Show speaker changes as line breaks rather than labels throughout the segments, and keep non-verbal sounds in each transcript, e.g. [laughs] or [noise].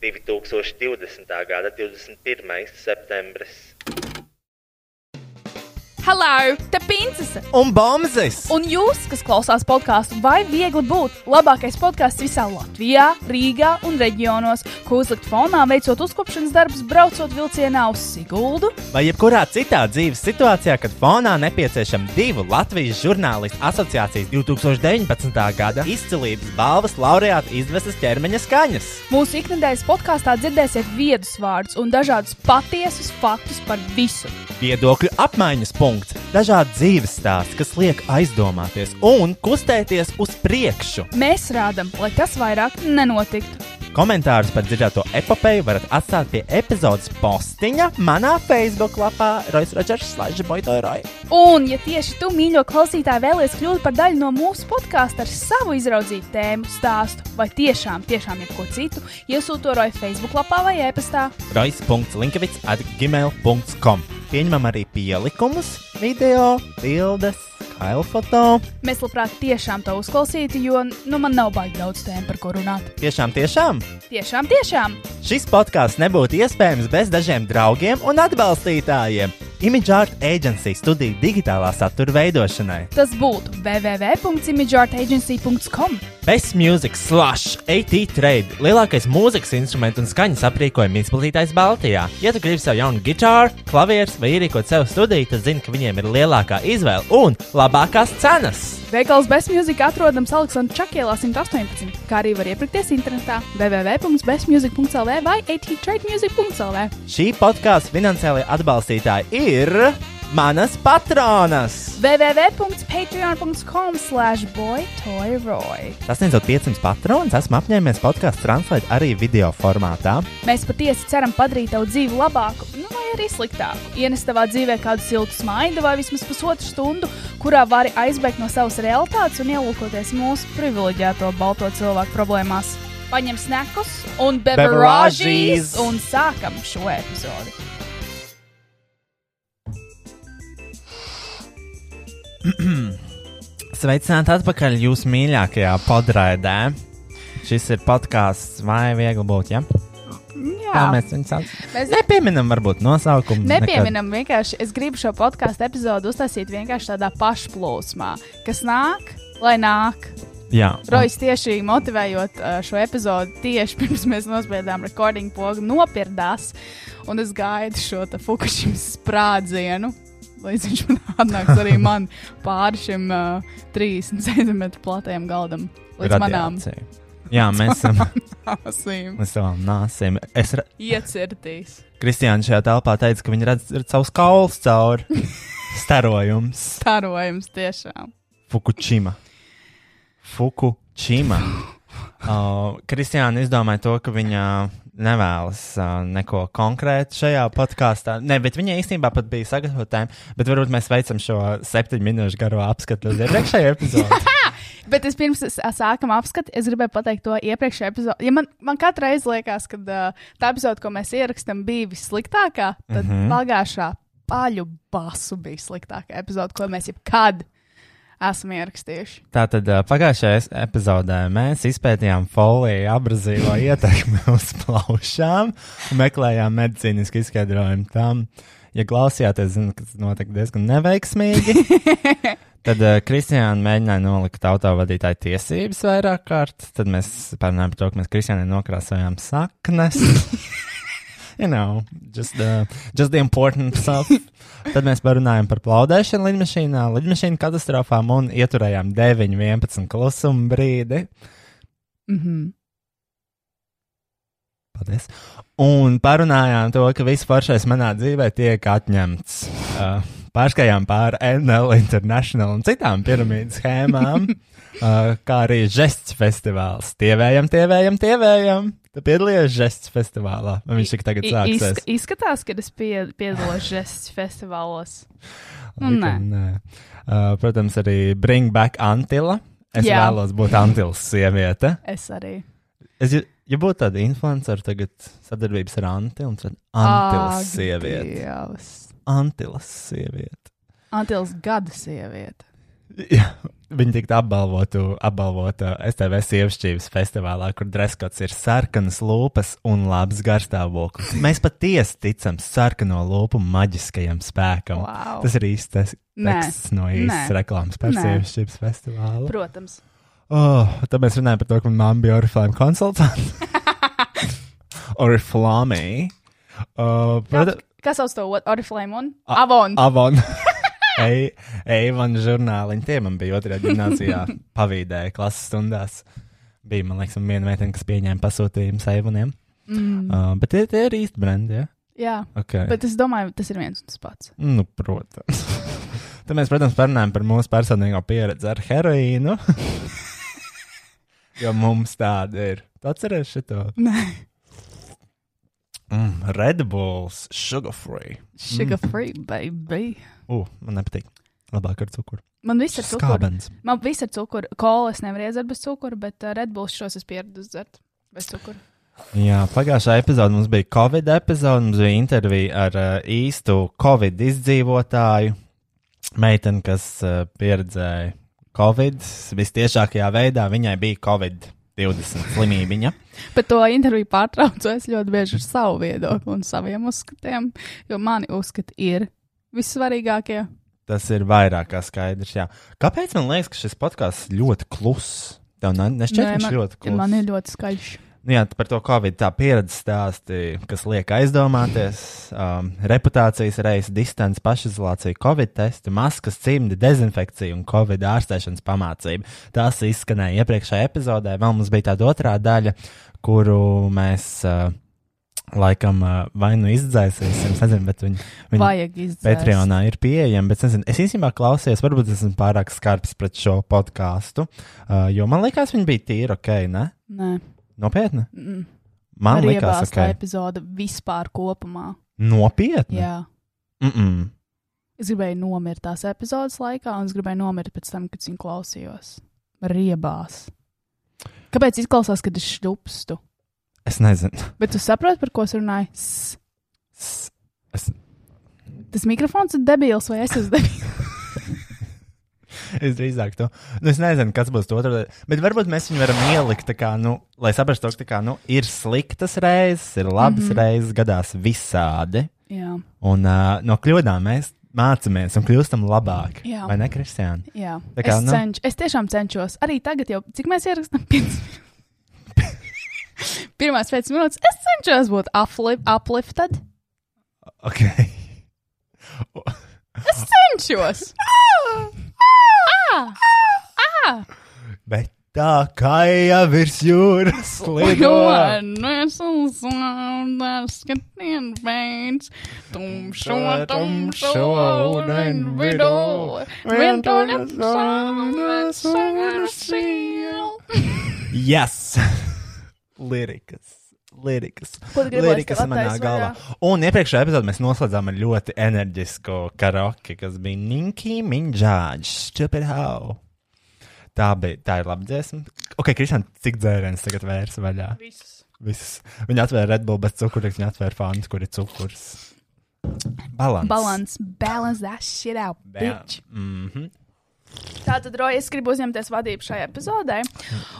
2020. gada 21. septembris.
Hello, te pinces!
Un bombzis!
Un jūs, kas klausās podkāstu, vai viegli būt labākais podkāsts visā Latvijā, Rīgā un reģionos, ko uzlikt fonā, veicot uzkopšanas darbus, braucot vilcienā uz Siguldu?
Vai jebkurā citā dzīves situācijā, kad fonā nepieciešama divu Latvijas žurnālistu asociācijas 2019. gada izcilības balvas laureāta izdevesas ķermeņa skaņas?
Mūsu ikdienas podkāstā dzirdēsiet viedus vārdus un dažādus patiesus faktus par visu.
Viedokļu apmaiņas punkts, dažādi dzīves stāsti, kas liek aizdomāties un kustēties uz priekšu.
Mēs rādām, lai tas vairāk nenotiktu.
Komentārus par dzirdēto epopeju varat atstāt pie epizodes postiņa manā Facebook lapā Roisas Rodžers Slaža Boitoroj.
Un, ja tieši tu, mīļo klausītāj, vēlies kļūt par daļu no mūsu podkāsta ar savu izraudzītu tēmu, stāstu vai tiešām, tiešām jebko citu, iesūto to roju Facebook lapā vai e-pastā.
Roisas.linkavits at gmail.com Pieņemam arī pielikumus, video, bildes, kailfoto.
Mēs labprāt tiešām to uzklausītu, jo nu, man nav baigi daudz tēmu, par ko runāt.
Tiešām, tiešām!
Tiešām, tiešām!
Šis podkāsts nebūtu iespējams bez dažiem draugiem un atbalstītājiem. Image Art Agency studija digitālā satura veidošanai.
Tas būtu www.imageartagency.com.
Best Music Slash AT Trade - lielākais mūzikas instrumentu un skaņas aprīkojuma izplatītājs Baltijā. Ja tu gribi sev jaunu gitāru, klavierus vai ierīkot sev studiju, tad zini, ka viņiem ir lielākā izvēle un labākās cenas.
Veikals Bestmusic atrodams Aleksandra Čakielā 118, kā arī var iepirkties internetā www.bestmusic.lv vai attrademusic.lv.
Šī podkāstu finansiālajie atbalstītāji ir manas patronas!
www.patreon.com slash boytoyroy.
Sasniedzot 500 patronus, esmu apņēmies podkāstu translēt arī video formātā.
Mēs patiesi ceram padarīt tavu dzīvi labāku, nu vai arī sliktāku. Ienest tavā dzīvē kādu siltu smaidu vai vismaz pusotru stundu, kurā vari aizbēgt no savas realitātes un ielūkoties mūsu privileģēto balto cilvēku problēmās. Paņem snekus un beverāžīs
Beverāžīs!
un sākam šo epizodi.
Sveicināti atpakaļ jūsu mīļākajā podraidē. Šis ir podkāsts, vai viegli būt, ja? Kā
Jā,
mēs viņu saucam?
mēs
Nepieminam, varbūt nosaukumu.
Nepieminam, vienkārši es gribu šo podkāstu epizodu uztaisīt vienkārši tādā pašplūsmā, kas nāk, lai nāk.
Nekad. Jā,
Rojas tieši motivējot uh, šo epizodu, tieši [laughs] pirms mēs nospiedām rekordingu pogu, nopirdās. Un es gaidu šo te Fukushimas sprādzienu, līdz viņš man [laughs] atnāks arī man pāri šim uh, 30 cm platajam galdam, līdz manām
Radiācija. Jā, mēs
[laughs]
esam [laughs]
asīm
līdz savām nāsīm. Es ra...
iecirtīs.
Kristiāna šajā telpā teica, ka viņi redz redz savus kaulus
[laughs]
cauri starojums.
Starojums tiešām.
Fukushima. Fukushima. Uh, Kristiāna izdomāja to, ka viņa nevēlas uh, neko konkrētu šajā podkāstā. Nē, bet viņa īstenībā pat bija sagatavotājiem, bet varbūt mēs veicam šo septiņu minūšu garo apskatu uz iepriekšējo epizodi.
Bet es pirms es- sākam apskati, es gribēju pateikt to iepriekšējā epizodē. Ja man, man katru reizi liekas, ka uh, tā epizode, ko mēs ierakstām, bija vissliktākā, tad mm -hmm.
Mhm.
pagājušā paļu basu bija sliktākā epizode, ko mēs jebkad esam ierakstījuši.
Tātad uh, pagājušajā es- epizodē mēs izpētījām foliju abrazīvo ietekmi [laughs] uz plaušām un meklējām medicīnisku izskaidrojumu tam. Ja klausījāties, zinu, ka tas notika diezgan neveiksmīgi. Tad uh, Kristiāna mēģināja nolikt autovadītāju tiesības vairāk kārt. Tad mēs parunājām par to, ka mēs Kristiānai nokrāsojām saknes. you know, just, uh, just the important stuff. Tad mēs parunājām par plaudēšanu lidmašīnā, lidmašīnu katastrofām un ieturējām 9, 11 klusuma brīdi.
Mm -hmm.
Paldies. Un parunājām to, ka viss foršais manā dzīvē tiek atņemts. Uh, pārskajām pāri NL International un citām piramīdu
[laughs]
schēmām, uh, kā arī žests festivāls. Tievējam, tievējam, tievējam! Tu piedalījies žests festivālā. Vai Viņš tik tagad sāksies.
izskatās, ka es pie, piedalos žests festivālos. Nu,
Laikam, nē. Uh, protams, arī Bring Back Antila. Es
Jā.
Jā. vēlos būt Antilas sieviete.
Es arī.
Es, ja- ja būtu tāda influencer, tagad sadarbības ar Antilu, tad Antilas
Ak,
sieviete.
Dievs.
Antilas sieviete.
Antils gada sieviete.
Jā, viņa tika apbalvotu, apbalvota STV sievietes festivālā, kur dreskots ir sarkanas lūpas un labs garstāvoklis. Mēs patiesi ticam sarkano lūpu maģiskajam spēkam.
Wow.
Tas ir īsts tes-
Nē.
teksts no īstas
Nē.
reklāmas par
Nē.
sievietes festivālu.
Protams.
Oh, tad mēs runājam par to, ka mamma bija oriflāma konsultante. Oriflāmī. Uh, prota-
Kas sauc to ot- oriflame un avon?
Avon. [laughs] Eivana žurnāliņa. Tie man bija otrajā gimnājā, pavīdē, klases stundās. Bija, man liekas, un viena meitene, kas pieņēma pasūtījumus Eivaniem. Mm. Uh, bet tie, tie ir īsti brendi, ja?
Jā,
Okay.
bet es domāju, tas ir viens un tas pats.
Nu, protams. Tad mēs, protams, parunājam par mūsu personīgo pieredzi ar heroīnu. jo mums tāda ir. Tu atceries šo?
Nē,
Mm, Red Bulls, sugar free.
sugar
Mm.
free, baby.
Uh, man nepatīk. Labāk ar cukuru.
Man viss ir cukurs.
Skābens.
Man viss ir cukurs. Kolu es nevaru iedzert bez cukura, bet uh, Red Bulls šos es pieradu dzert bez cukura.
Jā, pagājušā epizodē mums bija Covid epizode, mums bija intervija ar uh, īstu Covid izdzīvotāju. Meiteni, kas uh, pieredzēja Covid visciešākajā veidā, viņai bija Covid-20 slimība.
Bet to interviju pārtraucu es ļoti bieži ar savu viedokli un saviem uzskatiem, jo mani uzskati ir vissvarīgākie.
Tas ir vairāk kā skaidrs. Jā. Kāpēc man liekas, ka šis podkāsts ļoti kluss? Tev ne- nešķiet,
Nē,
ka
man-
viņš ļoti kluss.
Man ir ļoti skaļš.
Nu Jā, par to Covid tā pieredzi stāsti, kas liek aizdomāties. Um, reputācijas reizes, distance, pašizolācija, Covid testi, maskas, cimdi, dezinfekcija un Covid ārstēšanas pamācība. Tās izskanēja iepriekšējā epizodē. Vēl mums bija tāda otrā daļa, kuru mēs uh, laikam uh, vai nu izdzēsīsim, es nezinu, bet viņi. viņi
Vajag izdzert.
Patreonā ir pieejama, bet es, nezinu, es īstenībā klausījos, varbūt es esmu pārāk skarbs pret šo podkāstu, uh, jo man liekas, viņi bija tīri ok, ne?
Nē,
Nopietni?
Mm.
Man
arī
liekas,
iebāzta
ok.
epizode vispār kopumā.
Nopietni.
Jā.
Mm -mm.
Es gribēju nomirt tās epizodes laikā, un es gribēju nomirt pēc tam, kad viņu klausījos. Riebās. Kāpēc izklausās, kad es šļupstu?
Es nezinu. [laughs]
Bet tu saproti, par ko es runāju? S.
S- Es,
Tas mikrofons ir debils, vai es esmu debils?
es drīzāk to. Nu, es nezinu, kas būs otrs. Bet varbūt mēs viņu varam ielikt, tā kā, nu, lai saprastu, to, ka tā kā, nu, ir sliktas reizes, ir labas mm
Mhm.
-hmm. reizes, gadās visādi.
jā,
Un uh, no kļūdām mēs mācāmies un kļūstam labāk.
Jā.
Vai ne, Kristiāna?
jā.
Tā kā,
es,
nu.
cenš, es tiešām cenšos. Arī tagad, jau cik mēs ierakstām, 5 Pirmās pēc minūtes es cenšos būt upli- uplifted.
Ok. [laughs]
Es cenšos. Ah! Ā! Ā!
Bet tā kā jau virs jūras
[laughs] Jo
lido.
nesas naudas, ka vien veids tumšo, tumšo ūdeni vidū. Vien to nesas naudas siela.
Yes! [laughs] Lirikas. Lirikas.
Ko tu gribi, lai es tev
Lirikas manā
attaisu
galvā. Un iepriekšējā epizodē mēs noslēdzām ar ļoti enerģisku karaoke, kas bija Ninki Minjāģis. Stupid how. Tā bija, tā ir laba dziesma. Ok, Kristian, cik dzēriens tagad vērs vaļā? Viss. Viņa atvēra Red Bull bez cukurītes, viņa atvēra fānus, kur ir cukurs. Balans.
Balance, balance that shit out, bitch.
Mm -hmm.
Tātad, Roja, es gribu uzņemties vadību šajā epizodē,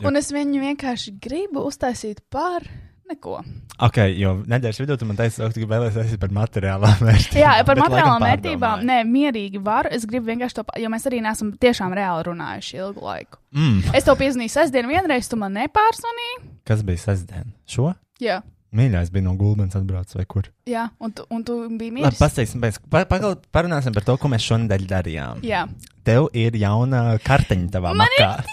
un es viņu vienkārši gribu uztaisīt par neko.
Ok, jo nedēļas vidū tu man teici, ka tu vēlēsies aiziet par materiālām vērtībām.
Jā, par
bet laikam
materiālām vērtībām.
pārdomāji.
Nē, mierīgi varu. Es gribu vienkārši to, pa- jo mēs arī neesam tiešām reāli runājuši ilgu laiku.
Mm.
Es to piezvanīju sestdien, vienreiz tu man nepārsvanīji.
Kas bija sestdien? Šo?
Jā,
Mīļākais bija no Gulbens atbraucis vai kur?
jā un, tu, un tu biji
Labi,
mīļš.
pasteiksim, pēc, pa, pagal, parunāsim par to, ko mēs šonadēļ darījām.
Jā,
Tev ir jauna karteņa tavā
man ir
makā.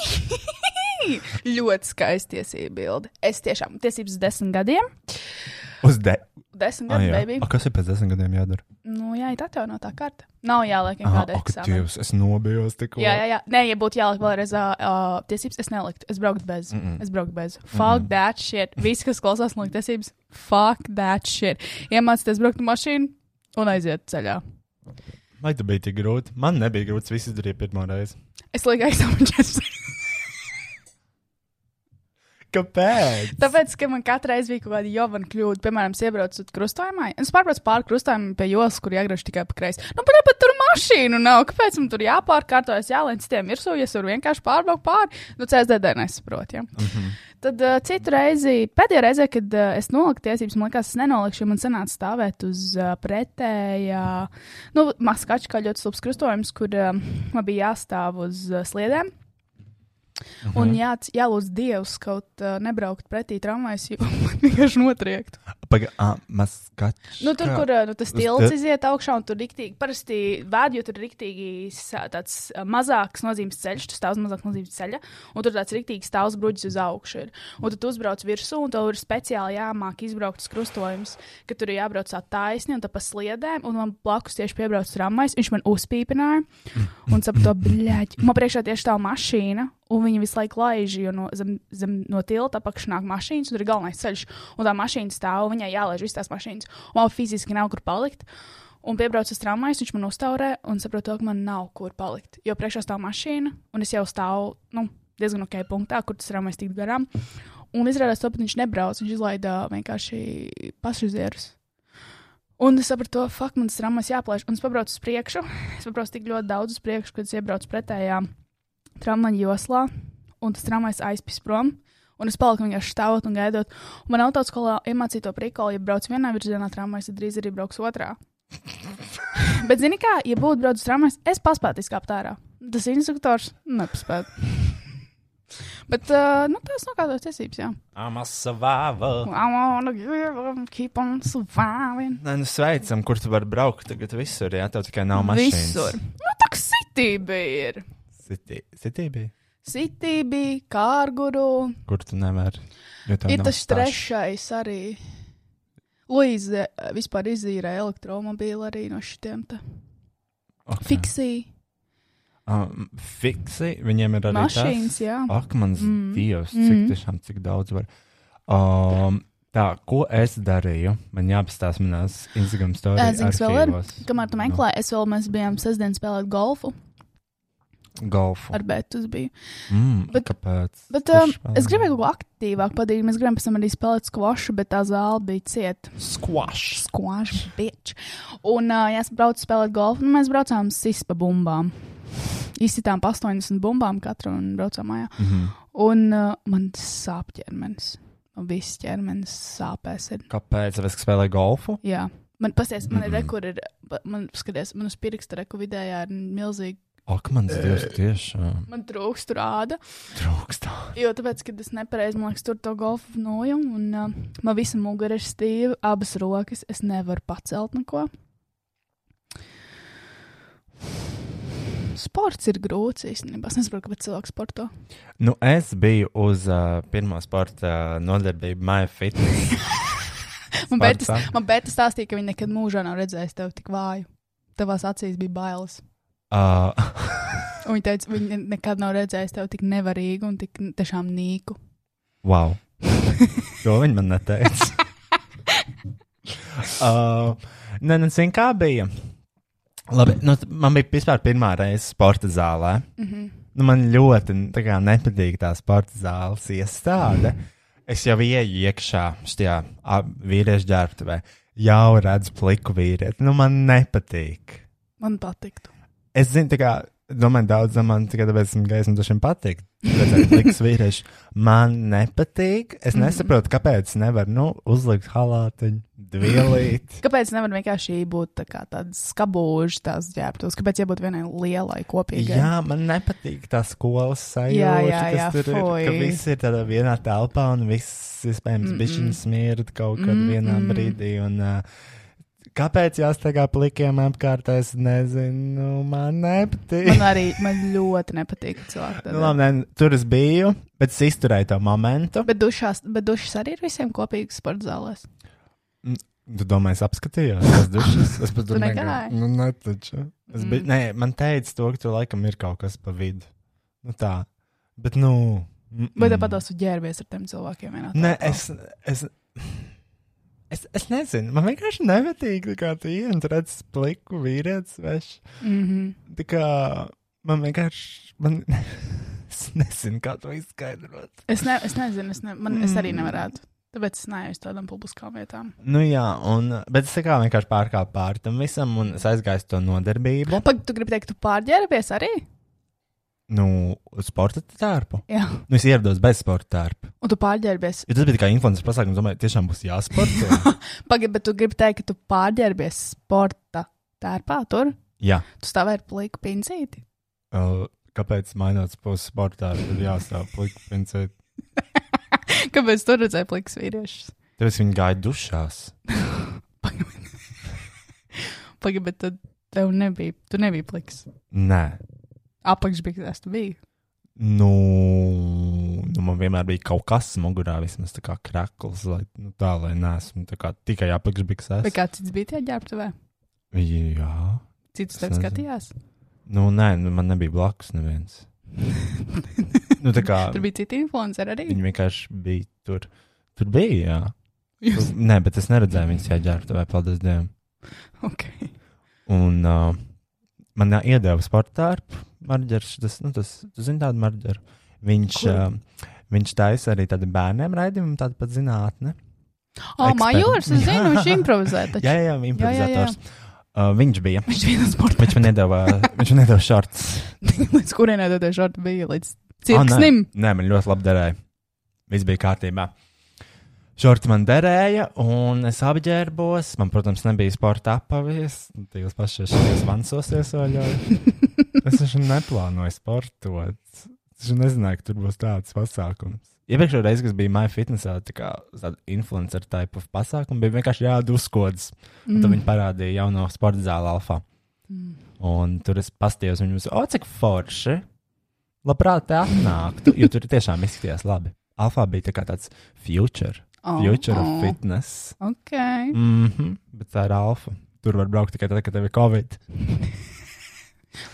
tiesības! [laughs] Ļoti skaisti tiesību bildi. Es tiešām tiesības desmit gadiem.
Uz de...
Desmit
Ah,
gadi,
jā.
baby.
A, kas ir pēc desmit gadiem jādara?
Nu, jā, ir atjaunotā karta. Nav jāliek
Ah,
nekāda
ak,
eksāmena.
Dievs, es nobijos tikko.
Jā, jā, jā. Nē, ja būtu jāliek vēlreiz uh, uh, tiesības, es neliktu. Es brauktu bez. Mm -mm. Es brauktu bez. Fuck mm -mm. that shit. Visi, kas klausās, liek tiesības. Fuck that shit. Iemācīties braukt ar mašīnu un aiziet ceļā.
Vai tu biji tik grūti? Man nebija grūts, viss
[laughs]
izdarīja pirmo reizi.
Es lieku aizsākt četras.
Kāpēc?
Tāpēc, ka man katrai reizē bija kaut kāda jovana kļūda. Piemēram, es iebraucu krustojumā, un es pārbraucu pāri krustojumam pie jolas, kur jāgriež tikai pa kreisi. Nu, bet pat tur mašīnu nav. Kāpēc man tur jāpārkārtojas, jālēn citiem virsū, ja es varu vienkārši pārbraukt pāri? Nu, CSDD nesaprot. Ja? Mm -hmm. Tad uh, citu reizi, pēdējā reize, kad uh, es noliku tiesības, man liekas, es nenolikšu, jo man sanāca stāvēt uz uh, pretējā, nu, maskača kā ļoti slūps krustojums, kur uh, man bija jāstāv uz uh, sliedēm. Mm -hmm. Un jā, jālūdz Dievs kaut uh, nebraukt pretī tramvajas, jo [laughs] man vienkārši notriekt.
Pagaidām,
Nu, tur, kur uh, nu, tas tilts iziet augšā, un tur riktīgi, parasti vēd, jo tur ir riktīgi sa- tāds uh, mazāks nozīmes ceļš, tas stāvs mazāk nozīmes ceļa, un tur tāds riktīgi stāvs bruģis uz augšu ir. Un tad tu uzbrauc virsū, un tev ir speciāli jāmāk izbraukt uz krustojums, ka tur ir jābrauc tā taisni un tā pa sliedēm, un man blakus tieši piebrauc tramvajs, viņš man uzpīpināja, un [laughs] sapratu, bļaļ, man priekšā tieši tā mašīna. Un viņi visu laiku laiž, jo no, zem, zem, no tilta apakšā nāk mašīnas, un tur ir galvenais ceļš. Un tā mašīna stāv, un viņai jālaiž visas tās mašīnas. Un man fiziski nav kur palikt. Un piebraucis tramvajs, viņš man uztaurē, un saprotu, ka man nav kur palikt. Jo priekšā stāv mašīna, un es jau stāvu nu, diezgan ok punktā, kur tas tramvajs tik garām. Un izrādās, to, ka viņš nebrauc, viņš izlaida vienkārši pasažierus. Un es sapratu, ka man tas tramvajs jāplaiž, un es pabraucu uz priekšu. Es pabraucu tik ļoti daudz uz priekšu, kad es iebraucu pretējā tramvaja joslā, un tas tramvajs aizpis prom. Un es paliku vienkārši stāvot un gaidot. Un man autoskolā iemācīja to aprīkoju, ja brauc vienā virzienā, tramvajs tad drīz arī brauks otrā. Bet, zini, kā, ja būtu braucis tramvajs, es paspētu izkāpt ārā. Tas instruktors nepaspētu. Bet, uh, nu, tās nav kādas tiesības, jā.
Amasavāva.
I wanna give up, keep on surviving.
Nē, nu sveicam, kur tu vari braukt tagad visur, jā, tev tikai nav mašīnas.
Visur. Nu, tā kā City bija. ir.
City, city bija.
City bija, Kārguru.
Kur tu nevari? Jo tev
Ir
nav
tas
stāsts.
trešais arī. Luīze eh, vispār izīrē elektromobīlu arī no šiem te.
Ok.
Fiksija,
Um, fiksi, viņiem ir arī
mašīnas, jā.
Tas? Ak, mans mm.
Mm.
dievs, cik
Mm.
mm. tiešām cik daudz var. Um, tā, ko es darīju? Man jāpastāsta manās Instagram
Eh, zini, kas
stāstījumos.
vēl ir? Kamēr tu meklē, es vēl mēs bijām sestdien spēlēt golfu
Golfu.
ar Bētus biju.
Mm,
Bet-
bet, kāpēc?
Bet
Kurš
um,
vēl?
es gribēju kaut ko aktīvāk padarīt. Mēs gribējām pēc tam arī spēlēt skvošu, bet tā zāle bija cieta.
Squash.
Skvošs, bitch. Un uh, ja es braucu spēlēt golfu, nu, mēs braucām sispa bumbām. Izsitām pa 80 bumbām katru un braucām mājā.
Mm -hmm.
Un uh, man sāp ķermenis. Man viss ķermenis sāpēs. Ir.
Kāpēc? Tāpēc, ka spēlēju golfu?
Jā, man pasties, man ir
Mhm.
rekords, man skaties, man uz pirksta reku vidējā ir milzīgi.
Ak, mans dievs, tiešām
Man trūkst rāda,
trūkst.
jo tāpēc, kad es nepareizi, man liekas, tur to golfu nojumu, un uh, man visa mugura ir stīva, abas rokas, es nevaru pacelt neko. Sports ir grūts īstenībā. Es nesaprotu, kāpēc cilvēks sporto.
Nu, es biju uz uh, pirmā sporta uh, nodarbību MyFitness.
[laughs] Man Bērta
Sportā.
man Bērta stāstīja, ka viņa nekad mūžā nav redzējusi tevi tik vāju. Tavās acīs bija bailes.
Uh,
Un Viņa teica, viņa nekad nav redzējusi tevi tik nevarīgu un tik tiešām nīku.
wow. [laughs] To viņi man neteica. uh, nē, nē, zinu, kā bija. Labi, nu, t- man bija vispār pirmā reize sporta zālē.
Mm -hmm.
Nu, man ļoti tā kā, nepatīk tā sporta zāles iestāde. Es jau ieju iekšā šajā a, vīriešu ģērbtuvē. Jau redzu pliku vīrieti. Nu, man nepatīk.
Man patiktu.
Es zinu, tā kā, domāju, daudziem man tikai tāpēc, ka gaisma dažiem patīk.
[laughs]
Redzēt, liks vīrieši. Man nepatīk. Es
Mhm.
nesaprotu, kāpēc nevar, nu, uzlikt halātiņu,
[laughs]
dvielīt.
Kāpēc nevar vienkārši būt tā kā tāds skabūžs, tās ģērbtos? Kāpēc jābūt vienai lielai kopīgai?
Jā, man nepatīk tā skolas sajūta,
Jā, jā, jā,
kas tur ir. Ka
fuj.
viss ir tādā vienā telpā un viss, iespējams,
Mm,
bija
mm.
smirta kaut kad
Mm,
vienā
mm.
brīdī. Un, ā, Kāpēc jāstaigā plikiem apkārt? Es nezinu, man nepatīk.
Man arī man ļoti nepatīk
[laughs]
cilvēki.
Nu,
tādā.
labi, nē, tur es biju, bet es izturēju to momentu.
Bet dušās, bet dušas arī ir visiem kopīgas sporta zālēs.
Tu domā, es apskatījos, tas dušas. Es pat
Tu
domāju,
negāji?
nu, ne taču. Es biju,
Mm.
nē, man teica to, ka tur laikam ir kaut kas pa vidu. Nu tā, bet nu. mm,
Vai
mm.
tev patīk ģērbies ar tiem cilvēkiem? vienā
Nē,
telpā?
es. es Es, es nezinu, man vienkārši nepatīk, tā kā tu ienāc, un tu redz pliku vīrieti svešu.
Mhm.
Tā kā man [laughs] vienkārši. Man... es Es nezinu, kā to izskaidrot.
Es, ne, es nezinu, es, ne, man, mm. es arī nevarētu. Tāpēc es neeju uz tādām publiskām vietām.
Nu, jā, un, bet es tā kā vienkārši pārkāpu pāri tam visam, un es aizgāju uz to nodarbību.
Pagaid, tu gribi teikt, tu pārģērbies arī?
Nu, uz sporta tērpu.
Jā,
Nu, es ierados bez sporta tērpa.
un tu pārģērbies.
Jo tas bija kā influencer pasākums, domāju, tiešām būs
[laughs]
jāsporta.
Pagaid, bet tu gribi teikt, ka tu pārģērbies sporta tērpā tur?
jā.
Tu stāvēji ar pliku pincīti. [laughs]
Uh, kāpēc mainot uz sporta tērpu, tad jāstāv plikpincēt?
Kāpēc tur redzēji plikas vīriešus?
Tāpēc viņi gāja dušās.
[laughs] Pagaid, bet tad tev nebija, tu nebija pliks.
Nē.
Apakš bija, kas tu biji.
Nu, nu, man vienmēr bija kaut kas mugurā, vismaz tā kā krakls, lai nu, tā, lai nesmu tā kā tikai apakšbiksēs.
Vai kāds cits bija tajā ģērbtuvē?
Jā.
Cits
Es
tev
nezinu. [laughs]
skatījās.
Nu, nē, nu, man nebija blakus neviens. nu, tā kā
Tur bija citi influenceri arī.
viņi vienkārši bija tur. Tur bija, jā.
[laughs] Jūs...
Tur, nē, bet es neredzēju viņas ieģērbtu, vai paldies Dievam.
Okay.
Un uh, man jā- iedeva sporta tērpu, marģers, tas, nu, tas, tu zini tādu marģeru. Viņš,
Kur?
uh, viņš taisa arī tādu bērniem raidījumu, tādu pat zinātni.
O,
Eksperti.
Oh, Majors, es zinu,
[laughs]
viņš improvizē. Taču.
Jā, jā, jā, improvizators. Uh, viņš bija.
Viņš bija viens sports.
Viņš man
[laughs]
nedeva, [laughs] viņš man nedeva šorts.
Līdz kurienai tad tie šorti bija? Līdz
Ah,
cirksnim.
Nē, nē, man ļoti labi derēja. Viss bija kārtībā. Šorti man derēja, un es apģērbos. Man, protams, nebija sporta apavies. Tajos pašos šajos vansos
[laughs]
iesaļoju. Es taču neplānoju sportot. Es taču nezināju, ka tur būs tāds pasākums. Iepriekšējā reizē, kas bija MyFitnessā, tā kā uz tāda influencer type of pasākuma, bija vienkārši jādu uzkodas. Un tad viņi parādīja jauno sporta zāli Alfa.
Mm.
Un tur es paskatījos viņus, o, cik forši. Labprāt, te atnāktu, jo tur tiešām izskatījās labi. Alfa bija tā kā tāds future,
Oh,
future oh,
oh,
of fitness.
Ok.
Mm -hmm, bet tā ir alfa. Tur var braukt tikai tad, kad tev ir covid.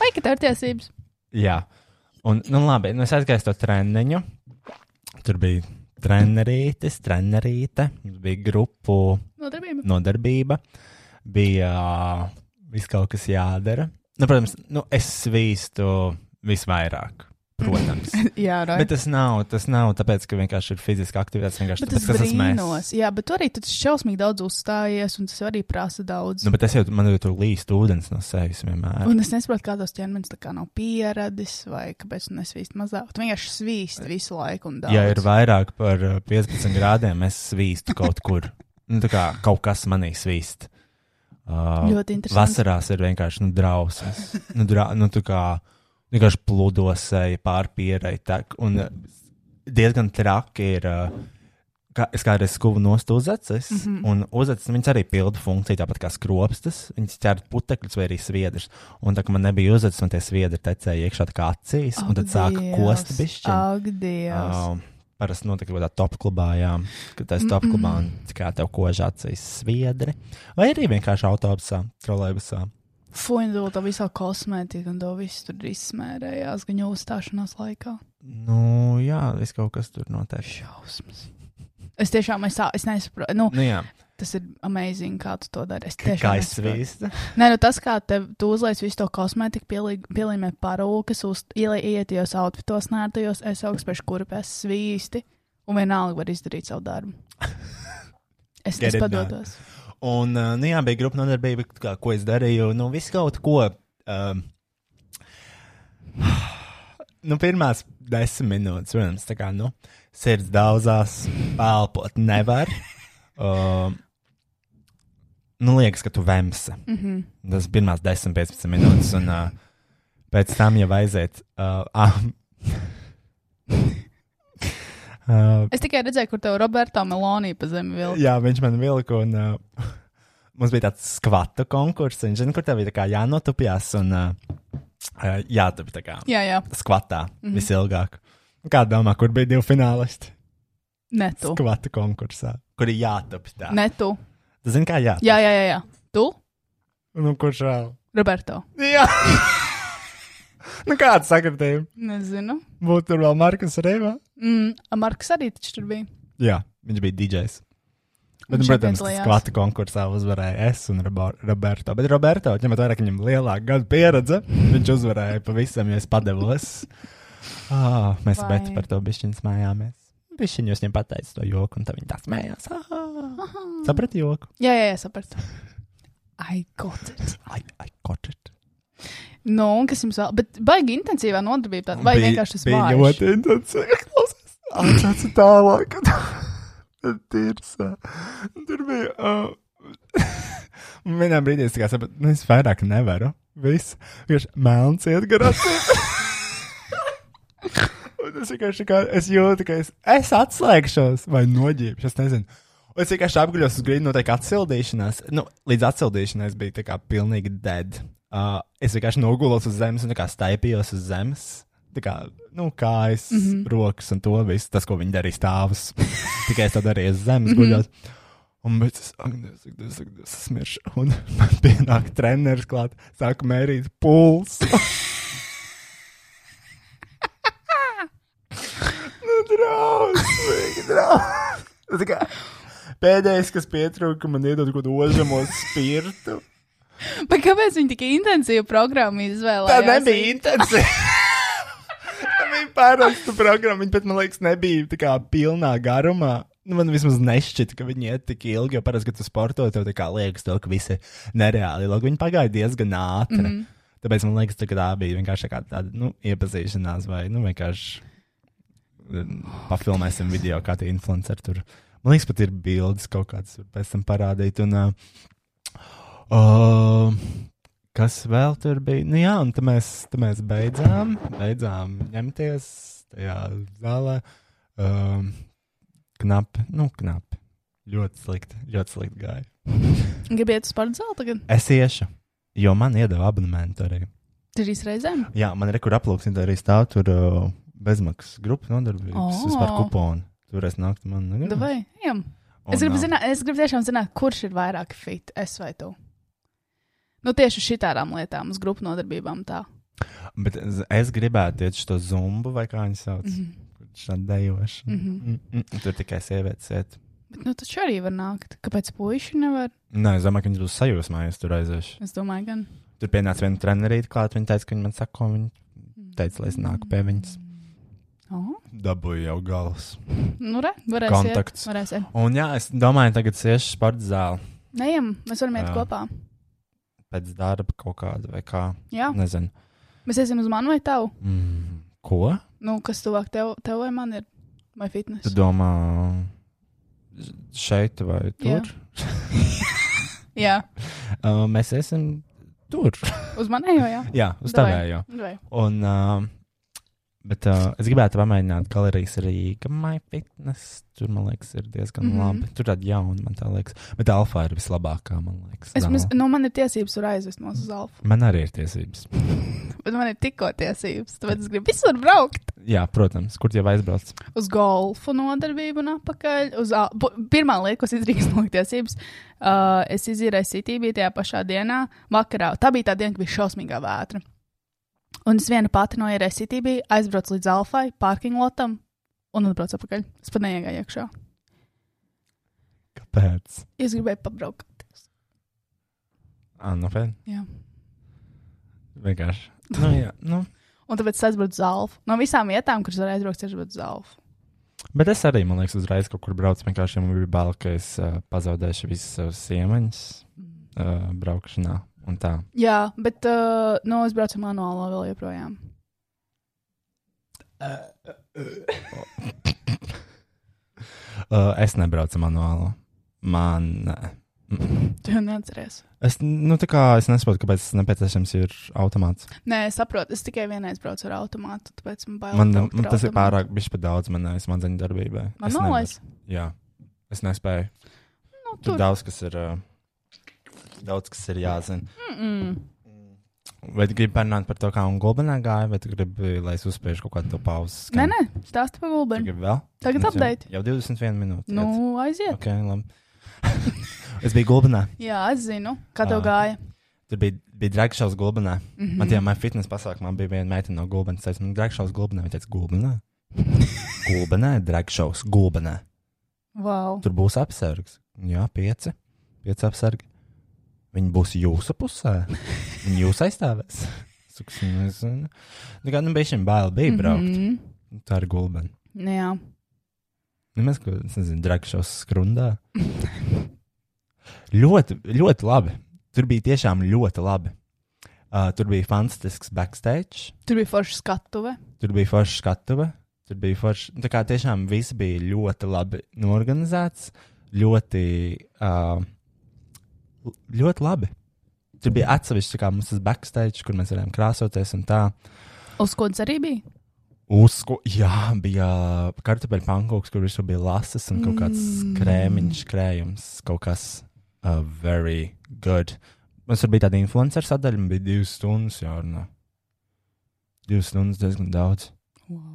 Vai ka tev ir tiesības?
Jā, un nu, labi, nu, es aizgāju uz to treniņu. Tur bija trenerītis, trenerīte, mums bija grupu
Nodarbība.
nodarbība, bija viss kaut kas jādara. Nu, protams, nu, es svīstu visvairāk,
[laughs]
protams.
Jā,
Bet
right.
tas nav, tas nav tāpēc, ka vienkārši ir fiziska aktivitāte. Vienkārši
Bet
tāpēc,
es
ka tas
brīnos. Jā, bet tu arī tu šausmīgi daudz uzstājies, un tas arī prasa daudz.
Nu, bet es jau man jau tur līst ūdens no sevis vienmēr.
Un es nesaprotu, kādos ķermenis tā kā nav pieradis, vai kāpēc tu nesvīst mazāk. Tu vienkārši svīst visu laiku un daudz.
Ja ir vairāk par uh, 15 grādiem, es svīstu kaut kur. Nu, tā kā kaut kas manī svīst. Uh,
Ļoti interesanti.
vasarās ir vienkārši nu, drausmas. Nu, drā, nu, tā kā vienkārši pludosēji pārpierai. tek, Un uh, diezgan traki ir. Uh, Kā, es kādreiz skūvu nost uz acis, mm
Mhm.
-hmm. un uzacis viņas arī pilda funkciju, tāpat kā skropstas. Viņas ķēra putekļus vai arī sviedrus. Un tā kā man nebija uzacis, un tie sviedri tecēja iekšā tā kā acīs, un tad sāka kost bišķi.
Ak, Dievs.
Um, Parasti notiek kaut kādā top klubā, jā, kad tas top klubā un tā kā tev kožā acīs sviedri. Vai arī vienkārši autobusā, trolēbusā.
Fuņdot to visā kosmētikā, un to visu tur izsmērējās, gan jau uzstāšanās laikā.
Nu, jā, viss kaut kas tur notiek.
Jausmas. Es tiešām es, tā- es nesaprotu. Nu,
Nu, jā,
tas ir amazing, kā tu to dari. Es
kā
tiešām
es
nesaprotu.
svīstu.
Nē, nu tas, kā tev, tu uzliec visu to kosmētiku, pielī- pielīmē parūkas, uz- ielai- ietijos outfitos, nērtajos, es augstspēšu kurpēs svīsti, un vienalga var izdarīt savu
[laughs]
darbu. Es
Get
tas
it done.
padodos.
Un, uh, nu, jā, bija grupa nodarbība, kā, ko es darīju. Nu, viss kaut ko. Um, [sighs] nu, pirmās desmit minūtes, protams, tā kā, nu, sirds daudzās, pelpot nevar. Um, nu, liekas, ka tu vemsi. Mm
Mhm.
-hmm. Tas bija pirmās 10, 15 minūtes, un uh, pēc tam jau aiziet. Uh, um, uh,
Es tikai redzēju, kur tev Roberto Meloni pa zemi vilka.
Jā, viņš man vilka. Un, uh, mums bija tāds skvatu konkurss, un zini, kur tev bija tā kā jānotupjas un uh, uh, jātup tā kā
Jā, jā,
skvatā mm -hmm.
Mhm.
visilgāk. Kā domā, kur bija divi finālisti?
ne tu.
Skvatu konkursā, kur ir jātup tā.
Ne tu.
Tu Zini, kā jā.
Jā, jā, jā. jā. Tu,
Nu, kurš vēl?
Roberto?
Jā! [laughs] nu, kāda sakritība?
Nezinu.
Būtu tur vēl Markus Reiva?
Mm, Marks arī taču tur bija.
Jā, viņš bija DJs. Bet,
Viņš
nu, protams,
nepiedalījās.
skvatu konkursā uzvarēja es un Robo- Roberto. Bet Roberto, ņemot vērā, ka viņam ir lielāka gada pieredze, viņš uzvarēja pavisam, ja es padevos. Ah, mēs
Vai-
bet par to bišķiņu smējāmies. Bišķiņu jūs viņam pateicu to joku, un tad viņi tā smējās. Ah, Saprati joku?
Jā, jā, jā sapratu. I got it.
Ai, ai, kočet.
Nu, un kas jums vēl? Bet baigi intensīvā nodarbība tāda, vai vienkārši tas
bija
vārds?
ļoti intensīvi. Klausies, atcaucu tālāk. [laughs] Tirsā. Tur bija. Uh, [laughs] un vienā brīdī es tā kā sapratu, nu es vairāk nevaru. Viss. Vienkārši melns iet garām. Un es vienkārši kā, es jūtu, ka es, es atslēgšos vai noģībšu. Es nezinu. Un es vienkārši apguļos uz grīdu, noteikti atsildīšanās. Nu, līdz atsildīšanās bija tā kā pilnīgi dead. Uh, es vienkārši nogulos uz zemes un tā kā staipījos uz zemes. Tā kā, nu, kājas, mm -hmm. rokas un to visu, tas, ko viņi darīja stāvus. [laughs] Tikai es to darīju uz zemes guļot. Un bet es, ak, Dievs, ak, Dievs, ak, Dievs, es miršu. Un [laughs] man pienāk treneris klāt, sāk mērīt pulsu. nu, drausmīgi, drausmīgi. Tā kā Pēdējais, kas pietrūka, man iedod kaut ko ožamo spirtu.
[laughs] Bet kāpēc viņi tik intensīvu programmu
Tā
izvēlējās?
nebija intensīva. [laughs] Tā bija parasta programma. Viņa pat, man liekas, nebija tā kā pilnā garumā. Nu, man vismaz nešķita, ka viņi iet tik ilgi, jo parasti, kad tu sporto, tev tā kā liekas, to, ka visi nereāli. Lūk, viņi pagāja diezgan ātri. Mm -hmm. Tāpēc man liekas, tā, ka tā bija vienkārši tā kā tāda nu, iepazīšanās, vai nu, vienkārši mm, pafilmēsim video, kā tie influenceri tur. Man liekas, pat ir bildes kaut kādas, var pēc tam parādīt. Un, uh, Uh, kas vēl tur bija? Nu, jā, un tad mēs, tad mēs beidzām, beidzām ņemties tajā zālē. Um, knapi, nu, knapi. Ļoti slikti, ļoti slikti gāja. [laughs]
Gribiet uz sporta zāli tagad?
Es iešu, jo man iedeva abonementu arī.
Trīs reizēm?
Jā, man ir kur aplūksnīt, arī stāv tur uh, bezmaksas grupa nodarbības
O.
oh. par kuponu. Tur es naktu man. nu, jā.
Vai? Ejam.
Un,
Es gribu,
uh,
zināt, es gribu tiešām zināt, kurš ir vairāk fit, es vai tu. Nu, tieši uz šitām lietām, uz grupu nodarbībām tā.
Bet es- es gribētu iet uz to zumbu, vai kā viņi sauc. Mm
Mhm.
-hmm. Šādi dejoši. Mm
Mhm.
-hmm. mm -mm. Tur tikai sievietes iet.
Bet, nu, taču arī var nākt. Kāpēc puiši nevar?
Nē, es domāju, ka viņi būs sajūsmā, ja es tur aiziešu.
Es domāju, gan.
Tur pienāca viena trenerīte klāt, viņa teica, ka viņa man saka, un viņa teica, lai es nāku pie viņas.
Oh,
Dabūju jau galvas.
nu, re, varēs.
Kontakts.
Iet, varēs iet.
Un jā, es domāju, tagad es iešu sporta zāli
Neiem, mēs varam iet
Jā.
kopā.
pēc darba kaut kādu vai kā.
Jā,
Nezinu.
mēs iesim uz manu vai tavu.
Mm, ko?
Nu, kas tuvāk tev, tev vai man ir? Vai
Tu
fitnes?
domā šeit vai
Jā.
tur?
Jā,
Uh, mēs esam tur.
uz manējo, jā.
jā, uz
Davai.
tavējo.
Vai.
Un, uh, bet uh, es gribētu pamēģināt galerijas Rīgā. MyFitness tur, man liekas, ir diezgan mm
Mhm.
-hmm. labi. Tur tāda jauna, man tā liekas. Bet alfa ir vislabākā, man liekas.
Es
zāle.
mums, nu, man ir tiesības tur aizvest mūsu uz alfa.
Man arī ir tiesības.
Bet man ir tikko tiesības. Tāpēc es gribu visur braukt.
Jā, protams, kur jau aizbrauc.
Uz golfu nodarbību un atpakaļ. Uz al... bu- Pirmā lieta, ko es [laughs] izdarīju, bija tiesības. Uh, es izīrēju Citību tajā pašā dienā, vakarā. Tā bija tā diena, kad bija šausmīga vētra. Un es viena pati noierēju Citību, aizbraucu līdz Alfai, parking lotam un atbraucu atpakaļ. Es pat neiegāju iekšā.
Kāpēc?
Es gribēju pabraukties.
Ah, nu, fēn.
Jā.
Vienkārši. Nu, jā, nu.
Un tāpēc es aizbraucu uz Alfa. No visām vietām, kuras var aizbraukt, es aizbraucu uz Alfa.
Bet es arī, man liekas, uzreiz kaut kur braucu. Vienkārši man bija bail, ka es uh, pazaudēšu visas savas iemaņas uh, braukšanā. Un tā.
Jā, bet uh, no es braucu manuālā vēl joprojām.
[laughs] Uh, es nebraucu manuālu. Man. Nē. Mm.
Tu jau neatceries.
Es, nu, tā kā, es nesaprotu, kāpēc tas nepieciešams ir automāts.
Nē, es saprotu, es tikai vienreiz braucu ar automātu, tāpēc man bail.
Man,
braukt
man
ar
tas ir
automātu.
pārāk bišķi pat daudz manai smadzeņu darbībai.
Man
Es
nolaiž.
nevaru. Jā, es nespēju.
Nu,
Tur
tur.
daudz kas ir. Uh, daudz kas ir jāzina.
Mm -mm.
Vai tu gribi parunāt par to, kā un gulbenā gāja, vai tu gribi, lai es uzspiežu kaut kādu to pauzes?
Nē, nē, stāsti par gulbeni.
Gribu vēl?
Tagad
Mums jau-
update.
Jau 21 minūtes. iet.
Nu, aiziet.
Ok, labi. es biju gulbenā.
Jā, es zinu, kā tev
Ā.
gāja. Mhm.
Tur bija, bija dragšaus gulbenā. Mm -hmm. Ah.
[laughs]
Man tajā man fitnes pasākumā bija viena meitene no gulbenas. Es teicu, dragšaus gulbenā. Viņa teica, gulbenā. gulbenā, dragšaus gulbenā.
Wow.
Tur būs apsargs. Jā, pieci. Pieci apsargi. Viņi būs jūsu pusē. Viņi jūs aizstāvēs. Es plastikas. un Nezinu. Tā kā nu, bija šim bail bija braukt. Mm
Mhm.
-hmm. Tā ir gulbena.
Nu Jā, [laughs]
Nemaz, ko, es nezinu, dragšos skrundā. ļoti, ļoti labi. Tur bija tiešām ļoti labi. Uh, tur bija fantastisks backstage,
tur bija forša skatuve.
tur bija forša skatuve, tur bija forša. Tā kā tiešām viss bija ļoti labi norganizēts, ļoti, uh, ļoti labi. Tur bija atsevišķi, tā kā mums tas backstage, kur mēs varējām krāsoties un tā.
Uzkodas arī bija.
Uzko, jā, bija kartupeļu pankūks, kur visur bija lasas un kaut kāds mm. krēmiņš, krējums, kaut kas uh, very good. Mums tur bija tāda influencer sadaļa, un bija divas stundas jārunā. Divas stundas diezgan daudz.
Wow.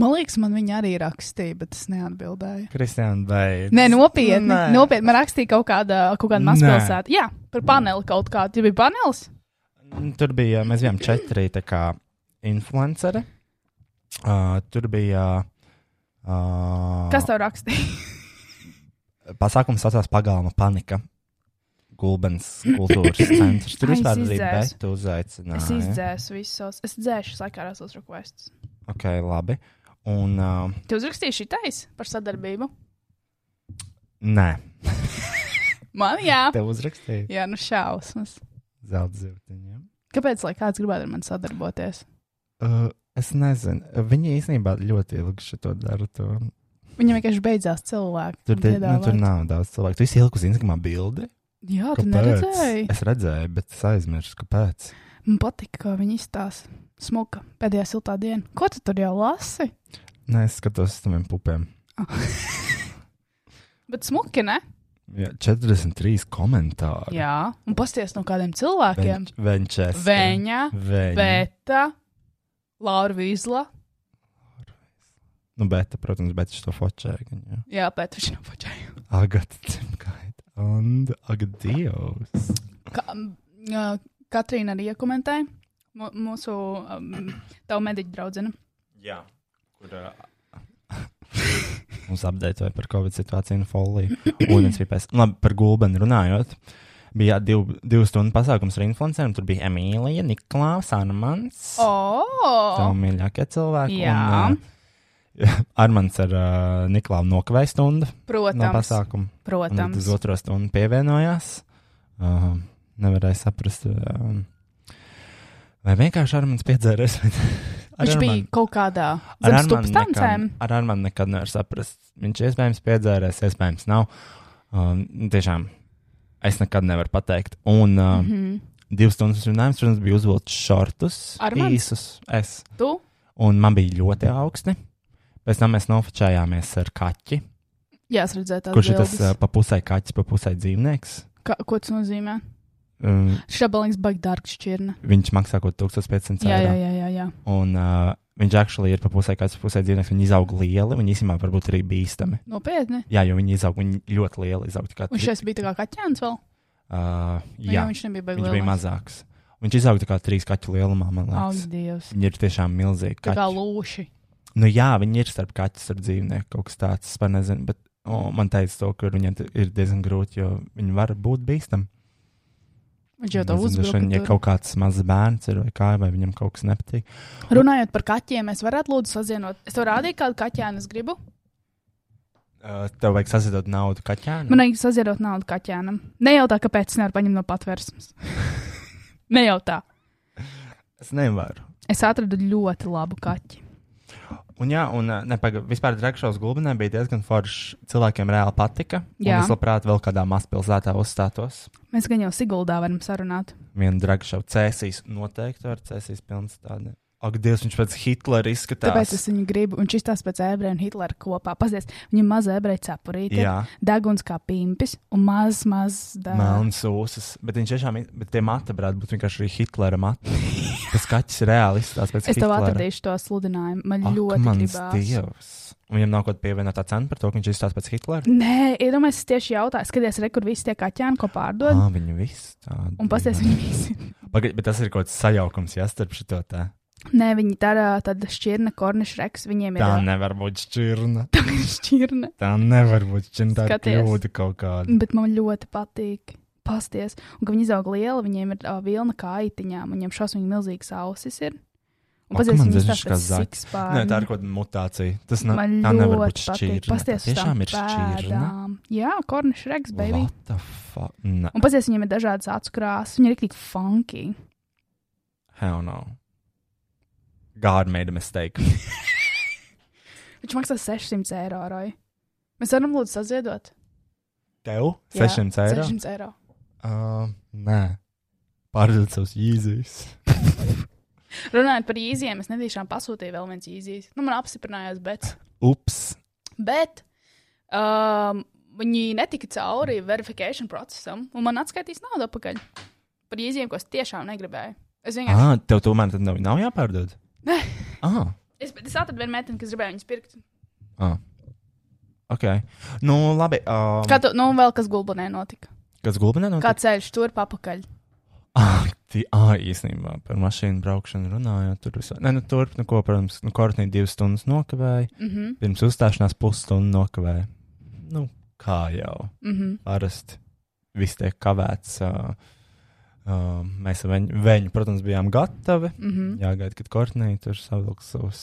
Man liekas, man viņa arī rakstīja, bet es neatbildēju.
Kristiāna beidz.
Nē, nopietni.
Nē.
Nē. nopietni. Man rakstīja kaut kāda, kaut kāda
Nē.
mazpilsēta. Jā, par paneli kaut kādu. Ja bija panelis? nu-
Tur bija, mēs bijām četri tā kā influenceri. Uh, tur bija. Uh,
Kas tev
[laughs]
rakstīja?
pasākums saucās Pagalma panika. Gulbens
[coughs]
kultūras centrs. Tur
Ai, Ah, es
vispār bija
izdzēsu.
Bēta uzaicināta.
es izdzēsu visus. Es dzēšu sakarā savus requestus.
Ok, labi. Un uh,
Tev uzrakstīja šitais par sadarbību?
nē,
Man jā.
tev uzrakstīja
Jā, nu šausmas.
zelta zirtiņiem.
Kāpēc, lai kāds gribētu ar mani sadarboties?
Uh, es nezinu. Viņi īstenībā ļoti ilgi šo daru. To.
Viņam vienkārši beidzās cilvēki.
Tur,
un
te, nu, tur
piedāvāt.
nav daudz cilvēku. Tu esi ilgi uz Instagram bildi.
Jā, tu neredzēji.
Es redzēju, bet es aizmirsu, kāpēc.
Man patika, kā viņi izstāsta. Smuka pēdējā siltā diena. Ko tu tur jau lasi? Ah.
Nē, es skatos uz tiem pupiem.
[laughs] Bet smuki, ne?
Jā, 43 komentāri.
Jā, un pasties no kādiem cilvēkiem.
Venčēs.
Veņa,
Veņa.
Bēta, Laura Vīsla.
Nu, bet, protams, bet es to fočēju. gan, jā.
Jā, Bēta, viņš nav pačēja.
Agata Cimkaita un Agata Dievs.
Ka, m, Katrīna arī iekomentēja. Mu- Mūsu um, tavu mediķu draudzene.
Jā. Kur, uh... Mums apdeitoja par Covid situāciju un foliju. Ūdens bija pēc. nu, Labi, par gulbeni runājot. Bija div, divu stundu pasākums ar influenceriem. Tur bija Emīlija, Niklaus, Anamans. Tā
Oh!
mīļākie cilvēki.
Jā.
Un, [laughs] uh, Armants ar uh, Niklāvu nokavēja stundu no
Protams,
pasākuma. Un tad uz
protams.
otro stundu pievienojās. Uh, nevarēja saprast, um, vai vienkārši ar mums piedzēries. vai- ar
Viņš bija
Armanu-
kaut kādā
ar
zem
Armanu
stūpas tancēm.
nekad- Ar Armānu nekad nevar saprast. Viņš iespējams piedzēries, iespējams nav. Um, tiešām es nekad nevaru pateikt. Un um, mm -hmm.
Mhm.
divas stundas runājums, protams, bija uzvilkts šortus.
Armands?
Īsus. Es.
Tu?
Un man bija ļoti augsti. Pēc tam mēs nofočājāmies ar kaķi.
Jā, es redzēju, tādu
Kurš ir tas uh, pa pusē kaķis, pa pusē dzīvnieks?
Ko tas nozīmē?
Um,
Šabalīgs baigts dārgs šķirne.
Viņš maksā kaut 1500
Jā, jā,
eiro.
jā, jā, jā.
Un uh, viņš actually ir pa pusē, kāds pusē dzīvnieks. Viņi izaug lieli, viņi īstenībā varbūt arī bīstami.
Nopietni.
Jā, jo viņi izaug, viņi ļoti lieli izaug. tā kā
Un
tri-
šis bija tā kā kaķēns vēl.
Uh,
Nu,
jā,
jā, viņš nebija baigts.
viņš bija mazāks. Viņš izaug tā kā trīs kaķu lielumā, man liekas.
Ak, Dievs.
Viņi ir tiešām milzīgi.
Tā kā
Kaķi.
lūši.
Nu, jā, viņi ir starp kaķu, starp dzīvnieku kaut kas tāds. Es pat nezinu, bet oh, man teica to, ka viņiem t- ir diezgan grūti, jo viņi var būt bīstami.
Viņš jau tā
Nezinu, droši vien, Ja
uzbruka. tur.
kaut kāds mazs bērns ir vai kā, vai viņam kaut kas nepatīk.
Runājot par kaķiem, es varētu lūdzu sazienot. Es tev rādīju, kādu kaķēnu es gribu.
Uh, tev vajag sasidot naudu kaķēnam.
Mm. Man vajag sazienot naudu kaķēnam. Ne jau tā, kāpēc es nevaru paņemt no patvērsmes. [laughs] ne jau tā.
Es nevaru.
Es atradu ļoti labu kaķi.
Un, jā, un ā, nepaga, vispār Dārgājas gulbinē bija diezgan forši. Cilvēkiem reāli patika. Un
Jā.
Es labprāt vēl kādā mazpilsētā uzstātos.
Mēs gan jau Siguldā varam sarunāt.
Vienu Dārgājas cēsīs noteikti ar cēsīs pilnstādi. Ak, Dievs, viņš pēc Hitlera izskatās.
Tāpēc es viņu gribu, un šis tās pēc ebreja un Hitlera kopā. Pazies, viņam maza ebreja cepurīte,
Jā,
deguns kā pimpis un mazs, mazs dārsts.
melns ūsas. Bet viņš tiešām, i- bet tie mati varētu būt vienkārši arī Hitlera mati. Tas kaķis reāli izskatās pēc
Es tev
Hitlera.
atradīšu to sludinājumu. Man
Ak,
ļoti
mans
gribās.
Dievs. Un viņam nav kaut kāda pievienotā cena par to, ka viņš izskatās pēc Hitlera.
Nē, iedomājieties, es tieši jautāju, skaties, re, kur visi tie kaķēni, ko pārdod.
Ah, viņi visi tādi.
Un pasties, viņi visi.
Pagaid, bet tas ir kaut kāds sajaukums, ja starp šo tā.
Nē, viņi tādā tāda šķirne, korniša reks, viņiem ir
Tā nevar būt šķirna.
tā šķirne.
Tā nevar būt šķirna. Tā ir
Skaties.
kļūda kaut kāda.
Bet man ļoti patīk. pasties. Un ka viņi izaug lieli, viņiem ir uh, vilna kā aitiņām, viņiem šausmīgi milzīgas ausis ir.
O,
Un
ka
pazies
man
viņus tāds
dzirdaši
kā
kā zaķis. Nē,
sikspārni.
tā ir kaut kāda mutācija. Tas nav
Man
tā nevar būt
ļoti patīk.
šķirne. Tā
Pasties uz
tiešām
tām
ir šķirne.
pēdām. Jā, Cornish Rex, baby.
What the fuck? Nē,
Un pazies, viņiem ir dažādas acu krāsas, viņi ir tik funky.
hell no. God made a mistake.
Viņš maksā 600 eiro. Roj. Mēs varam lūdzu saziedot.
Tev?
Jā,
600 eiro?
600 eiro.
Uh, nē. Pārdod savus īzīs.
[laughs] Runājot par īzijiem, es nedēļām pasūtīju vēl viens īzijas. Nu, man apstiprinājās, bet,
Ups.
bet um, viņi netika cauri verifikēšanas procesam, un man atskaitīs naudu atpakaļ par īzijiem, ko es tiešām negribēju. Es vienkārši
Ah, tev tomēr tad nav, nav jāpārdod?
Nē.
Ah,
es, bet es atradu vienu meiteni, kas gribēja viņus pirkt.
ah. Ok. Nu, labi. Um,
Kā tu, nu, un vēl kas gulbinē notika?
Kas gulbinē?
Kā ceļš tur papakaļ?
Ah, tī, ah, īstenībā par mašīnu braukšanu runājot. Tur visu... Nē, nu, turpinu, ko, protams, nu, Kortnī divas stundas nokavēja.
Mhm,
Pirms uzstāšanās pusstundu nokavēja. Nu, kā jau
mhm.
parasti viss tiek kavēts. Uh, uh, mēs ar viņu, viņu, protams, bijām gatavi.
Mhm,
Jāgaida, kad Kortnī tur savilks savus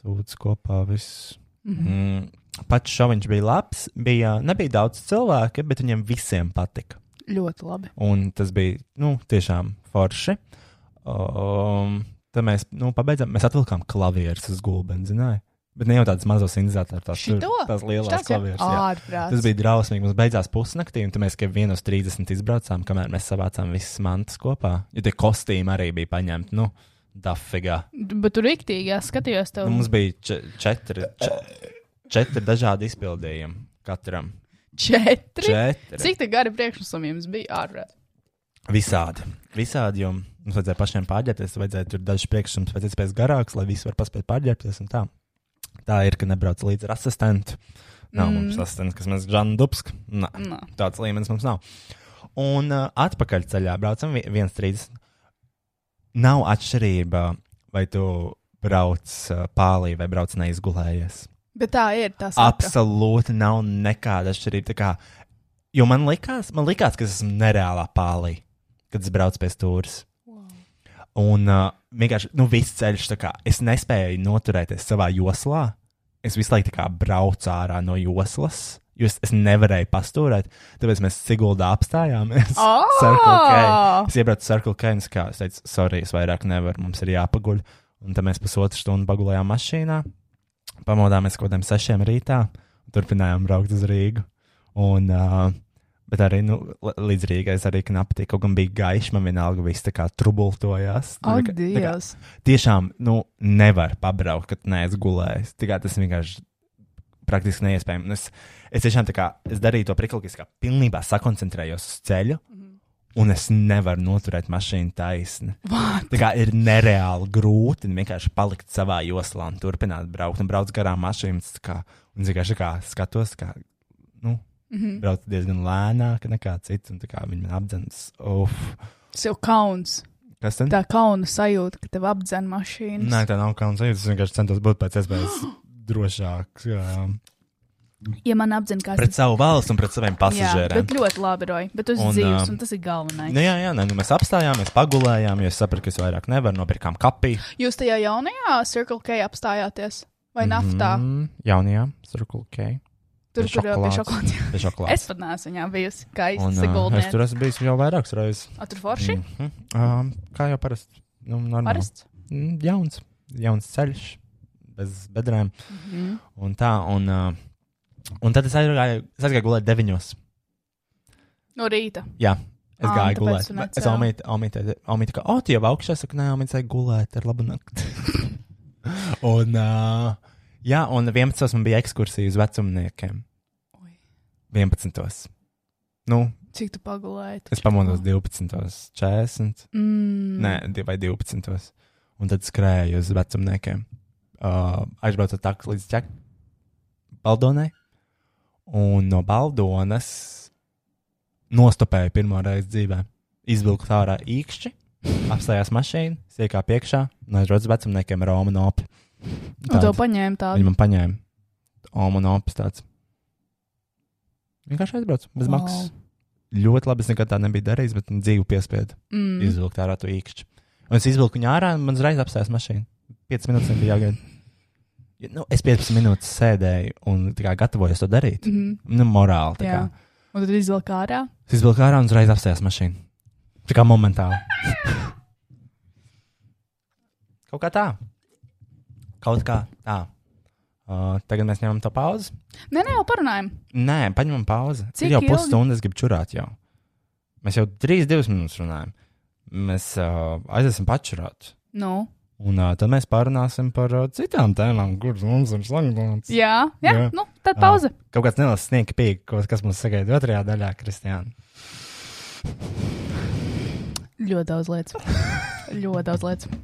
sūdzes kopā. Viss.
mhm.
Mm. Pats šoviņš bija labs. Bija, nebija daudz cilvēku, bet viņiem visiem patika.
Ļoti labi.
Un tas bija nu, tiešām forši. Um, tad mēs nu, pabeidzām, mēs atvilkām klavierus uz gulbeni, zināja. Bet ne jau tādas mazas inzācijas, tās
Šito?
tur- tās lielās klavierus. Jā.
ārprāts.
Tas bija drausmīgi. Mums beidzās pusnaktī, un tad mēs tikai 1.30 izbraucām, kamēr mēs savācām visas mantas kopā. Jo tie kostīmi arī bija paņemti, nu, dafigā.
Bet tur rīktīgi, jā, skatījos tev.
Nu, mums bija če četri, če četri dažādi izpildījumi katram.
četri.
Četri.
Cik tā gari priekšnosumi jums bija ārprāt?
Visādi. Visādi, jo mums vajadzēja pašiem pārģērbties, vajadzēja tur dažus priekšsakus pēc iespējas garāks, lai visi var paspēt pārģērbties. un Tā. tā ir, ka nebrauc līdzi ar asistentu. Nav mm. mums asistents, kas mēs Žanu Dubsku. Nā,
Nā.
tāds līmenis mums nav. Un uh, atpakaļ ceļā braucam vi- 1,30. Nav atšķirība, vai tu brauc uh, pāri vai brauc neizgulējies.
Bet tā ir tā sakta.
Absolūti nav nekāda atšķirība. Tā Kā, jo man likās, man likās, ka es esmu nereālā pālī, kad es braucu pēc stūres. Un uh, vienkārši nu, viss ceļš, tā kā, es nespēju noturēties savā joslā. Es visu laiku tā kā braucu ārā no joslas, jo es, es nevarēju pastūrēt. Tāpēc mēs Siguldā apstājāmies.
Ā!
[laughs] Circle K. Es iebraucu Circle K un es kā, es teicu, sorry, es vairāk nevaru, mums ir jāpaguļ. Un tad mēs pusotru stundu pagulējām mašīnā, pamodāmies kaut kādiem sešiem rītā un turpinājām braukt uz Rīgu. Un, uh, Bet arī nu, l- līdz Rīgai es arī knapti, kaut gan bija gaišs, man vienalga viss tā kā trubultojās. Tā kā- tā kā
Adies.
tiešām nu, nevar pabraukt, kad neesmu gulējis. Tikai tas vienkārši praktiski neiespējami. Un Es, es tiešām tā kā, es darīju to prikliski, kā pilnībā sakoncentrējos uz ceļu. Un es nevaru noturēt mašīnu taisni.
What?
Tā kā ir nereāli grūti vienkārši palikt savā joslā un turpināt braukt. Un braukt garām mašīnām, tas kā, un es vienkārši tā kā skatos, kā, nu, mm -hmm. brauc diezgan lēnāk nekā cits. Un tā kā viņi man apdzens, uf,
Sev kauns.
kas tad?
Tā kauna sajūta, ka tev apdzen mašīnas.
Nē, tā nav kauns. Es vienkārši centos būt pēc
[gasps]
iespējas drošāks. Jā.
Ja man apdzen kāds
Pret savu valsts un pret saviem
Jā,
pasažieriem.
bet ļoti labi, Roji. Bet tu esi
Un,
dzīves,
ā,
un tas ir galvenais.
Nu, jā, jā, nē, nu, mēs apstājāmies, pagulējām, jo es sapratu, ka es vairāk nevaru, nopirkām kapiju.
Jūs tajā jaunajā Circle K apstājāties? Vai naftā?
Mm, jaunajā, cirkulā, ok.
Tur tur
pie
jau bija
šokolādes.
šokolāde.
Pie šokolādes.
Es pat neesmu viņā bijusi. Kā
Un, uh, es
izsaguldies?
tur esmu bijis jau vairākas reizes.
A, tur forši?
Mhm. Um, kā jau parasti? Nu, normāli.
Parasts?
Mm, jauns, jauns ceļš, bez bedrēm.
Mhm.
Un tā, un, uh, un tad es aizgāju, es aizgāju gulēt deviņos.
No rīta.
Jā, es
Ā, nu,
gāju
tāpēc
gulēt.
tu
Es
necēli.
omīti, omīti, omīti, ka, o, tu jau augšā saka, nē, omīti, saka, gulēt, ir laba nakts. [laughs] un, uh, jā, un 11. man bija ekskursija uz vecumniekiem.
Ui.
11. Nu,
Cik tu pagulēji?
es pamodos 12.40,
Mm.
mm. nē, di- vai 12. Un tad skrēju uz vecumniekiem. Uh, aizbraucu ar taksi līdz ķek... Baldonai. Un no Baldonas nostopēju pirmo reizi dzīvē. Izvilku ārā īkšķi, apstājās mašīna, iekā piekšā, un aizbraucu uz vecumniekiem ar Romu nopi.
Un tev paņēma tādu.
Viņa man paņēma. Oma nopis tāds. Vienkārši aizbraucu bez
Wow.
maksas. ļoti labi. Es nekad tā nebiju darījis, bet dzīvu piespiedu mm.
Mhm.
izvilkt ārā to īkšķi. Un es izvilku viņu ārā, un man uzreiz apstājās mašīna. 5 minūtes man bija jāgaida. Ja, Nu, es 15 minūtes sēdēju un tā kā, gatavojos to darīt. Mm. Nu, morāli. tā
Mhm. Jā.
kā.
Un tad izvilkt ārā.
Es izvilku ārā un uzreiz apstājās mašīna. Tā kā momentāli. Kaut kā tā. Kaut kā tā. Uh, tagad mēs ņemam to pauzi.
Nē, nē, jau parunājam.
Nē, paņemam pauzi.
Cik
Cik jau
ilgi?
pusstundas grib čurāt jau. Mēs jau trīs, divas minūtes runājam. Mēs uh, aiziesim pačurāt.
Nu.
Un uh, tad mēs pārunāsim par uh, citām tēmām, kuras mums ir slēgts.
Jā, jā, jā,
Jā.
nu, tad pauze.
Kaut kāds neliels sniega pīks, kas mums sagaida otrajā daļā, Kristiāna.
Ļoti daudz lietas. Ļoti daudz lietas.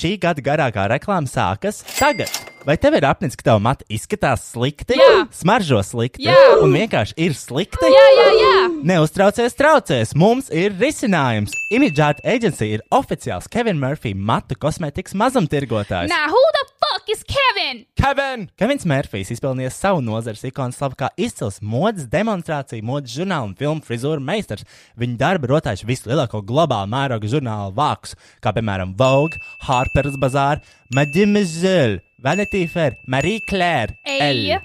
Šī gada garākā reklāma sākas tagad. Vai tev ir apnicis, ka tava matra izskatās slikti,
Jā.
smaržo slikti
Jā.
un vienkārši ir slikti?
Jā, jā, jā.
Neuztraucies, traucēs! Mums ir risinājums! Imidžāta aģentūra ir oficiāls Kevina Murphy matu kosmētikas mazumtirgotājs.
Now, who the fuck is Kevin?
Kevin! Kevins Mērfijs izpelnījis savu nozares ikonu slavu kā izcils modes demonstrācija, modes žurnāla un filmu frizūra meistars. Viņa darbi rotājuši visu lielāko globālu mēroga žurnālu vākus, kā piemēram Vogue, Harper's Bazaar, Mademoiselle, Vanity Fair, Marie Claire,
Eja.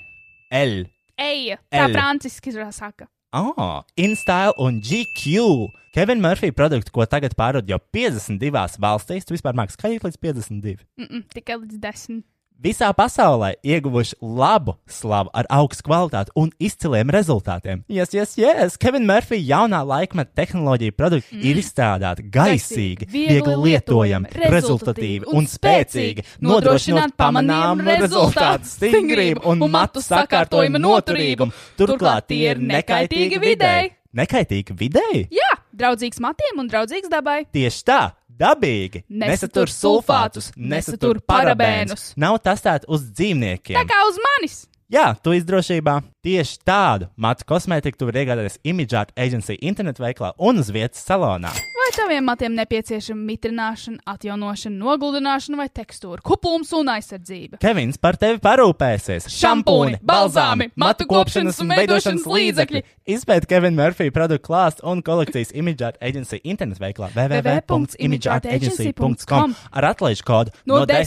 L. L.
Ej, tā
L.
franciski izrādās saka.
Ah, InStyle un GQ. Kevina Murphy produktu, ko tagad pārdod jau 52 valstīs, tu vispār mākslinieks skaitīt līdz 52.
Mm -mm, tikai līdz desmit.
Visā pasaulē ieguvuši labu slavu ar augstu kvalitāti un izciliem rezultātiem. Yes, yes, yes. Kevina Murphy jaunā laikmeta tehnoloģija produkti mm. ir izstrādāti gaisīgi,
Viegli
viegli lietojami,
lietojami,
rezultatīvi un
un
spēcīgi,
spēcīgi,
nodrošinot
nodrošināt
pamanāmu
pamanāmu
rezultātu,
rezultātu,
stingrību un
stingrību un
matu
matu sakārtojuma
sakārtojumu noturīgumu. Turklāt tie ir nekaitīgi videi. Nekaitīgi videi?
Jā, draudzīgs matiem un draudzīgs dabai.
Tieši tā, dabīgi.
Nesatur sulfātus, nesatur parabēnus.
Nav testēta uz dzīvniekiem.
Tā kā uz manis.
Jā, tu izdrošībā tieši tādu matu kosmētiku tu vari iegādāties Imidžāta aģentūra internetu veiklā un uz vietas salonā.
Vai taviem matiem nepieciešama mitrināšana, atjaunošana, noguldināšana vai tekstūra, kupums un aizsardzība?
Kevins par tevi parūpēsies.
Šampūni, balzāmi, matu kopšanas un veidošanas līdzekļi.
Izpēt Kevina Murphy produktu klāstu un kolekcijas Imidžāta aģentūra internetu veiklā www.imidžātaagency.com ar atlaižu kodu
No
no 10,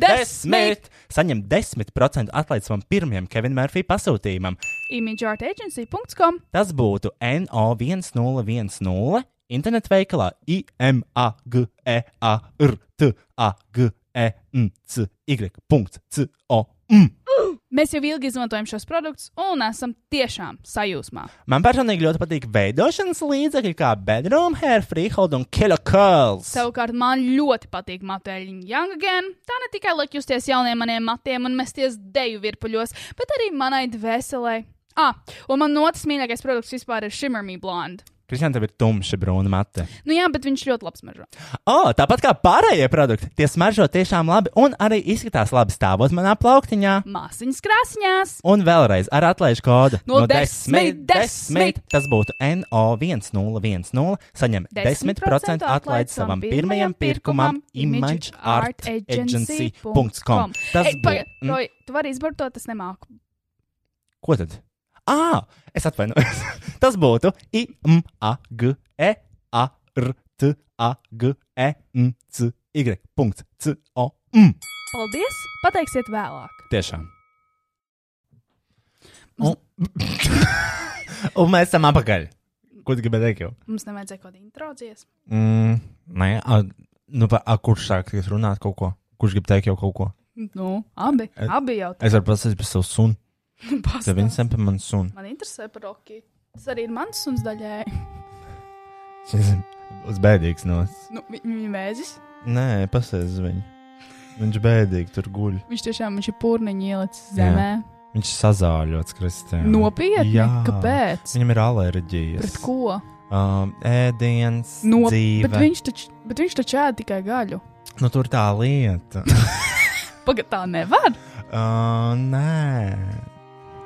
10.
10.
Saņem 10% atlaides man pirmajam Kevina Murphy pasūtījumam.
imageartagency.com
Tas būtu NO1010 internetu veikalā E IMAGEARTAGENCY.COM.
Mēs jau ilgi izmantojam šos produktus un esam tiešām sajūsmā.
Man personīgi ļoti patīk veidošanas līdzekļi, kā bedroom hair, freehold un killer curls.
Savukārt, man ļoti patīk matēļiņa Young Again. Tā ne tikai liek justies jauniem maniem matiem un mesties deju virpuļos, bet arī manai dvēselē. Ah, un man otrs mīļākais produkts vispār ir Shimmer Me Blonde.
Kristian, tev ir tumša brūna mate.
Nu jā, bet viņš ļoti labs mažo.
O, tāpat kā pārējie produkti, tie smaržo tiešām labi un arī izskatās labi stāvot manā plauktiņā.
Māsiņas krāsņās!
Un vēlreiz ar atlaižu kodu
No desmit, desmit.
Tas būtu NO1010. Saņem 10% atlaidi savam pirmajam pirkumam imageartagency.com. Tas mm.
bija.
būtu.
Tu vari izbarot, tas nemāku.
Ko tad? Ā, es atvainojos. [laughs] Tas būtu E imageartagency.com.
Paldies! Pateiksiet vēlāk.
Tiešām. [laughs] Un, un mēs esam apakaļ. Ko tu gribēji teikt? Jau?
Mums nevajadzēja kaut kādā introdzies.
Mm, nē, a, nu, pa, a, kurš sākties runāt kaut ko? Kurš grib teikt jau kaut ko?
Nu, abi,
Et-
abi jau
[laughs] Es varu prasīt par savu sunu. Tad
tādu
viņi sem par manu sunu.
Man interesē par Rocky. Tas arī ir mans suns daļai.
Šis ir uz bēdīgs nos.
nu, vi- viņa mēzis.
Nē, pasēdz uz viņu. Viņš bēdīgi tur guļ.
Viņš tiešām viņš ir pūniņš ielicis zemē.
Viņš sazāļots, Kristija.
Nopietni,
Jā.
kāpēc?
Viņam
Pret
ir alerģijas.
ko?
Um, ēdienas,
No, bet,
dzīve.
viņš taču, bet viņš taču ēd tikai gaļu.
Nu, tur tā [laughs] lieta.
Pagaidām, tā nevar.
uh, nē.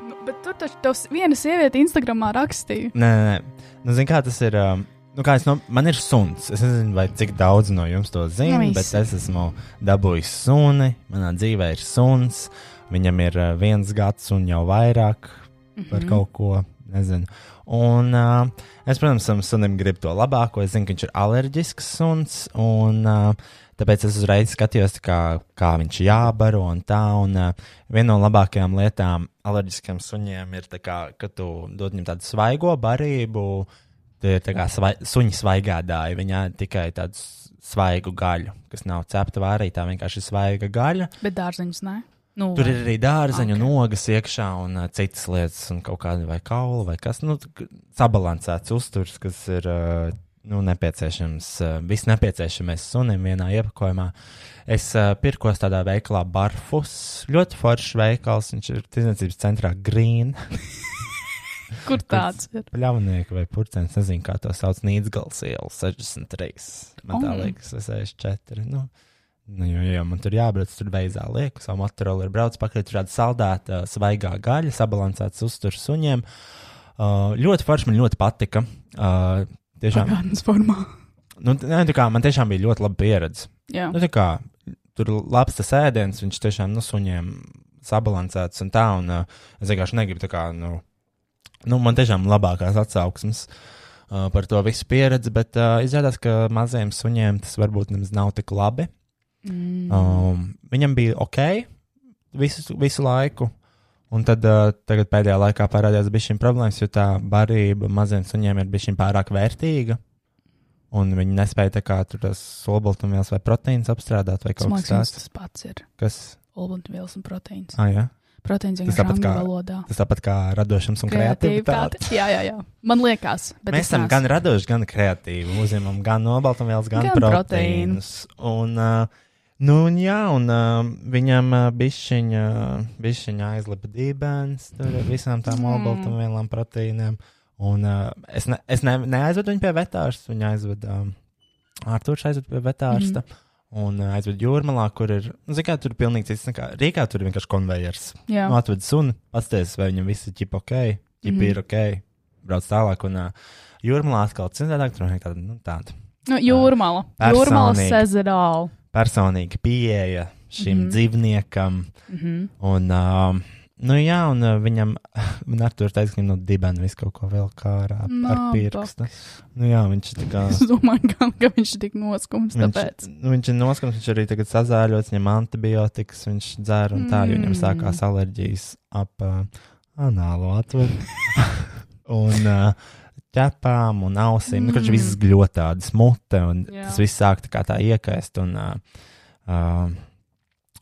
Nu, bet tur taču tavs viena sieviete Instagramā rakstīja.
Nē, nē, nē. Nu, zini, kā tas ir. Um, nu, kā es no, man ir suns. Es nezinu, vai cik daudz no jums to zina,
Nu,
nu,
visi.
bet es esmu dabūjis suni. Manā dzīvē ir suns. Viņam ir eh, viens gads un jau vairāk par
Mhm.
kaut ko. Nezinu. Un uh, es, protams, tam sunim gribu to labāko. Es zinu, ka viņš ir alerģisks suns, un uh, tāpēc es uzreiz skatījos, tā kā, kā viņš jābaro un tā. Un uh, viena no labākajām lietām alerģiskiem suņiem ir, tā kā, ka tu dod viņam tādu svaigo barību. Tie ir tā kā svai, suņi svaigādāji. Viņā ir tikai tādu svaigu gaļu, kas nav cepta vārītā, vienkārši svaiga gaļa.
Bet dārziņus nē. Nu,
Tur ir arī dārzeņu okay. nogas iekšā un uh, citas lietas, un kaut kāda vai kaula vai kas. Nu, t- k- sabalansēts uzturs, kas ir uh, nu, nepieciešams, uh, viss nepieciešamais sunim vienā iepakojumā. Es uh, pirkos tādā veikalā Barfus. Ļoti foršs veikals, viņš ir tirdzniecības centrā Green.
Kur tāds ir?
Pļavnieki vai purcēns, nezinu, kā to sauc. Nīdzgals iela 63. Man tā
Oh.
liekas, es 64. Nu. Nu, jo, jo man tur jābrauc, tur beigās lieku, savu motorola ir braucis pakaļ, tur tāda saldēta, svaigā gaļa, sabalansēts uzturs suņiem. Uh, ļoti forši man ļoti patika. Uh, tiešām,
Pagātnes formā.
nu, t- nē, tā kā, man tiešām bija ļoti laba pieredze.
Jā.
Nu, tā kā, tur bija labs tas ēdiens, viņš tiešām nu, suņiem sabalansēts un tā. Un, uh, es vienkārši negribu tā kā, nu, nu man tiešām labākās atsauksmes. Uh, par to visu pieredzi, bet uh, izrādās, ka mazajiem suņiem tas varbūt nemaz nav tik labi.
Mm.
Um, viņam bija ok visu, visu laiku, un tad uh, tagad pēdējā laikā parādījās bišķiņa problēmas, jo tā barība maziem suņiem ir bišķiņa pārāk vērtīga. Un viņi nespēja tā kā tur tas olbaltumvielas vai proteīns apstrādāt vai
Tas,
kaut
man
kas
liekas,
tāds.
tas pats ir
Kas?
olbaltumvielas un proteīns.
Ah, jā.
Proteīns
Tas
vienkārši ir
tāpat
angļu
kā
valodā.
Tas tāpat kā radošums un kreativitāte.
Kreativitāte. Jā, jā, jā. Man liekas, bet
Mēs
es
esam
neesmu.
gan radoši, gan kreatīvi. Uzņemam gan olbaltumvielas, gan,
Gan
gan proteīnus. Un, uh, nu, un jā, un uh, viņam uh, bišķiņa, bišķiņa aizlipa dībens tur ar visām tām
Mm.
olbaltumvielām, proteīniem. Un uh, es, ne, es ne, neaizvedu viņu pie vetārsta, viņu aizvedu um, Arthurs aizvedu pie vetārsta.
Mhm.
Mm. Un uh, aizvedu jūrmalā, kur ir, nu, zināmā mērā, tur ir pilnīgi cits. nekā Rīgā tur ir vienkārši konvejers.
Jā.
Nu, atved suni, paskatās, vai viņam viss ir ķip ok, ķip
Mhm.
ir ok, brauc tālāk. Un uh, jūrmā atkal citādāk, tur ir tāda, nu, tāda
Nu, jūrmala.
Personīgi.
Jūrmala sezerāla.
personīga pieeja šim
Mhm.
dzīvniekam.
Mhm.
Un, uh, nu, jā, un uh, viņam, [laughs] man ar to ir teiks, ka viņam no dibena viss kaut ko vēl kā ar, ar
Nabaks.
pirkstu. Nu, jā, viņš
[laughs]
ir tā kā.
Es domāju, ka, ka viņš ir tik noskums,
Viņš,
tāpēc.
nu, viņš ir noskums, viņš arī tagad sazāļots, viņam antibiotikas, viņš dzēra un tā, mm. jo viņam
Mm.
sākās alerģijas ap uh, anālo
[laughs]
atveru un uh, ķepām un ausīm. Mm. Nu, kurš viss ļoti tāds mute un
Jā.
jā. tas viss sāk tā kā tā iekaist un, uh, uh,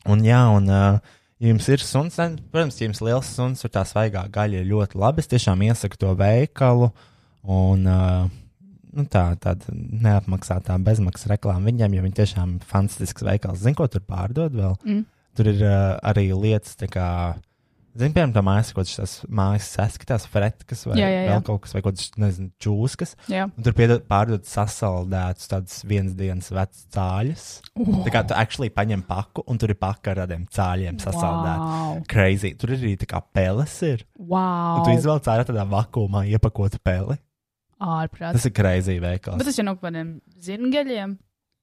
un jā, un. Uh, Ja jums ir suns, tad, protams, ja jums ir liels suns, tur tā svaigā gaļa ir ļoti labi. Es tiešām iesaku to veikalu. Un, uh, nu, tā tāda neapmaksātā bezmaksas reklāma viņam, jo viņi tiešām ir fantastisks veikals. Zinu, ko tur pārdod vēl.
Mm.
Tur ir uh, arī lietas, tā kā, zinu, piemēram, tā mājas, ko tas mājas saskatās, fretkas vai
Jā, jā, jā.
vēl kaut kas, vai kaut kas, nezinu, čūskas.
Jā.
Un tur piedod, pārdod sasaldētas tādas vienas dienas vecas cāļas.
Uh,
Tā kā tu actually paņem paku, un tur ir paka ar tādiem cāļiem sasaldētas.
Wow.
Crazy. Tur ir arī tā kā peles ir. Un tu
wow.
izvelc ārā tādā vakumā iepakotu peli.
Ārprāt.
Tas ir crazy veikals.
Bet tas ir no kaut kādiem zirngaļiem.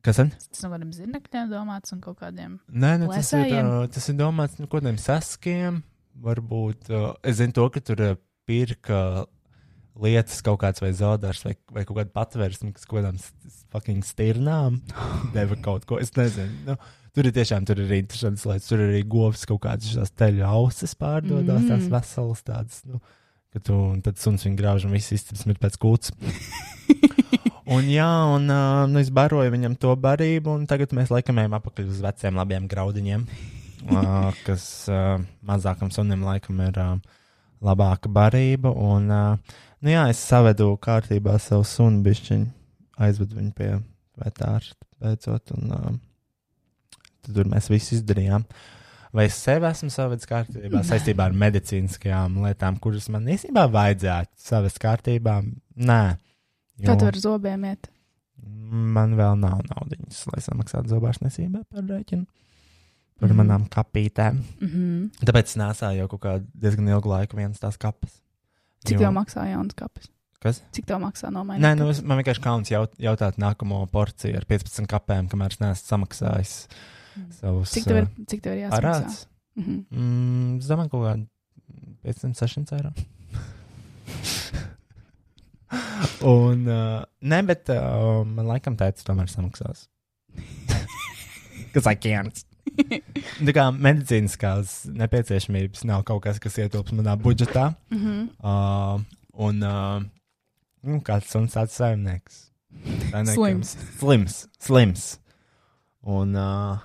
Kas tad?
Tas no kādiem zirnekļiem domāts un kaut
[laughs]
kādiem.
Nē, nu, tas, ir,
Plesējiem?
uh, tas ir domāts nu, kaut kādiem saskiem. Varbūt uh, es zinu, to, ka tur uh, pirka lietas kaut kāds vai zaudārs vai, vai kaut kāda patvērsme, kas kaut kādām s- s- fucking stirnām [laughs] deva kaut ko. Es nezinu. Nu, tur ir tiešām tur ir arī interesants lietas. Tur ir arī govs kaut kādas šīs teļu ausis pārdodas, mm. tās
Mm.
veselas tādas. Nu, ka tu un tad suns viņu grauž un viss izcils ir pēc kūts. Un jā, un uh, nu, es baroju viņam to barību, un tagad mēs laikam ejam apakaļ uz veciem labiem graudiņiem, uh, kas uh, mazākam sunim laikam ir uh, labāka barība. Un, uh, nu jā, es savedu kārtībā savu sunu bišķiņu, aizvedu viņu pie vetārsta beidzot, un uh, tad tur mēs visi izdarījām. Vai es sevi esmu savedis kārtībā saistībā ar medicīniskajām lietām, kuras man īstenībā vajadzētu savest kārtībā? Nē.
Kā
Jo-
tu ar zobiem iet?
Man vēl nav naudas, lai samaksātu zobārstniecībā par rēķinu, par
Mhm.
mm. manām kapītēm.
Mhm.
Tāpēc es nesāju jau kaut kādu diezgan ilgu laiku vienas tās kapas.
Cik tev maksā jauns kapis?
Kas?
Cik tev maksā nomainīt?
Nē, nu, es, man vienkārši kauns jaut, jautāt nākamo porciju ar 15 kapēm, kamēr es neesmu samaksājis savus
Cik tev ir, cik tev ir jāsaka?
parādus.
[laughs]
Mhm.
Mm, es domāju, kaut kādi 500,
[laughs]
600 eiro. Un, uh, nē, bet uh, man laikam teica,
[laughs]
tomēr samaksās. Kas akāns. Tā kā medicīniskās nepieciešamības nav kaut kas, kas ietilpst manā budžetā.
Mhm.
Uh, un uh, nu, kāds suns tāds saimnieks. Tā nekam-
Slims.
Slims. Slims. Un, uh,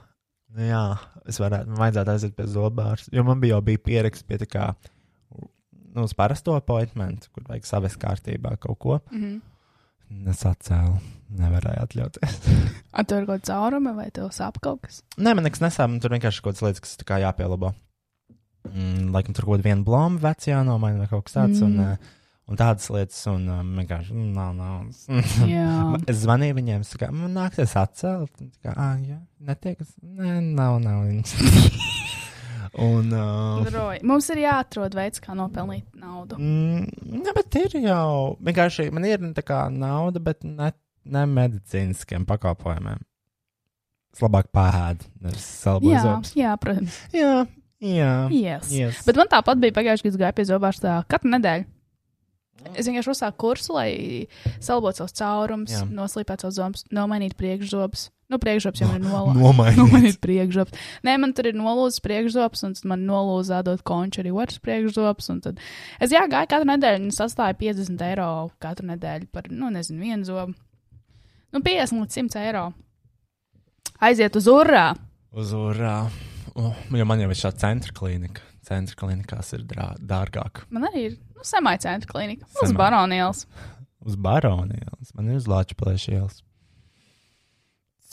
nu jā, es varētu, man vajadzētu aiziet pie zobārsta, jo man bija jau bija pieraksts pie tā kā, nu, uz parasto appointmentu, kur vajag savest kārtībā kaut ko.
Mhm.
Es atcēlu, nevarēju atļauties. [laughs]
Ar to ir kaut kāda cauruma vai tev sāp kaut kas?
Nē, man nekas nesāp, man tur vienkārši kaut kādas lietas, kas tā kā jāpielabo. Mm, laikam tur kaut kāda viena blāma vecajā nomaina vai kaut kas tāds. Mm.
Mm.
Un, eh, un tādas lietas, un eh, vienkārši mm, nav naudas. [laughs]
Jā.
Es zvanīju viņiem, es teicu, man nāksies atcelt. Un tā Kā, ah, jā, netiek, es, nē, nav [laughs] naudas. un, uh,
Droji. Mums ir jāatrod veids, kā nopelnīt naudu.
mm, nē, bet ir jau, vienkārši man ir nu, tā kā nauda, bet ne, ne medicīniskiem pakalpojumiem. Es labāk pāēdu, nevis salboju
Jā,
zobus.
jā, protams.
Jā, jā.
Yes.
Yes.
Bet man tāpat bija pagājušajā gadā, kad gāju pie zobārsta katru nedēļu. Es vienkārši uzsāku kursu, lai salbotu savus caurumus,
Jā.
noslīpētu savus zombus, nomainītu priekšzobus. Nu, priekšzobs jau man ir nolaists. [laughs] Nu, man
Nomainīt.
ir priekšzobs. Nē, man tur ir nolūzis priekšzobs, un tad man nolūza dot konču arī otrs priekšzobs. un Tad... Es jā, gāju katru nedēļu, un sastāju 50 eiro katru nedēļu par, nu, nezinu, vienu zobu. Nu, 50 līdz 100 eiro. Aiziet uz urā!
Uz urā. Oh, jo man jau ir šāda centra klīnika. Centra klīnikās ir drā- dārgāk.
Man arī ir nu, semai centra klinika, uz
Semai.
baronielas.
Uz baronielas. Man ir uz lāča plēšielas.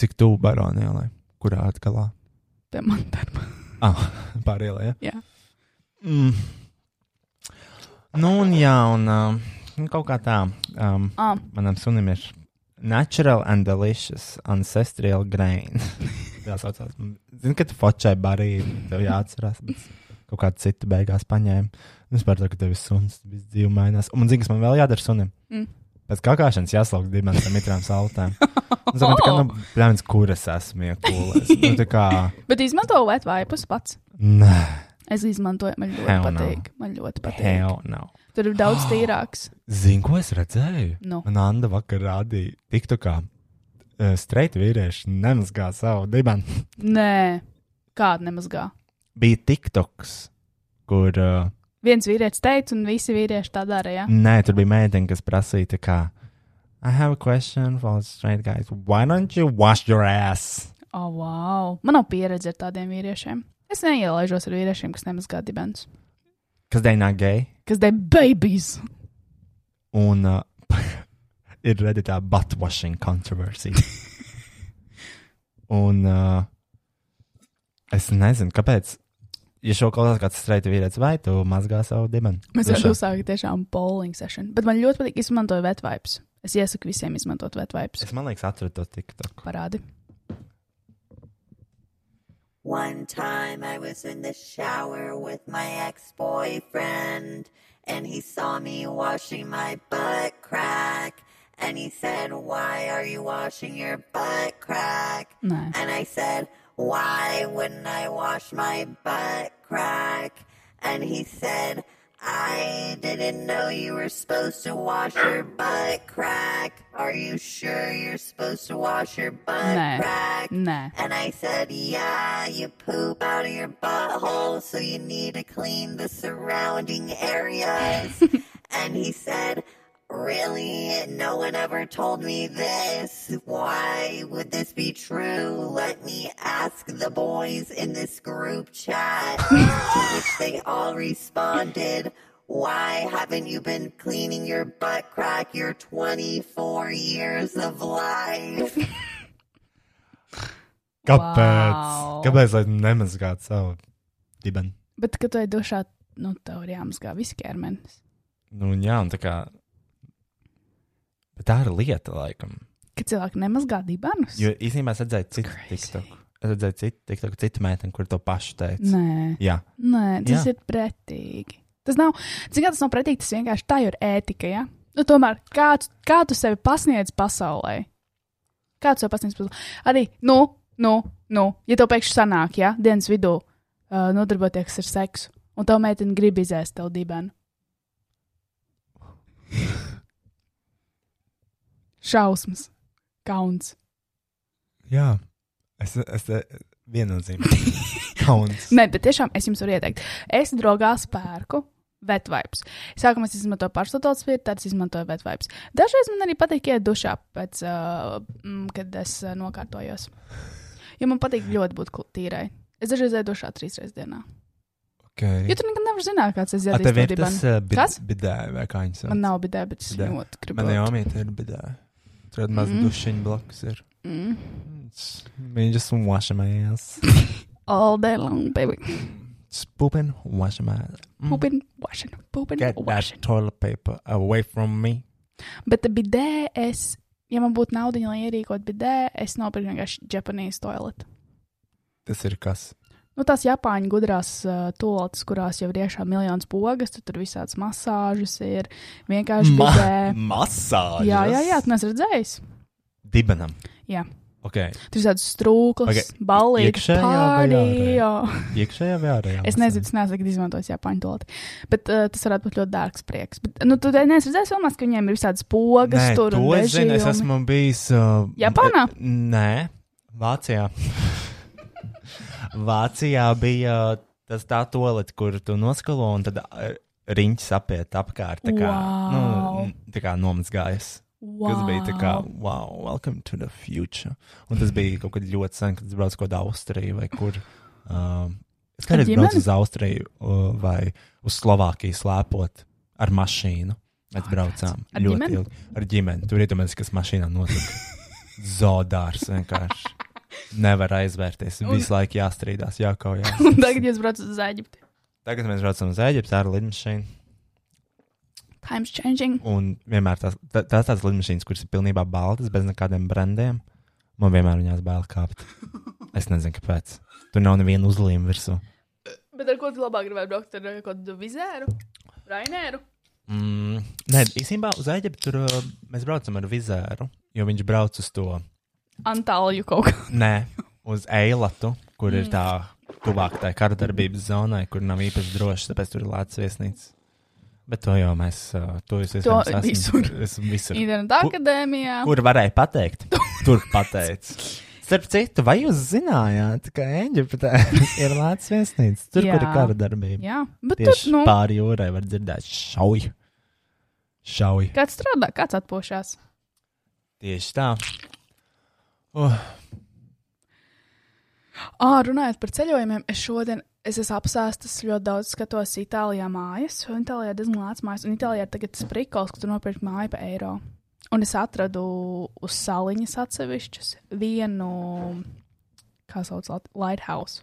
Cik tuvu baronielai? Kurā atgalā? [laughs]
Pie man darba.
Ah, pārielē, ja?
Jā.
Mm. Nu, un jā, un um, nu, kaut kā tā. Um,
Ah,
manam sunim ir natural and delicious ancestral grain. Tā saucās. Zinu, ka tu fočai barību, tev jāatcerās. bet Kaut kā citu beigās paņēma. Nu, Es domāju, ka tev ir suns, viss dzīve mainās. Un man zina, kas man vēl jādara sunim.
Mm.
Pēc kakāšanas jāslauka dimensijām, mitrām saltēm. Un Es domāju, tā kā, nu, plēmins, kur es esmu, ja kūlēs. Nu, tā kā,
bet izmantoju Latvijas vaipus pats.
nē,
Es izmantoju, man ļoti
Hell no.
patīk. Man ļoti patīk.
hell no.
Tur ir daudz tīrāks.
Zini, ko es redzēju?
Nu.
Man Anna vakar rādīja tiktu kā uh, streita vīrieši nemazgā savu dibenu.
Nē, kāda nemazgā.
Bija tiktoks, kur, uh,
Viens vīrietis teica, un visi vīrieši tā dara. Ja?
nē, tur bija meitene, kas prasīja, tā kā, I have a question for the straight guys. Why don't you wash your ass?
Oh, wow. Man nav pieredze ar tādiem vīriešiem. Es neielaižos ar vīriešiem, kas nemazgā dibens.
Because they not gay.
Kas te babies?
Un uh, [laughs] ir redītā butt washing [laughs] controversy. un uh, es nezinu, kāpēc. Ja šo klausās kāds streita vīrietis, vai tu mazgā savu dibenu?
Mēs
Dušā?
jau uzsākām tiešām bowling sesiju. Bet man ļoti patīk izmantot vetvaips. Es iesaku visiem izmantot vetvaips.
Es man liekas, atradu to tiktoku.
Parādi.
One time I was in the shower with my ex boyfriend, and he saw me washing my butt crack. And he said, Why are you washing your butt crack?
Nē.
And I said, Why wouldn't I wash my butt crack? And he said, I didn't know you were supposed to wash your butt crack. Are you sure you're supposed to wash your butt
Nah.
crack?
Nē.
And I said, Yeah, you poop out of your butthole, so you need to clean the surrounding areas. and he said, Really? No one ever told me this. Why would this be true? Let me ask the boys in this group chat, to which they all responded. Why haven't you been cleaning your butt crack your 24 years of life?
Kāpēc?
Wow.
Wow. Kāpēc lai nemazgātu savu dibenu?
Bet, kad tu ej dušā, nu, tev ir jāmazgā viss ķermenis.
Nu, un jā, un tā kā. Bet tā ir lieta, laikam.
Kad cilvēki nemazgā dibenus?
Jo īstenībā es redzēju citu
Crazy.
tiktoku. Es redzēju citu tiktoku, citu meiteni, kur to pašu teica.
Nē,
Jā,
nē, tas Jā.
Jā.
ir pretīgi. Tas nav, cik tas nav pretīgi, tas vienkārši tā ir ētika. Ja? Nu, tomēr, kā, tu- kā tu sevi pasniedz pasaulē? Kā tu sevi pasniedz pasaulē? Arī, nu, nu, nu ja tev pēkšņi sanāk, ja dienas vidū uh, nodarboties ar seksu, un tava meitene grib izēst tev dibenu. Šausmas, kauns.
Jā, es, es te
[laughs]
viennozīmīgi. Kauns.
Nē, bet tiešām es jums varu ieteikt. Es draugās pērku. Vetvibes. Sākumā es izmantoju pārstāvot spirtu, tad es izmantoju vetvibes. Dažreiz man arī patīk iet dušā, pēc, uh, mm, kad es uh, nokārtojos. Jo man patīk ļoti būt kl- tīrai. Es dažreiz eju dušā trīs reizes dienā.
Okay.
Jo tu nekad nevari zināt, kāds ir
A, tev ir tas
zināms.
uh,
Kas?
bid, bidēja vai kā viņš sauc?
Man nav bijis, bet es
Bidē.
ļoti gribu.
Mana jāmīte ir bidēja. Tur ir maz
Mm.
dušiņa blakus. ir.
Mm.
It's- Me just wash my ass.
All day long, baby.
Mm. Just pooping, wash my ass. Mm.
Pupin, washing, pupin,
Get
washing.
that toilet paper away from me.
Bet bidē es, ja man būtu naudiņa, lai ierīkot bidē, es nopirku vienkārši Japanese toilet.
Tas ir kas?
Nu, tās Japāņu gudrās uh, toaletes, kurās jau ir iekšā miljonus pogas, tad tur visādas masāžas ir vienkārši Ma bidē.
masāžas.
Jā, jā, jā, tu nes redzējis.
Dibenam.
Jā.
Ok.
Tur ir tādas strūklas,
Pagaid,
ballītas,
iekšējā vai ārējā?
pārdījā.
Iekšējā vai ārējā?
Es nezinu, es neesmu izmantojis Japāņu tolti, bet uh, tas varētu būt ļoti dārgs prieks. Bet, nu, tu neesi redzējis filmās, ka viņiem ir visādas pogas,
Nē,
tur
to
un
es zinu. Es
režīmi?
esmu bijis. Uh,
Japānā?
e- Nē, Vācijā. [laughs] Vācijā bija uh, tas tā toalets, kur tu noskalo un tad e, riņķis apiet apkārt. Tā kā,
Wow.
nu, n- tā kā nomazgājas.
Wow.
Wow. Kas bija tā kā, wow, welcome to the future. Un tas bija kaut kad ļoti sen, kad es braucu kaut kādā Austrijā vai kur. Um, es
Ar
kādreiz braucu
ģimeni?
uz Austriju uh, vai uz Slovākiju slēpot ar mašīnu. Mēs braucām
Ar
ļoti
ģimeni?
ilgi ar ģimeni. Tur iedomājieties, kas mašīnā
[laughs]
notika. Zodārs vienkārši. Nevar aizvērties. Visu laiku jāstrīdās, jākaujās.
[laughs] Un tagad jūs braucat uz Eģipti.
Tagad mēs braucam uz Eģipti ar lidmašīnu.
Time's changing.
Un vienmēr tās, tā, tās tādas lidmašīnas, kuras ir pilnībā baltas, bez nekādiem brandiem, man vienmēr viņās bail kāpt. Es nezinu, kāpēc. Tur nav neviena uzlīme virsū.
Bet ar ko tu labāk gribētu braukt? Ar uh, kādu vizēru? Rainēru?
Mm, nē, īstenībā uz Eģipti tur uh, mēs braucam ar vizēru, jo viņš brauc uz to.
Antāliju kaut kā.
Nē, uz Eilatu, kur ir tā tuvāk tai karadarbības zonai, kur nav īpaši droši, tāpēc tur ir lēts viesnīca. Bet to jau mēs, uh, to jūs
To
iespējams
visur.
esat. Esam visur.
Internetā akadēmijā.
Kur varēja
[laughs]
pateikt? Tur pateica. Starp citu, vai jūs zinājāt, ka Eģiptē
[laughs]
ir lēts viesnīca? Tur,
Jā.
kur ir kara darbība.
Jā, bet tur,
Tieši
nu,
pāri jūrai var dzirdēt šauju. Šauju.
kāds strādā, kāds atpošās.
Tieši tā. Oh,
Ā, runājot par ceļojumiem, es šodien es esmu apsēstas ļoti daudz skatos Itālijā mājas, un Itālijā diezgan lēts mājas, un Itālijā ir tagad sprikols, ka tu nopirkt māju pa eiro. Un es atradu uz saliņas atsevišķus vienu, kā sauc, lat- lighthouse.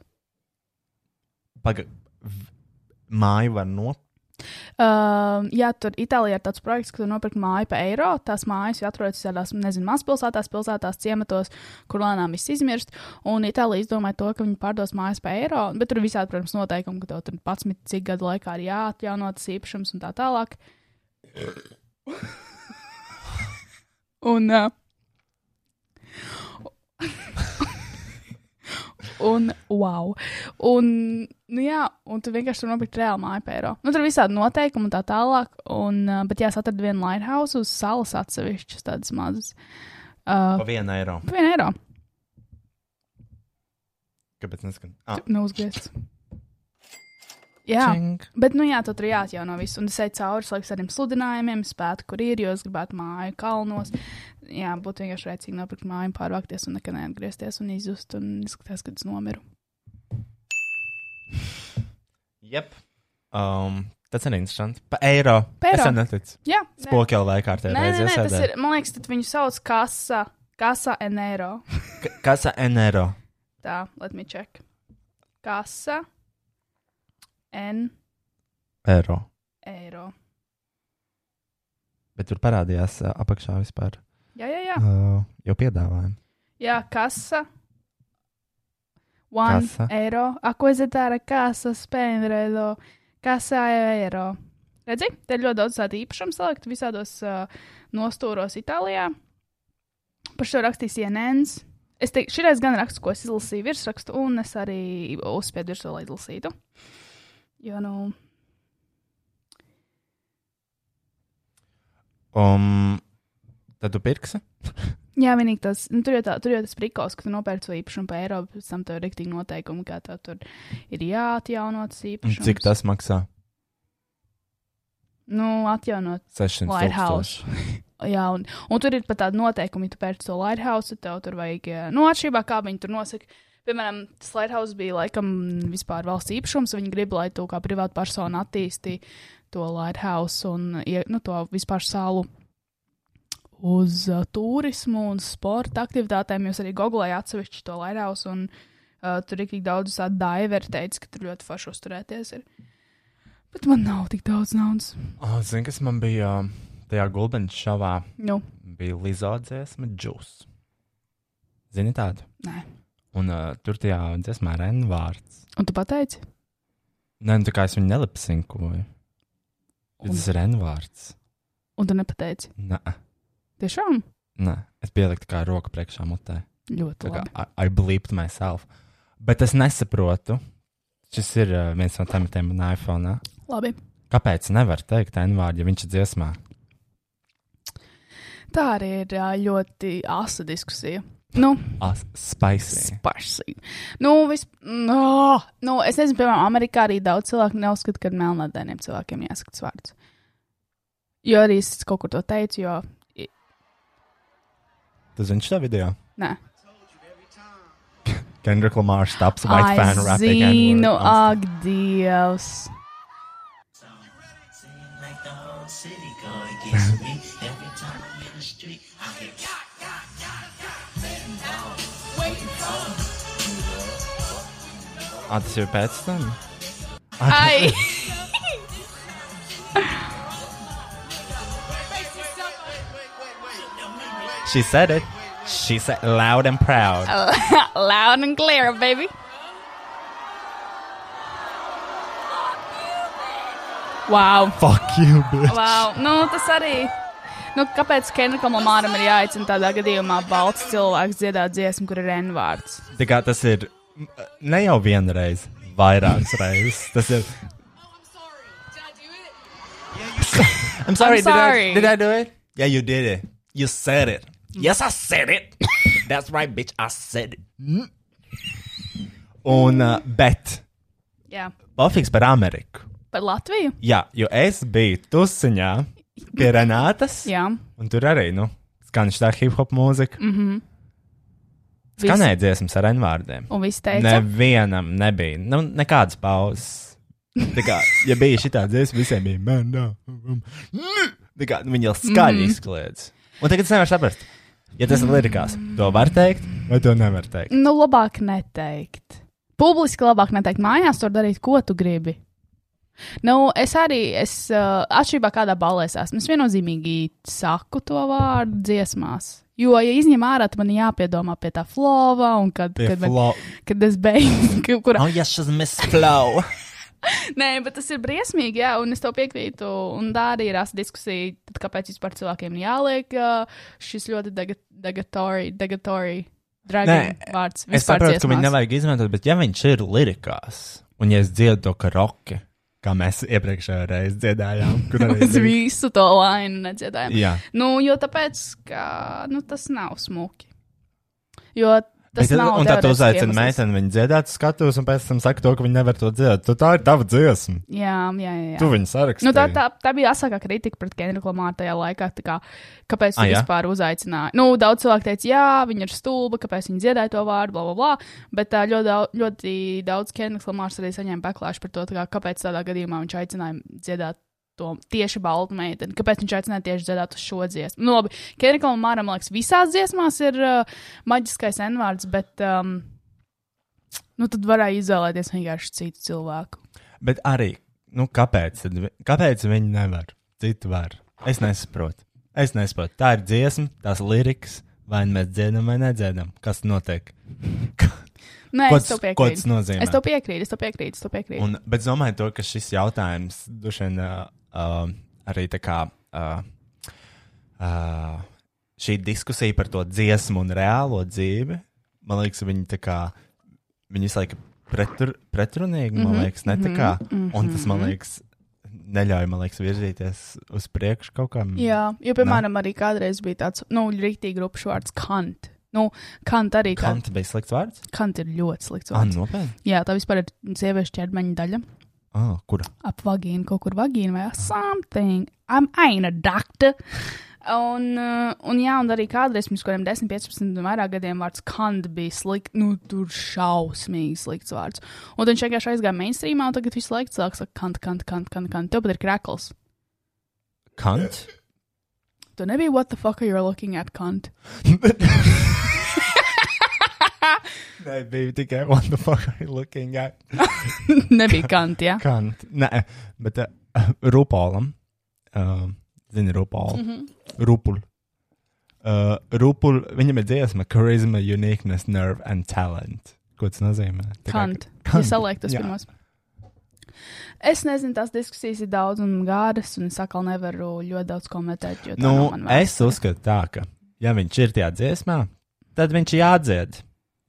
paga... v- Māju var nopirkt.
Um, jā, tur Itālijā ir tāds projekts, ka tu nopirki māju par eiro. Tās mājas jau atrodas tādās, nezinu, mazpilsētās, pilsētās, ciematos, kur lēnām viss izmirst. Un Itālija izdomāja to, ka viņi pārdos mājas par eiro. Bet tur ir visādi, protams, noteikumi, ka tev tur 11 cik gadu laikā ir jāatjauno tas īpašums un tā tālāk. un. Uh, Un, wow. Un, nu jā, un tu vienkārši tur nopirki reāli māju par eiro. Nu, tur ir visādi noteikumi un tā tālāk. Un, uh, bet jā, es atradu vienu lighthouse uz salas atsevišķas tādas mazas. Uh,
Pa vienu eiro.
par vienu eiro.
Kāpēc neskan? Ah,
Neuzgriezts. Jā.
čing.
Bet, nu, jā, tad tur jāatjauno viss. Un es eju cauri slēgts ar tiem sludinājumiem, spētu, kur ir, jo es gribētu māju, kalnos. Jā, būtu vienkārši rēcīgi nopirkt māju, pārvākties un nekad neatgriezties un izzust un izskatās, kad es nomiru.
Jep. Um, tas ir interesanti. Pa eiro.
Pa
Es
eiro.
tam neticu.
Jā, nē.
Spoki jau laikā ar
Nē,
tevi.
nē, nē, tas ir. Man liekas, tad viņu sauc kasa, kasa en eiro.
Kasa en eiro.
Tā, let me check. Kasa en
Eiro.
eiro.
Bet tur parādījās ā, apakšā vispār.
Jā, jā, jā.
Uh, jau piedāvājumu.
Jā, kasa. One
Kassa.
eiro. Akvizitēra kasa, spēnredo, kasa eiro. Redzi, te ir ļoti daudz tādu īpašumu salikt visādos uh, nostūros Itālijā. Par šo rakstīs Jēnēns, Es teiktu, šitais gan raksts, ko es izlasīju virsrakstu, un es arī uzspiedu virsū, lai izlasītu. Jo, nu,
Um, tad tu pirksi?
jā, vienīgi tas, nu, tur jau, tā, tur jau tas prikals, ka tu nopērci to īpašumu pa Eiropu, pēc tam tev ir rīktīgi noteikumi, kā tev tur ir jāatjaunot tas
Un
īpašums.
Cik tas maksā?
Nu, atjaunot.
600
Lighthouse.
tūkstoši.
Jā, un, un tur ir pat tāda noteikuma, ja tu pērci to lighthouse, tad tev tur vajag, eh, nu, atšķirībā kā viņi tur nosaka. Piemēram, tas lighthouse bija laikam vispār valsts īpašums. Viņi grib, lai tu kā privāta persona attīsti to lighthouse un ie- nu, to vispār salu uz uh, turismu un sporta aktivitātēm. Jūs arī googlējāt atsevišķi to lighthouse, un uh, tur ir tik daudz tādu daiveru teica, ka tur ļoti forši uzturēties ir. Bet man nav tik daudz naudas.
Oh, Zini, kas man bija um, tajā gulbens šavā?
Nu,
Bija Lizardzēsma Džus. Zini tādu?
Nē.
Un uh, tur tajā dziesmā ir N vārds.
un tu pateici?
Nē, nu tā kā es viņu nelipsinkoju.
Un-
Un... Tas ir N vārds.
Un tu nepateici?
Nē,
Tiešām
nē. Es pieliku tā kā roku priekšā mutē.
ļoti
Tā kā
labi.
I, I believed myself. Bet es nesaprotu. Šis ir uh, viens no tematiem manā iPhone.
labi.
Kāpēc nevar teikt N vārdu, ja viņš ir dziesmā?
Tā arī ir ā, ļoti asa diskusija. Nu,
As, spicy.
sparsīgi. Nu, vis... no, nu, es nezinu, piemēram, Amerikā arī daudz cilvēku neuzskata, ka melnādainiem cilvēkiem jāsaka tas vārds. Jo arī es kaut kur to teicu, jo.
Tu zini šo video?
Nē,
Kendrick Lamar stops white fan
Ai,
rapping. N-word
zinu, ah.
on
ak, Dievs.
Like the whole city going against me every time I'm in the street. I hear
stage. Ah, tas jau pēc tam. [laughs]
Ai!
She said it. She said loud and proud.
Oh. [laughs] Loud and clear, baby. Wow!
Fuck you, bitch.
Wow, nu, tas arī. Nu, kāpēc Kendrikam Lamāram ir jāicina tādā gadījumā balts cilvēks dziedāt dziesmu, kur ir N-vārds?
Tā kā tas ir m, ne jau vienreiz,
[laughs]
vairākas reizes. Tas ir. I'm sorry.
I'm sorry.
Did, I, did I do it? Yeah, you did it. You said it. Yes, I said [laughs] it. That's right, bitch. I said it. Mm. Un, uh, bet,
Jā,
pofiks par Ameriku.
par Latviju?
Jā, jo es biju tusiņā pie Renātas.
Jā,
Un tur arī, nu, skan šī hip hop mūzika. Mm
Mhm.
-hmm.
Visi-
Skanēja dziesmas ar N-vārdiem.
un viss teica, ne.
Nevienam nebija. Nu, nekādas pauzes. Tā kā, ja bija šī tāda dziesma, visiem bija man, no, um, mm." tā kā nu, viņi jau skaļi izkliedz. Un tagad es nevaru saprast, ja tas ir lirikās, to var teikt, vai to nevar teikt.
nu, labāk neteikt. Publiski labāk neteikt, mājās tur darīt, ko tu gribi. Nu, es arī, es uh, atšķirībā kādā balē es esmu, es viennozīmīgi saku to vārdu dziesmās. Jo, ja izņem ārā, tad man jāpiedomā pie tā flova, un kad,
Pie
kad, man,
flow.
kad es beidzu, kur
Oh, yes, she's Miss Flow.
Nē, bet tas ir briesmīgi, jā, un es tev piekrītu. Un tā arī ir asa diskusija, tad kāpēc vispār cilvēkiem jāliek ā, šis ļoti degatory, degatory, dragoni
Nē,
vārds.
Es
vispār
saprotu, ka
dziesmās.
viņu nevajag izmantot, bet ja viņš ir lirikās, un ja es dziedu to karoki, kā mēs iepriekšējā reizē dziedājām, kur arī
Mēs
bija-
visu to lainu nedziedājam.
Jā,
Nu, jo tāpēc, ka nu, tas nav smuki. Jo tas
Bet tad-
nav.
un tā tu
teorētiski
uzaicini
iemesls.
meiteni, viņa dziedāt, skatos, un pēc tam saka to, ka viņa nevar to dziedāt. Tu tā ir tava dziesma,
Jā, jā, jā. jā.
tu viņu saraksti.
Nu, tā, tā, tā bija asākā kritika pret Kendriku Lamāru tajā laikā. tā Kā, kāpēc
Ah,
viņš
jā?
vispār uzaicināja? Nu, daudz cilvēku teica, jā, viņa ir stulba, kāpēc viņa dziedāja to vārdu, bla, bla, bla. Bet tā, ļoti, daudz, ļoti daudz Kendriku Lamārs arī saņēma backlash par to, tā kā, kāpēc tādā gadījumā viņš aicināja dziedāt. to Tieši balta meitene. Kāpēc viņš aicināja tieši dziedāt uz šo dziesmu? Nu, labi, Kendrikam un Māram, liekas, visās dziesmās ir uh, maģiskais envārds, bet um, nu, tad varēja izvēlēties vienkārši citu cilvēku.
Bet arī, nu, kāpēc, tad vi- kāpēc viņi nevar? Citi var. Es nesaprotu. Es nesaprotu. Tā ir dziesma, tās lirikas, vai nu mēs dziedam vai nedziedam. Kas notiek? [laughs]
Nē,
Ko
es tev
tas-
piekrītu.
ko tas nozīmē?
Es tev piekrītu, es tev piekrītu, es tev piekrītu. Un...
Un, bet es domāju, to, ka šis jautājums droši vien uh, uh, arī tā kā. Uh, uh, Šī diskusija par to dziesmu un reālo dzīvi man liekas, viņi tā kā, viņi visu laiku pretur, pretrunīgi, man
Mhm,
liekas, ne tā kā, un tas, man liekas, neļauj, man liekas, virzīties uz priekšu kaut kam.
Jā, jo, piemēram, arī kādreiz bija tāds, nu, rīktīgi grupas vārds kant. Nu, kant arī kā.
Kam te bija slikts vārds?
Kant ir ļoti slikts
Ah,
vārds.
nopietni.
Jā, tā vispār ir sieviešu ķermeņa daļa.
Ah, kura?
Ap vagīnu, kaut kur vagīnu vai something. I'm ain't a doctor. Un, uh, un jā, un arī kādreiz pirms kaut kādiem 10, 15 un vairāk gadiem vārds kant bija slikts, nu, tur šausmīgi slikts vārds. Un tad viņš vienkārši aizgāja mainstreamā, un tagad visu laiku cilvēks saka, kant, kant, kant, kant, kant. Tev pat ir krekls. [laughs]
Kant?
Tu nebija, what the fuck are you looking at, [laughs] kant?
Nē, bija tikai what the fuck are you looking at?
nebija kant, jā.
Kant. nu, Nē, bet [laughs] uh, Rupolam. Uh, zini, Rupol.
[laughs]
Mm -hmm. Rupul. Uh, Rupul, viņam ir dziesma Charisma, Uniqueness, Nerve and Talent. Ko tas nozīmē? Tā kā-
Kant. Ja
Kant.
saliek tas
Jā.
pirmos. Es nezinu, tās diskusijas ir daudz un gāras, un es atkal nevaru ļoti daudz komentēt. Jo tā
Nu,
nav man
es
vēsture.
uzskatu tā, ka, ja viņš ir tajā dziesmā, tad viņš ir jādzied,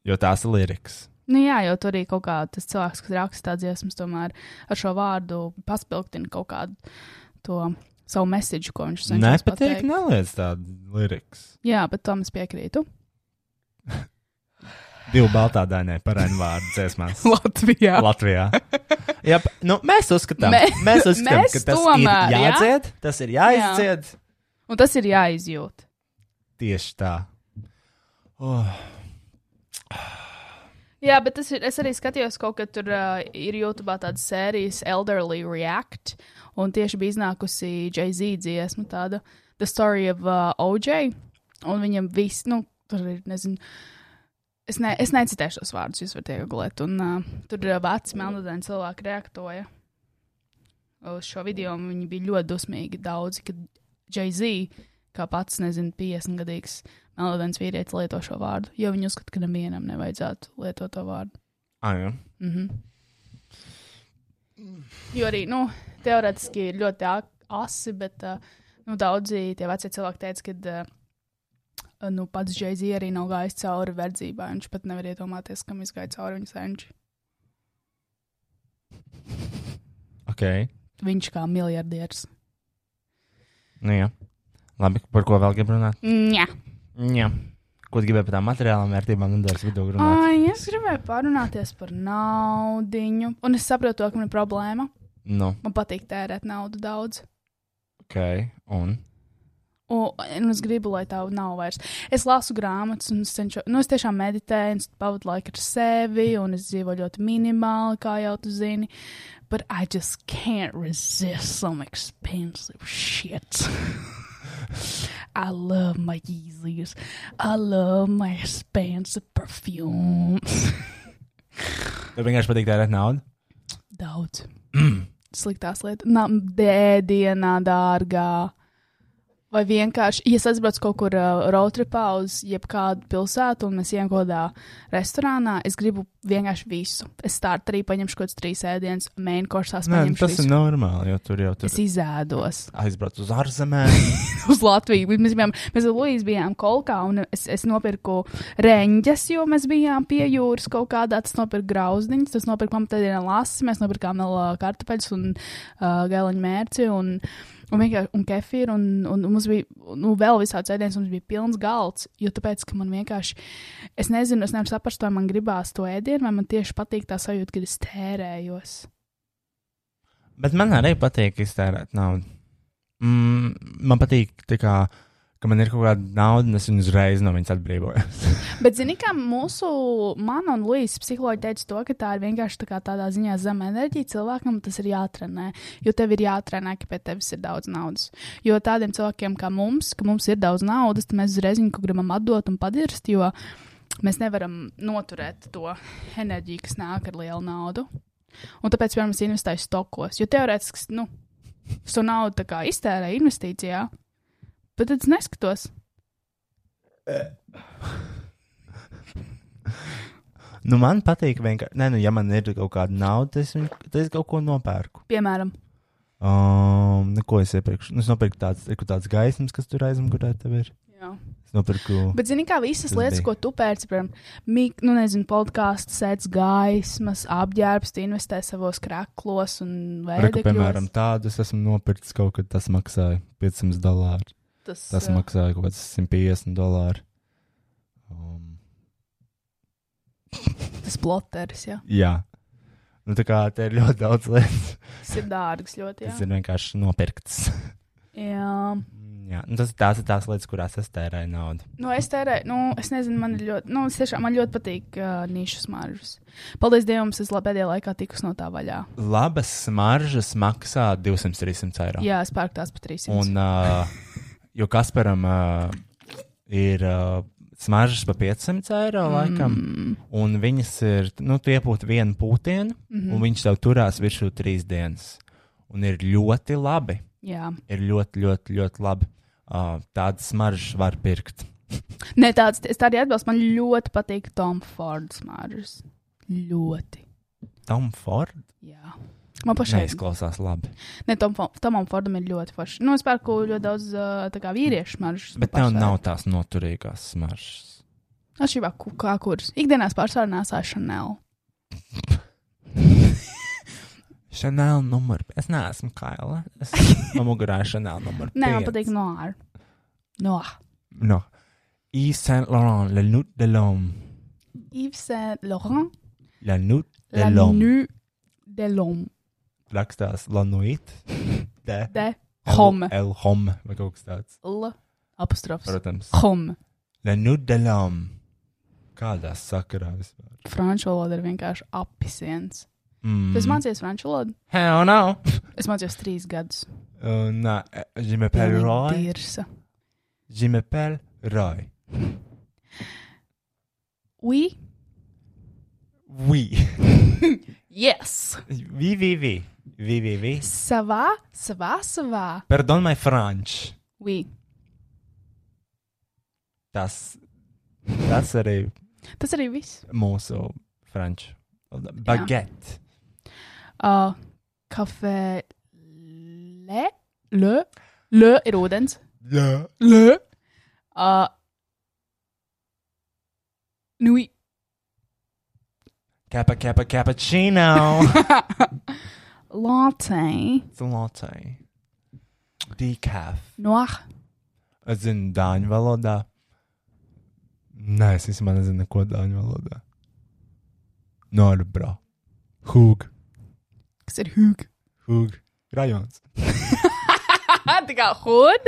jo tās ir lirikas.
Nu, jā, jo tur arī kaut kā tas cilvēks, kas raksta tādas dziesmas, tomēr ar šo vārdu paspilgtina kaut kādu to savu mesiģu, ko viņš cenšas
Nepatīk,
pateikt.
neliec tādu lirikas.
Jā, bet tam es piekrītu.
Divu baltā dainē par ainu vārdu
[laughs]
dziesmās.
Latvijā.
[laughs] Latvijā. Jā, p- nu, mēs uzskatām,
Mē-
mēs uzskatām
mēs
ka tas
tomēr,
ir
jā?
jādzied, tas ir jāizdzied. Jā.
Un tas ir jāizjūt.
Tieši tā. Oh,
Jā, bet tas ir. Es arī skatījos, kaut kad tur uh, ir YouTube tāda sērijas Elderly React, un tieši bija iznākusi Jay-Z dziesma, tāda The Story of uh, OJ. Un viņam viss, nu, tur ir, nezinu, es, ne, es necitēšu tos vārdus, jūs varat iegulēt. Un uh, tur uh, veci melnodēni cilvēki reaktoja uz šo video, un viņi bija ļoti dusmīgi daudzi, kad Jay-Z, kā pats, nezinu, 50 gadīgs melodēns vīrietis lieto šo vārdu, jo viņi uzskata, ka nevienam nevajadzētu lietot to vārdu.
ah, jā.
Mhm. Jo arī nu, teorētiski ir ļoti ak- asi, bet uh, nu, daudzi tie veci cilvēki teica, ka uh, nu, pats Jēzus arī nav gājis cauri verdzībai. Viņš pat nevar iedomāties, kam izgāja cauri viņa senči.
ok.
Viņš kā miljardieris.
Nu, jā. Labi, par ko vēl grib runāt?
Nē,
Jā. Ko tu gribēji par tām materiālām vērtībām, nedēļas vidū runāt?
Ai, es gribēju parunāties par naudu. Un es saprotu, to, ka man ir problēma.
Nu,
Man patīk tērēt naudu daudz.
ok. Un?
Un, un es gribu, lai tā nav vairs. Es lasu grāmatas, un es, cenšu, nu, es tiešām meditēju, un es pavadu laiku ar sevi, un es dzīvoju ļoti minimāli, kā jau tu zini. But I just can't resist some expensive shit. [laughs] I love my Yeezys. I love my expensive perfumes.
Tev vienkārši patīk tērēt naudu?
Daudz.
Mm.
Sliktās lietas. Nā, dēdienā, dārgā. Vai vienkārši, ja es aizbraucu kaut kur uh, roadtripā uz jebkādu pilsētu un mēs ejam kaut kādā restorānā, es gribu vienkārši visu. Es startu arī paņemšu kaut kādas trīs ēdienas, main course,
Nē, nu
paņemšu
tas
visu.
ir normāli, jo tur jau tur
Es izēdos
aizbrauc uz ārzemēm.
[laughs] uz Latviju. Mēs, bijām, mēs ar Luīsu bijām kolkā, un es, es nopirku reņģes, jo mēs bijām pie jūras kaut kādā. Tas nopirka grauzdiņas, tas nopirka pamatdienā lasis, mēs nopirkām vēl ā, kartupeļus un uh, gailiņu mērci. Un, Un vienkārši un kefīru, un, un mums bija nu, vēl visāds ēdiens, mums bija pilns galds. Jo tāpēc, ka man vienkārši, es nezinu, es nevaru saprast, vai man gribās to ēdienu, vai man tieši patīk tā sajūta, kad es tērējos.
Bet man arī patīk iztērēt naudu. Mm, man patīk, tā kā, ka man ir kaut kāda nauda, un es viņu uzreiz no viņas atbrīvojos.
Bet, zinām, kā mūsu, man un Līsas psiholoģija teica, to, ka tā ir vienkārši tā kā tādā ziņā zema enerģija. Cilvēkam tas ir jātrenē, jo tev ir jātrenē, ka pie tevis ir daudz naudas. Jo tādiem cilvēkiem kā mums, ka mums ir daudz naudas, tad mēs uzreiz viņu kaut gribam atdot un padirst, jo mēs nevaram noturēt to enerģiju, kas nāk ar lielu naudu. Un tāpēc, piemēram, es investēju stokos, jo teorētiski, nu, es to naudu tā kā iztērēju investīcijā, bet tad es neskatos.
[laughs] nu, man patīk vienkārši, nē, nu, ja man ir kaut kāda nauda, tad es, viņu, tad es kaut ko nopērku.
Piemēram,
Um, nu, ko es iepriekš? Nu, es nopirku tādas, ir kaut kādas gaismas, kas tur aizmugurē tev ir. Jā.
Jā.
Es nopirku.
Bet, zini, kā visas
Tas
lietas,
bija.
ko tu pērci, piemēram, mīk, nu, nezinu, podkāsts, sēdz gaismas, apģērbs, tu investē savos krāklos un
Reku, piemēram,
veidekļos.
tādus esmu nopircis kaut kad. Tas maksāja 500 dolāru.
Tas, eh,
Tas
jā.
maksāja kaut kāds 150 dolāru. Um,
tas ploteris, jā.
jā. Nu, tā kā te ir ļoti daudz lietas,
Tas ir dārgs ļoti, jā.
kas ir vienkārši nopirktas.
jā.
Jā, nu tas, tās ir tās lietas, kurās es tērēju naudu.
Nu, es tērēju, nu, es nezinu, man ir ļoti, nu, es tiešām man ļoti patīk uh, nišas maržas. Paldies Dievam, es la- pēdējā laikā tikus no tā vaļā.
Labas smaržas maksā 200-300 eiro.
Jā, es pērku tās par Mm. 300.
Un, uh, jo Kasparam uh, ir uh, smaržas pa 500 eiro, laikam, mm. un viņas ir, nu, tu iepūti vienu pūtienu, mm
Mhm.
-hmm. un viņš tev turās virsū trīs dienas. Un ir ļoti labi.
Jā,
Ir ļoti, ļoti, ļoti labi. Uh, tādas smaržas var pirkt.
Nē, tāds, es tā arī atbilstu. Man ļoti patīk Tom Fords maržas. Ļoti.
Tam Fordam
Jā. Man pašai
neizklausās labi.
Ne, Tom, Fo- Tomam Fordam ir ļoti forši. Nu, es pērku ļoti daudz uh, tā kā vīriešu maržas.
Bet tev nav tās noturīgās
[laughs]
smaržas.
Atšķirībā, ku- kā kuras. Ikdienās pārsvarā nesā Chanel.
Chanel numur. Es neesmu kaila.
[laughs]
Es nomugurēju Chanel numuru.
Nē, man patīk nu- Noir. No.
No. Yves Saint Laurent, Le Nut de l'Homme.
Yves Saint Laurent.
La Nut de
La
l'Homme.
Nuit de l'Homme.
Rakstās La
[laughs]
Nuit. De.
De Homme.
El Homme. Vai kaut kas tāds.
L. Apostrofs.
Protams.
Homme.
La Nut de l'Homme. Kādā sakarā vispār?
Franču valoda ir vienkārši apisiens.
Mm.
Tu esi mācījies franču valodu?
Hell no.
Es mācījos trīs gadus.
Uh, nā, eh, je m'appelle Roy.
Pirsa.
Je m'appelle Roy.
Oui.
Oui.
Yes.
Oui, oui, oui. Oui, oui, oui.
Savā, savā, savā.
Pardon my French.
Oui.
Tas, tas arī
Tas arī viss.
mūsu franču. valodā. Baguette.
Uh, kafē. Le. Le. Le ir ūdens.
Jā.
Le. Uh, nui. [laughs]
Kappa, kappa, cappuccino.
Latte.
It's a latte. Decaf.
Noir.
Es zinu dāņu valodā. Nē, es īstenībā nezinu neko dāņu valodā. Norbro. Hūg.
Kas ir [laughs] hūg?
Hūg. Rajons.
Tā kā hūd.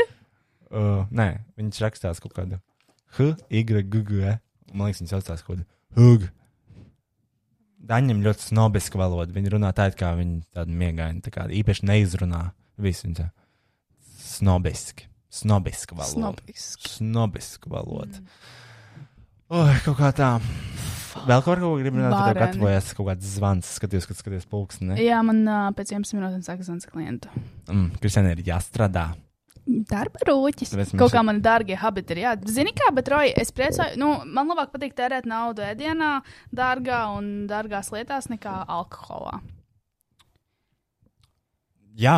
Uh, nē, viņš rakstās kaut kādu. H, Y, G, G. E. Man liekas, viņš saucās kaut kādu. Hūg. Daņiem ļoti snobiska valoda. Viņi runā tā, it kā viņi tādu miegaini, tā kā īpaši neizrunā. Viss viņa snobiski. Snobiska valoda.
Snobis.
snobisku valodu. Oi, kaut kā tā. Vēl kaut ko gribam teikt, kad
Vareni.
gatavojas kaut kāds zvans, skaties, kad skaties pulksteni.
Jā, man uh, pēc 11 minūtēm sākas zvans klientu.
Mm, Kristiāna ir jāstrādā.
Darba rūķis.
Tāpēc mums
Kaut kā
ir-
man dārgie habiti ir. Jā, zini kā, bet Roja, es priecāju, nu, man labāk patīk tērēt naudu ēdienā, dārgā un dārgās lietās nekā alkoholā.
Jā,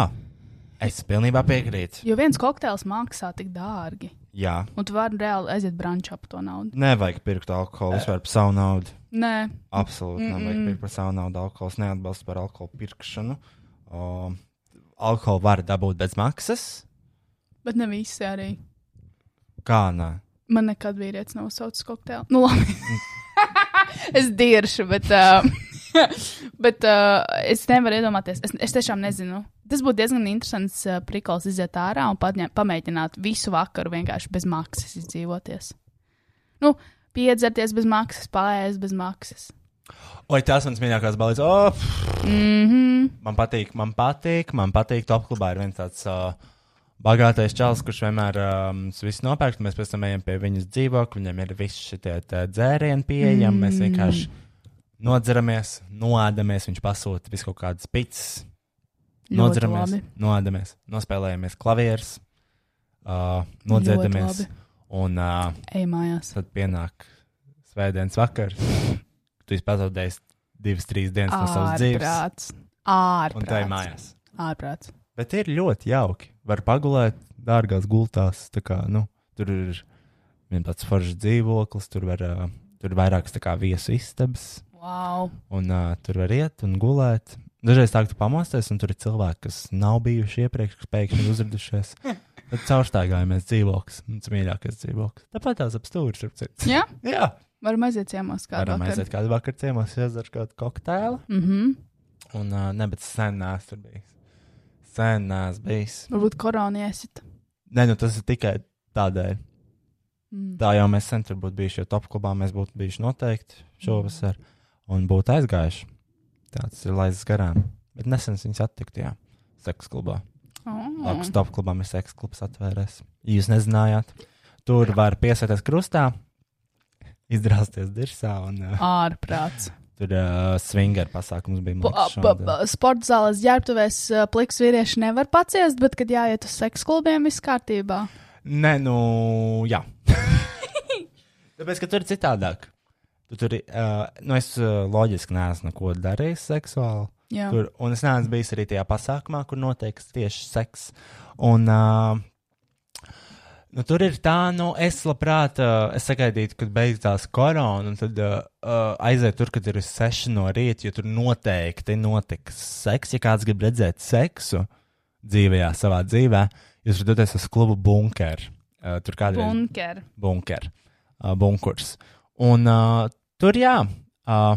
es pilnībā piekrītu.
Jo viens kokteils maksā tik dārgi,
Jā,
un tu vari reāli aiziet brančā par to naudu.
nevajag pirkt alkoholu vispār par savu naudu.
Nē,
Absolūti, nevajag pirkt par savu naudu. Alkohols neatbalsta par alkoholu pirkšanu. Um, alkoholu var dabūt bez maksas.
bet ne visi arī.
Kā nē?
Man nekad vīrietis nav saucis kokteili. Nu, labi. [laughs] es diršu, bet, uh, [laughs] bet uh, es nevaru iedomāties. Es, es tiešām nezinu. Tas būtu diezgan interesants uh, prikals iziet ārā un patņem, pamēģināt visu vakaru vienkārši bez maksas izdzīvoties. Nu, piedzerties bez maksas, paēst bez maksas.
Oi, tas mans mīļākais balīts. Oh,
Mhm.
mm -hmm. Man patīk, man patīk, man patīk. Top klubā ir viens tāds uh, bagātais čels, kurš vienmēr um, visu nopērk. un Mēs pēc tam ejam pie viņas dzīvokļa, viņam ir visi šie dzērieni pieejami. Mm. Mēs vienkārši nodzeramies, noēdamies, viņš pasūta visu kaut kādas pitas.
Ļoti
Nodzeramies,
labi.
noēdamies, nospēlējamies klavierus, uh, nodzēdamies.
labi.
Un uh,
Ej mājās.
tad pienāk svētdienas vakars. Tu esi pazaudējis divas, trīs dienas no savas dzīves.
Ārprāts.
Un tā ir
Ārprāts.
mājās.
Ārprāts.
Bet ir ļoti jauki. Var pagulēt dārgās gultās. tā Kā, nu, tur ir ir tāds foršs dzīvoklis, tur var, uh, tur ir vairākas tā kā viesu istabas,
Wow.
un uh, tur var iet un gulēt. Dažreiz tā, ka tu pamosties, un tur ir cilvēki, kas nav bijuši iepriekš, kas pēkšņi ir uzradušies. Tad caurstaigājamies dzīvoklis, mums ir mīļākais dzīvoklis. Tāpat tās apstūris, starp citu.
Jā?
[laughs] Jā,
Varam aiziet ciemos kādā
varam aiziet kādu vakar ciemos, iedzer kādu kokteili.
Mhm.
Un, uh, ne, bet sen nāc tur bijis. Sen nāc bijis.
Varbūt korona iesit.
Nē, nu tas ir tikai tādēļ.
Mm.
Tā jau mēs sen tur būtu bijuši, jo top klubā mēs būtu bijuši noteikti šovasar un būtu aizgājuši. Tāds ir laists garām. Bet nesen viņas attikt, jā, seksa klubā.
Oh.
Lāks top klubā mēs seksa klubs atvērēs. Ja Jūs nezinājāt. Tur var piesēties krustā, izdrāzties dirsā un uh,
Ārprāts.
tur uh, swinger pasākums bija. man liekas, šonadēļ.
Sports zāles ģērbtuvēs ā, pliks vīrieši nevar paciest, bet, kad jāiet uz seksu klubiem, viss kārtībā.
Nē, nu, jā. [laughs] Tāpēc, ka tur ir citādāk. Tu tur, uh, nu, es uh, loģiski neesmu neko darījis seksuāli.
Jā.
Tur, un es neesmu bijis arī tajā pasākumā, kur notiek tieši seks. Un, uh, nu, tur ir tā, nu, es labprāt, uh, es sagaidītu, kad beigās korona, un tad uh, uh, aiziet tur, kad ir 6 no rīta, jo tur noteikti notiks seks. Ja kāds grib redzēt seksu dzīvajā, savā dzīvē, jūs varat doties uz klubu bunkeru. Uh, tur kādreiz
Bunker.
bunker, uh, bunkurs. Un uh, tur, jā, uh,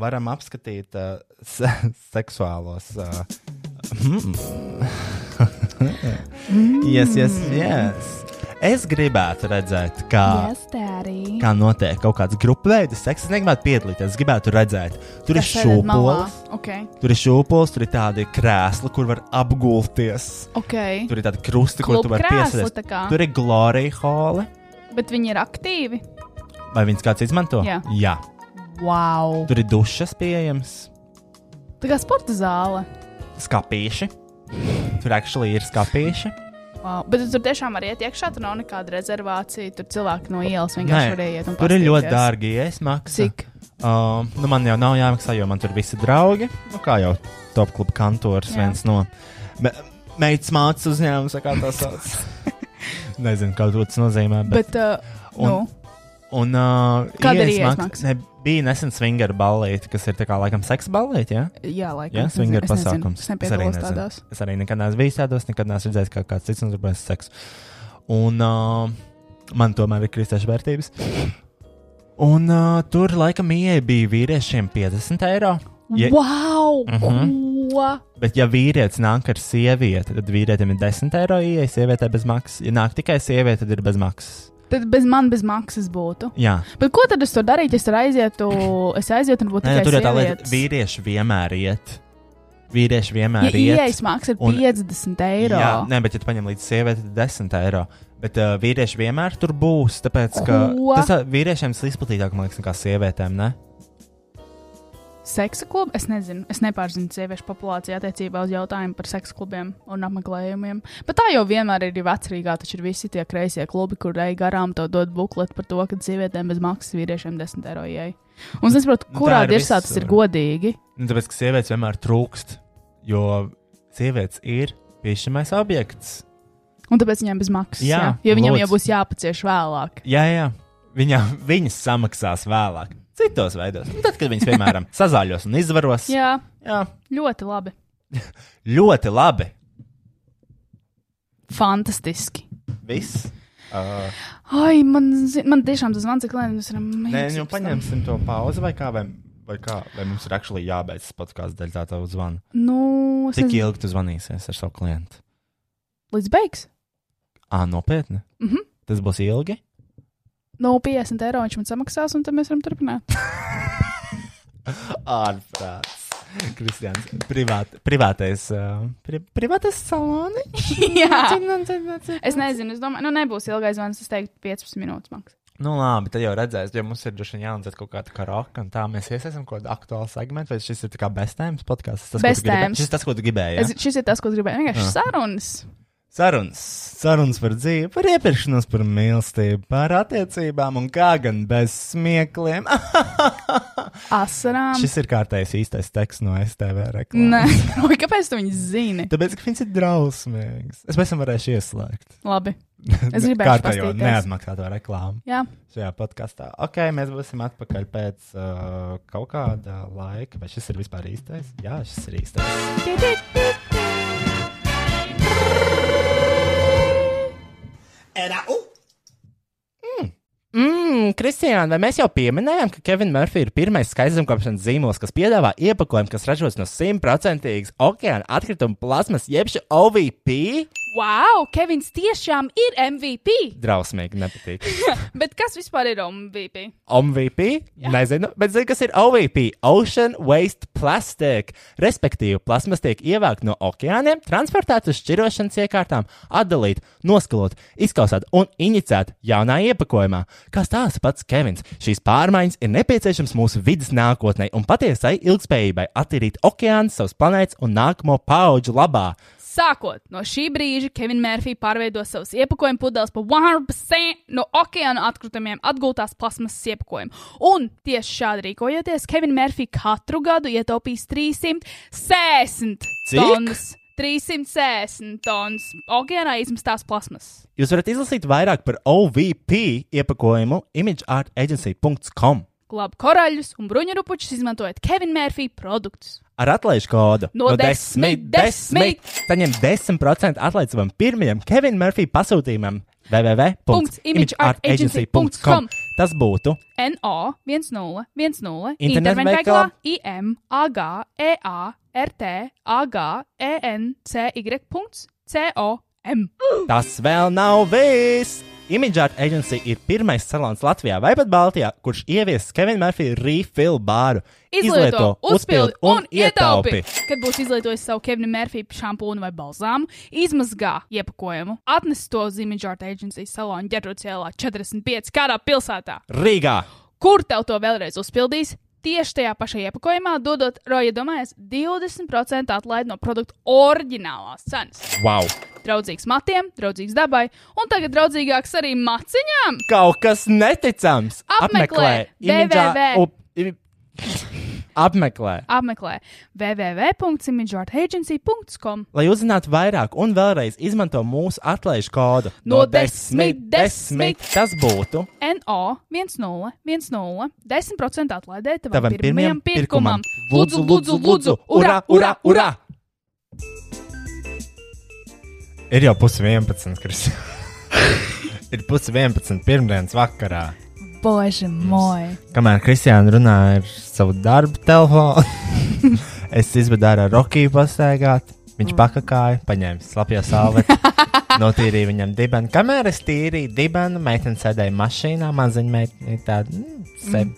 varam apskatīt uh, se seksuālos. Uh, mm. [laughs] yes, yes, yes. Es gribētu redzēt, kā, yes, kā notiek kaut kāds grupu veids, seks. Es negribētu piedalīties, es gribētu redzēt. Tur ir
Sēdēt malā.
šūpoles,
Ok.
tur ir šūpoles, tur ir tādi krēsli, kur var apgulties.
Ok.
Tur ir tādi krusti, kur
Klubu
tu vari
krēsli
piesēsties.
tā kā.
Tur ir glorija holi.
Bet viņi ir aktīvi.
Vai viņas kāds izmanto?
Jā.
Jā.
Wow.
Tur ir dušas pieejamas,
Tā kā sporta zāle.
skāpīši. Tur actually ir skāpīši.
Wow. Bet tu tur tiešām var iet iekšā, tur nav nekāda rezervācija. Tur cilvēki no ielas vienkārši var iet.
tur ir ļoti dārgi iesmaksas.
Cik?
Um, nu man jau nav jāmaksā, jo man tur visi draugi. Nu, kā jau top kluba kantors, Jā. viens no me meitas mācības uzņēmums, vai kā tas sauc.
[laughs]
Nezinu, kā to tas nozīmē. Bet,
Bet, uh,
Un-
nu,
un, uh,
Kāda ir iesmaksa?
Ne, bija nesen swinger ballīte, kas ir tā kā laikam seksa ballīte. Ja?
jā, laikam.
Jā,
Es
swinger
nezinu, es nezinu,
pasākums.
Es nepiedalos
nezinu.
tādās.
Es arī nekad neesmu bijis tādos, nekad neesmu redzējis, kā kāds cits nodarbojas ar seksu. Un uh, man tomēr ir kristiešu vērtības. Un uh, tur laikam ieeja bija vīriešiem 50 eiro. Ja,
Wow!
Mhm.
Ko?
bet, ja vīrietis nāk ar sievieti, tad vīrietim ir 10 eiro ieeja, sievietē bez maksas. Ja nāk tikai sieviete, tad ir bez maksas.
Tad bez man bez maksas būtu.
Jā,
Bet ko tad es tur darītu? Es tur aizietu, es aizietu un būtu
Nē, nu,
tikai
tur ir tā
sievietes?
lieta, ka vīrieši vienmēr iet. Vīrieši vienmēr
Ja
iet.
ieejas maksa ir
Un-
50 eiro.
Jā, nē, bet ja tu paņem līdz sievietei, tad 10 eiro. Bet uh, vīrieši vienmēr tur būs. Tāpēc, ka
Ko?
tas uh, vīriešiem ir izplatītāk, man liekas, nekā sievietēm. Ne?
Seksa klubu? Es nezinu, es nepārzinu sieviešu populāciju attiecībā uz jautājumu par seksa klubiem un apmeklējumiem. Bet tā jau vienmēr ir vecrīgā, taču ir visi tie kreisie klubi, kur ej garām, to dod bukletu par to, ka sievietēm bez maksas vīriešiem 10 eiro ieeja. Un es nesaprotu,
Nu, tā
kurā
ir
dirsā tas
visur.
ir godīgi.
Nu, tāpēc, ka sievietes vienmēr trūkst. Jo sievietes ir piešķirmais objekts.
Un tāpēc viņiem bez maksas. Jā,
Jā,
jo viņiem
lūdzu.
jau būs jāpacieš vēlāk.
Jā, jā. Viņa, [laughs] viņas samaksās vēlāk. Citos veidos. Nu, Tad, kad viņas, piemēram,
[laughs]
sazāļos un izvaros,
Jā,
jā,
ļoti labi.
ļoti labi.
Fantastiski.
Viss. Uh,
Ai, man, zi- man tiešām tas zvans ir klients.
Nē, nu paņemsim to pauzi vai kā. Vai, vai kā? Vai mums ir actually jābeidz tas podkāsts dēļ tā tā zvana?
Nu, es
Cik
nezinu,
ilgi tu zvanīsies ar savu klientu?
līdz beigas.
Ā, nopietni.
Mhm.
Tas būs ilgi.
No 50 Nu, eiro viņš man samaksās, un tad mēs varam turpināt.
[laughs] Ārprāts. Kristians, privāt, privātais, uh, pri, privātais saloni.
[laughs] Jā, es nezinu, es domāju, nu nebūs ilgais zvans, es teiktu 15 minūtes maks.
Nu, labi, tad jau redzēs, jo mums ir droši vien jāatdzīst kaut kāda karoka, un tā mēs iesaistam kaut kādu aktuālu segmentu, vai šis ir tā kā bestēmas podkāsts. Tas, ko tu
Best
gribēji-
times.
Šis tas, ko tu gribēji.
Es,
Ja? Ah.
šis ir tas, ko es gribēju. Vienkārši sarunas.
Sarunas, sarunas par dzīvi, par iepirkšanos, par mīlestību, par attiecībām un kā gan bez smiekliem.
Asarām.
[laughs]
Šis ir kārtējs īstais teksts no STV
Nē,
reklāmas.
Roy, kāpēc tu viņu zini?
[laughs] Tāpēc, ka viņš ir drausmīgs. Es pēc tam varēšu ieslēgt.
Labi.
[laughs]
Es gribēju
kārtējo
pateikt,
neatmaksāto reklāmu
Jā,
šajā podkāstā. Ok, mēs būsim atpakaļ pēc uh, kaut kāda laika. Vai šis ir vispār īstais? Jā, šis ir īstais.
And I, oh,
Mmm, Kristija, vai mēs jau pieminējām, ka Kevins Murphy ir pirmais skaistumkopšanas zīmols, kas piedāvā iepakojumu, kas ražots no simtprocentīgas okeāna atkrituma plasmas, jeb šī OVP?
Wow, Kevins tiešām ir MVP!
Drausmīgi, nepatīk.
[laughs] Bet kas vispār ir MVP?
OVP, nezinu, bet zinu, kas ir OVP, Ocean Waste Plastic. Respektīvi, plasmas tiek ievākta no okeāniem, transportēta uz šķirošanas iekārtām, atdalīta, noskalot, izkausēta un inicēta jaunā iepakojumā. Kā stāsta pats Kevins, šīs pārmaiņas ir nepieciešamas mūsu vidas nākotnē un patiesai ilgspējībai attīrīt okeānu savas planētas un nākamo pauģu labā.
Sākot no šī brīža, Kevins Mārfī pārveido savus iepakojumu pudeles par 100% no okeāna atkritumiem atgūtās plasmasas iepakojumu. Un tieši šādi rīkojoties, Kevins Mārfī katru gadu ietaupīs 360
Cik?
tonnas. 360 tonnas okeānā izmestās plasmasas.
Jūs varat izlasīt vairāk par OVP iepakojumu imageartagency.com
Glāb korāļus un bruņurupučus izmantojot Kevina Mārfī produktus.
ar atlaižu kodu
No desmit, desmit.
Saņem 10% atlaidi savam pirmajam Kevina Murphy pasūtījumam www.imageartagency.com. Tas būtu
NO 1010
Internetveikalā.
internetveikalā IM AG EA RT AG E ENCY.com.
tas vēl nav viss! Imageart Agency ir pirmais salons Latvijā vai pat Baltijā, kurš ievies Kevina Murphy refill bāru.
Izlieto, uzpildi un ietaupi. Kad būs izlietojis savu Kevina Mārfija šampūnu vai balzāmu, izmazgā iepakojumu, atnes to uz Image Art Agency salonu ģetrocielā 45 kādā pilsētā.
Rīgā!
Kur tev to vēlreiz uzpildīs? Tieši tajā pašā iepakojumā, dodot Roja domājas 20% atlaidi no produkta oriģinālās cenas.
Wow!
Draudzīgs matiem, draudzīgs dabai, un tagad draudzīgāks arī maciņām.
Kaut kas neticams!
Apmeklē www.
Imageart- up- im- Apmeklē!
Apmeklē www.imageartagency.com.
Lai uzzinātu vairāk, un vēlreiz izmanto mūsu atlaižu kodu
No desmit, desmit.
Tas būtu
NO 1010 10% atlaidē
tavam
tavam
pirmajam
pirmajam pirkumam.
Lūdzu, lūdzu, lūdzu, urā, urā, urā! Ir jau pusi 11, Kristija. [laughs] ir pusi 11, pirmdienas vakarā.
bože moj.
Kamēr Kristiāna runāja ar savu darbu telefonu, [laughs] es izvedu ārā Rukiju pastaigāt. Viņš pakakāja, paņēma slapjo sāli, notīrīja viņam dibenu. Kamēr es tīrīju dibenu, meitene sēdēja mašīnā, maziņa meitene tāda mm, sev.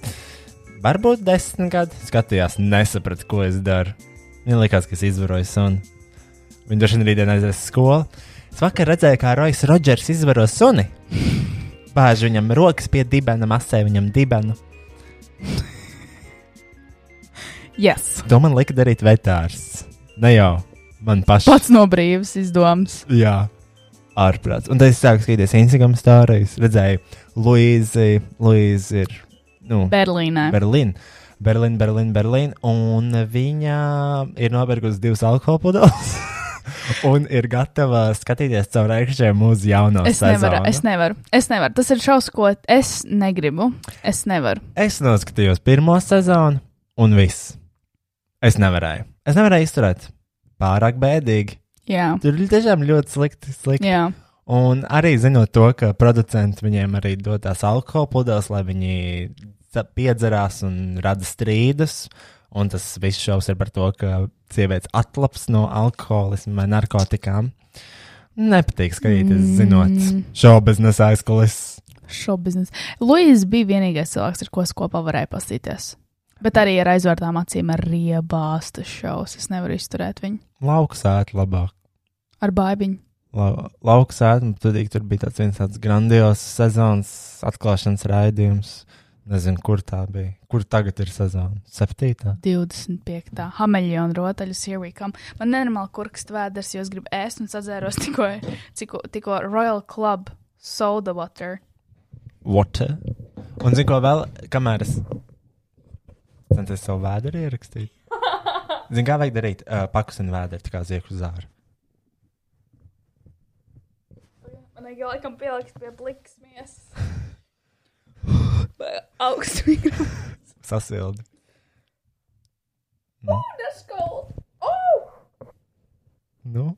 Varbūt desmit gadi skatījās, nesaprata, ko es daru. Viņa likās, ka es izvaroju suni. Viņa droši vien rītdien aizies uz skolu. Es vakar redzēju, kā Rojas Rodžers izvaro suni. Bāž viņam rokas pie dibena, masē viņam dibenu.
Yes.
To man lika darīt vetārs. Ne jau man pašam.
Pats no brīvas izdomas.
Jā, ārprāts. Un tad es sāku skatīties Instagram stāstus. Redzēju, Luīzi, Luīzi ir nu,
Berlīnē.
Berlīna. Berlīna, Berlīna, Berlīna. Un viņa ir nopirkusi divas alkohola
[laughs]
pudeles. un ir gatava skatīties caur ekstrēmu uz jauno
Es
sezonu.
nevaru, es nevaru, es nevaru. Tas ir šausmas, ko es negribu. Es nevaru.
Es noskatījos pirmo sezonu, un viss. Es nevarēju. Es nevarēju izturēt. Pārāk bēdīgi.
Jā,
Tur ir tiešām ļoti slikti. slikti.
jā.
Un arī zinot to, ka producenti viņiem arī dod tās alkohola pudeles, lai viņi sa- piedzerās un rada strīdus. Un tas viss šausmas ir par to, ka sievietes atlaps no alkoholisma vai narkotikām. Nepatīk
Mm.
skatīties,
Mm.
zinot šo biznesa aizkulis.
šo biznesu. Luis bija vienīgais cilvēks, ar ko es kopā varēju pasīties. Bet arī ar aizvērtām acīm, ar riebāstu šausmu. Es nevaru izturēt viņu.
Lauksēt labāk.
Ar bābiņu.
La, lauksēta, un tad ik- tur bija tāds viens tāds grandios sezonas atklāšanas raidījums. Nezinu, kur tā bija. Kur tagad ir sezona? Septītā.
25. hameljona rotaļas, here we come. Man nenormāli kurkst vēders, jo es gribu ēst un sadzēros tikko, tikko, tikko Royal Club soda water.
Water. Un zinu, ko vēl, kamēr es centos savu vēderu [laughs] ierakstīt. Zinu, kā vajag darīt uh, pakusinu vēderu, tā kā zieku zāru.
Man ir laikam pielikt pie bliksmies. Augsts mikrofons.
Sasildi.
Tas kaut. Oh!
Nu?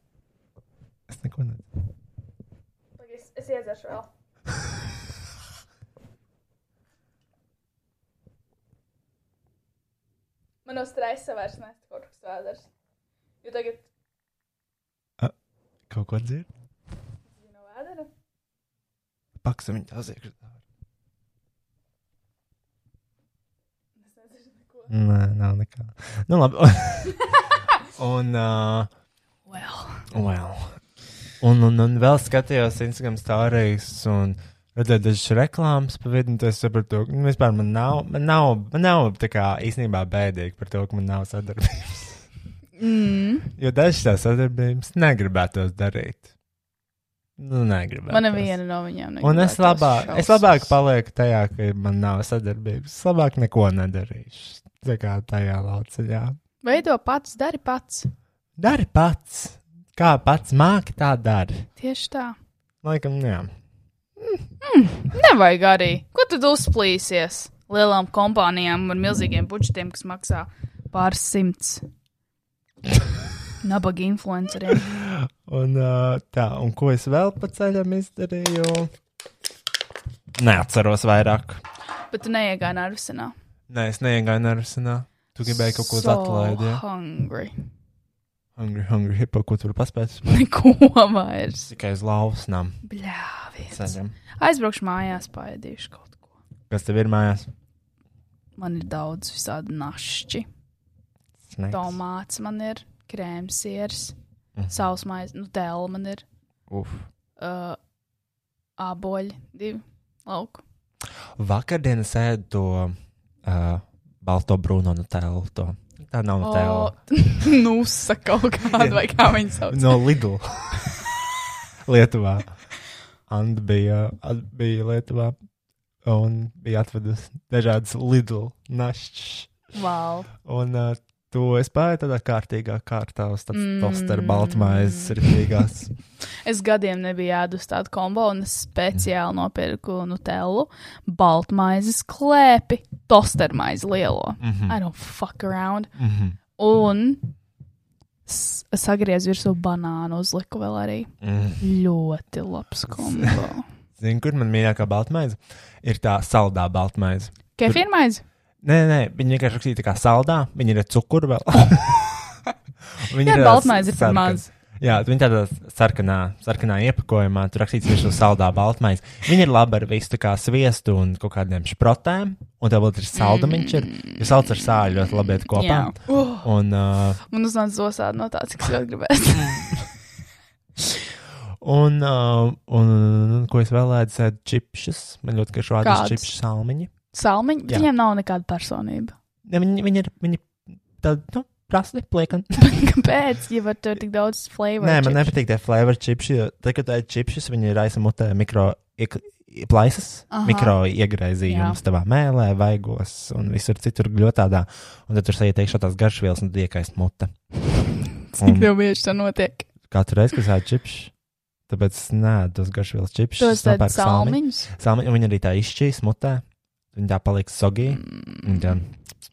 Es neko nezinu.
Es, es iedzeršu vēl. Man no stresa vairs nē, kaut kas vēders. Jo tagad
Kaut ko dzird?
zinu vēdera.
Pakusinu tā zieku zāru.
Es nezinu neko.
Nē, nav nekā. Nu, [laughs] labi. un, uh,
Well.
well. un, un, un vēl skatījos Instagram stāstus un redzēju dažas reklāmas pa vidu, un tad es sapratu, ka nu, vispār man nav, man nav, man nav tā kā īstenībā bēdīgi par to, ka man nav sadarbības. [laughs] Mm. Jo dažas tās sadarbības negribētos darīt. Nu, negribētu.
Man neviena no viņām nav.
Un es labāk, es labāk palieku tajā, ka man nav sadarbības. Es labāk neko nedarīšu. Tā kā tajā lauciņā.
Veido pats, dari pats.
Dari pats. Kā pats māki, tā dari.
Tieši tā. Mm,
Laikam, nu jā.
Nevajag arī. Ko tad uzplīsies lielām kompānijām ar milzīgiem budžetiem, kas maksā pāris simts? Nabaga influenceriem.
Un ā, tā, un ko es vēl pa ceļam izdarīju? Neatceros vairāk.
Bet tu neiegāji nervusinā.
Nē, es neiegāju nervusinā. Tu gribēji kaut ko so. atlaidīt. Ja?
Hungry. [laughs]
Hungry, hungry, hippo, ko tur paspēt.
Neko vairs.
Tikai uz lausnām
Bļāvis.
ceļam.
Aizbraukšu mājās, paēdīšu kaut ko.
Kas tev ir mājās?
Man ir daudz visādi našķi.
Snacks.
Tomāts man ir, krēmsieris,
Mhm.
sausmais, nu, tēlā man ir,
Uf.
uh, aboļi, divi lauku.
Vakardien es ēdu to uh, balto brūno nutelu. To. Tā nav nutela.
[laughs] nu, saka kaut
[laughs]
kāda, vai kā viņi sauc.
No Lidl. [laughs] Lietuvā. Anta bija, at- bija Lietuvā un bija atvedusi dažādas Lidl našķis.
Wow.
Un uh, to es pāju tādā kārtīgā kārtā uz tādas mm. tosteru baltmaizes ritīgās.
[laughs] Es gadiem nebiju ēdus tādu kombo, un es speciāli nopirku nutelu, baltmaizes klēpi, tostermaizi lielo. Mm -hmm. I don't fuck around. Mm -hmm. Un s- sagriezu virsū banānu, uzliku vēl arī. Mm. Ļoti labs
[laughs]
kombo.
Zini, kur man mīļākā baltmaize? Ir tā saldā baltmaize.
Kefirmaizi?
Nē, nē, viņi vienkārši rakstīja, tā kā saldā, viņi ir ar cukuru vēl.
[laughs]
viņi
Jā,
tādā
baltmaize ir par
sarkan-
maz.
Jā, viņi tādā sarkanā, sarkanā iepakojumā, tur rakstīts, ka viņš ir saldā baltmaize. Viņi ir labi ar visu tā kā sviestu un kaut kādiem šprotēm, un tā vēl ir saldumiņš, ir, jo salds ar sāļu ļoti labi iet kopā.
Mm. Jā.
Un, uh,
Man uznāca zosādi no tāds, kas ļoti
[laughs]
gribēs.
un, uh, un, un, un, ko es vēl ēdu, ēdu čipšas. Man ļoti garšo
Kādas?
ādas čipšu salmiņi.
Salmiņi,
Jā.
viņiem nav nekāda personība.
Ne, Viņi, viņi ir, viņi tādi, nu, prasni, pliekani.
[laughs] Kāpēc? Ja var tur tik daudz flavor.
Nē,
[laughs]
man
chips?
nepatīk tie flavor čipsi. jo Tad, kad tā ir čipsis, viņi ir aizsmeļā mutē mikro ik- i- plaisas,
Aha.
mikro iegraizījumus tavā mēlē, vaigos un visur citur gļotādā. Un tad tur sēž iekšā tās garšvielas un tad iekaist
[laughs]
mutē.
Cik tev bieži tā notiek?
Katru reizi, kad ēdu čipsi, tāpēc es neēdu tos garšvielas čipsus.
Tos tādus salmiņus.
Salmiņi, un viņi arī tā izšķīs mutē. Viņi tā paliek sogī.
Mm.
Un tā-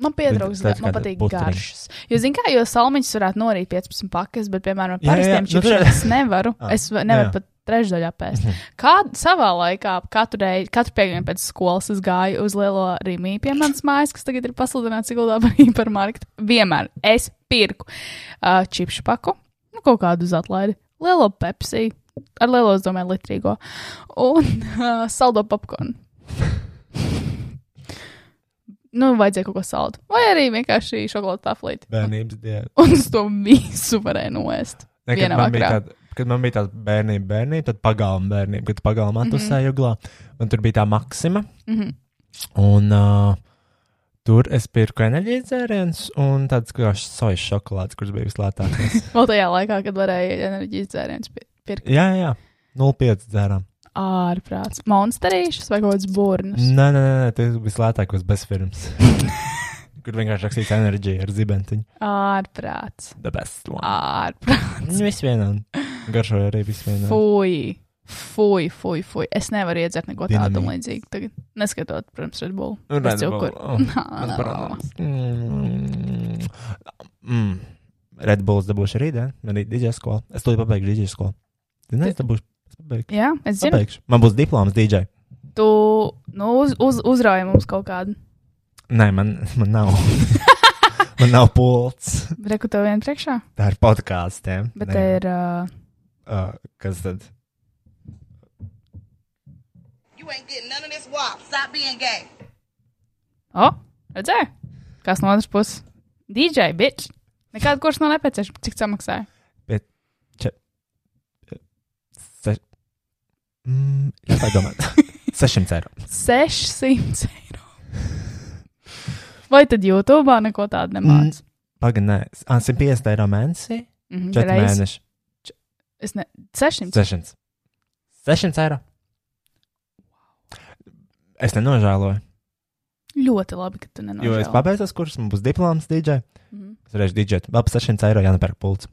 Man pietrūkst,
Tad- tad
man
kāda
patīk
putriņa.
garšas. Jo, zini, kā jau salmiņus varētu norīt 15 pakas, bet, piemēram, ar
Jā, jā,
parastiem
jā, nu
čipsiem
tā-
es nevaru.
[laughs] Ah,
Es va- nevaru
jā.
pat trešdaļā pēst. Kādu savā laikā, katru reizi, katru piektdienu pēc skolas, es gāju uz lielo rīmī pie manas mājas, kas tagad ir pasludināts Siguldā par [laughs] hipermarketu. Vienmēr es pirku uh, čipšu paku, nu, kaut kādu uz atlaidi, lielo pepsi, ar lielo, es domāju, litrīgo, un uh, saldo popkornu. [laughs] Nu, vajadzēja kaut ko saldu. Vai arī vienkārši šokolādu taflīti.
[laughs] Bērnības diena.
Un uz to visu varēja noēst.
Ne, kad,
Vienā
man bija
vakarā.
tāda, kad man bija tāda
Mhm.
bērnība, bērnība, tad pagalma bērnība, kad pagalma atusēja mm -hmm. uglā, un tur bija tā maksima. Mm -hmm. Un uh, tur es pirku enerģijas dzērienus un tādas grošas sojas šokolādes, kuras bija vislētākās.
[laughs] Vēl tajā laikā, kad varēja enerģijas dzērienus pir- pirkt.
jā, jā, 0,5 dzērām.
Ārprāts. Monsterīšas vai kaut kāds burnas?
Nē, nē, nē, nē, tas vislētākos bez firmas.
[laughs]
Kur vienkārši rakstīts enerģija ar zibentiņu.
Ārprāts.
The best one.
Ārprāts.
Nu, Viss vienā. Garšoja arī viss vienā.
Fui. Fui, fui, fui. Es nevaru iedzert neko
Dinamīts.
tādu līdzīgu. Tagad, neskatot, protams, Red Bull. Bez cukuru.
oh,
Nā, nā.
Mm. Mm. Red Bulls dabūšu rītdien, arī DJ skolā. Es to jau pabeigšu DJ skolā. Zini, es dabūšu. Es pabeigšu.
Jā, es zinu.
pabeigšu. Man būs diploms DJ.
Tu nu, uz, uz, uzrauj mums kaut kādu.
Nē, man, man
[laughs]
nav. man nav pults.
Reku tev vienu priekšā,
Tā ir podkāstiem.
bet te ir. Uh,
Uh, kas tad?
You ain't getting none of this wop. Stop being gay.
O, redzēji? Kas no otras puses? DJ, bitch. Nekāda kurš nav nepieciešama. Cik samaksāja?
Se... Mm, jā,
[laughs]
domāt. 600 eiro.
600 eiro. Vai tad YouTube neko tādu nemāc?
Pagaid, nē, Ah, 150 eiro mēnesī.
Mm -hmm,
4 mēneši.
Es ne... 600.
600. 600 eiro. Es nenožēloju,
Ļoti labi, ka tu
jo es
nenokāpies.
pabeigšu kursus, man būs diploms DJ.
Mhm.
Es varēšu DJ. Vēl par 600 eiro jānopērk pults.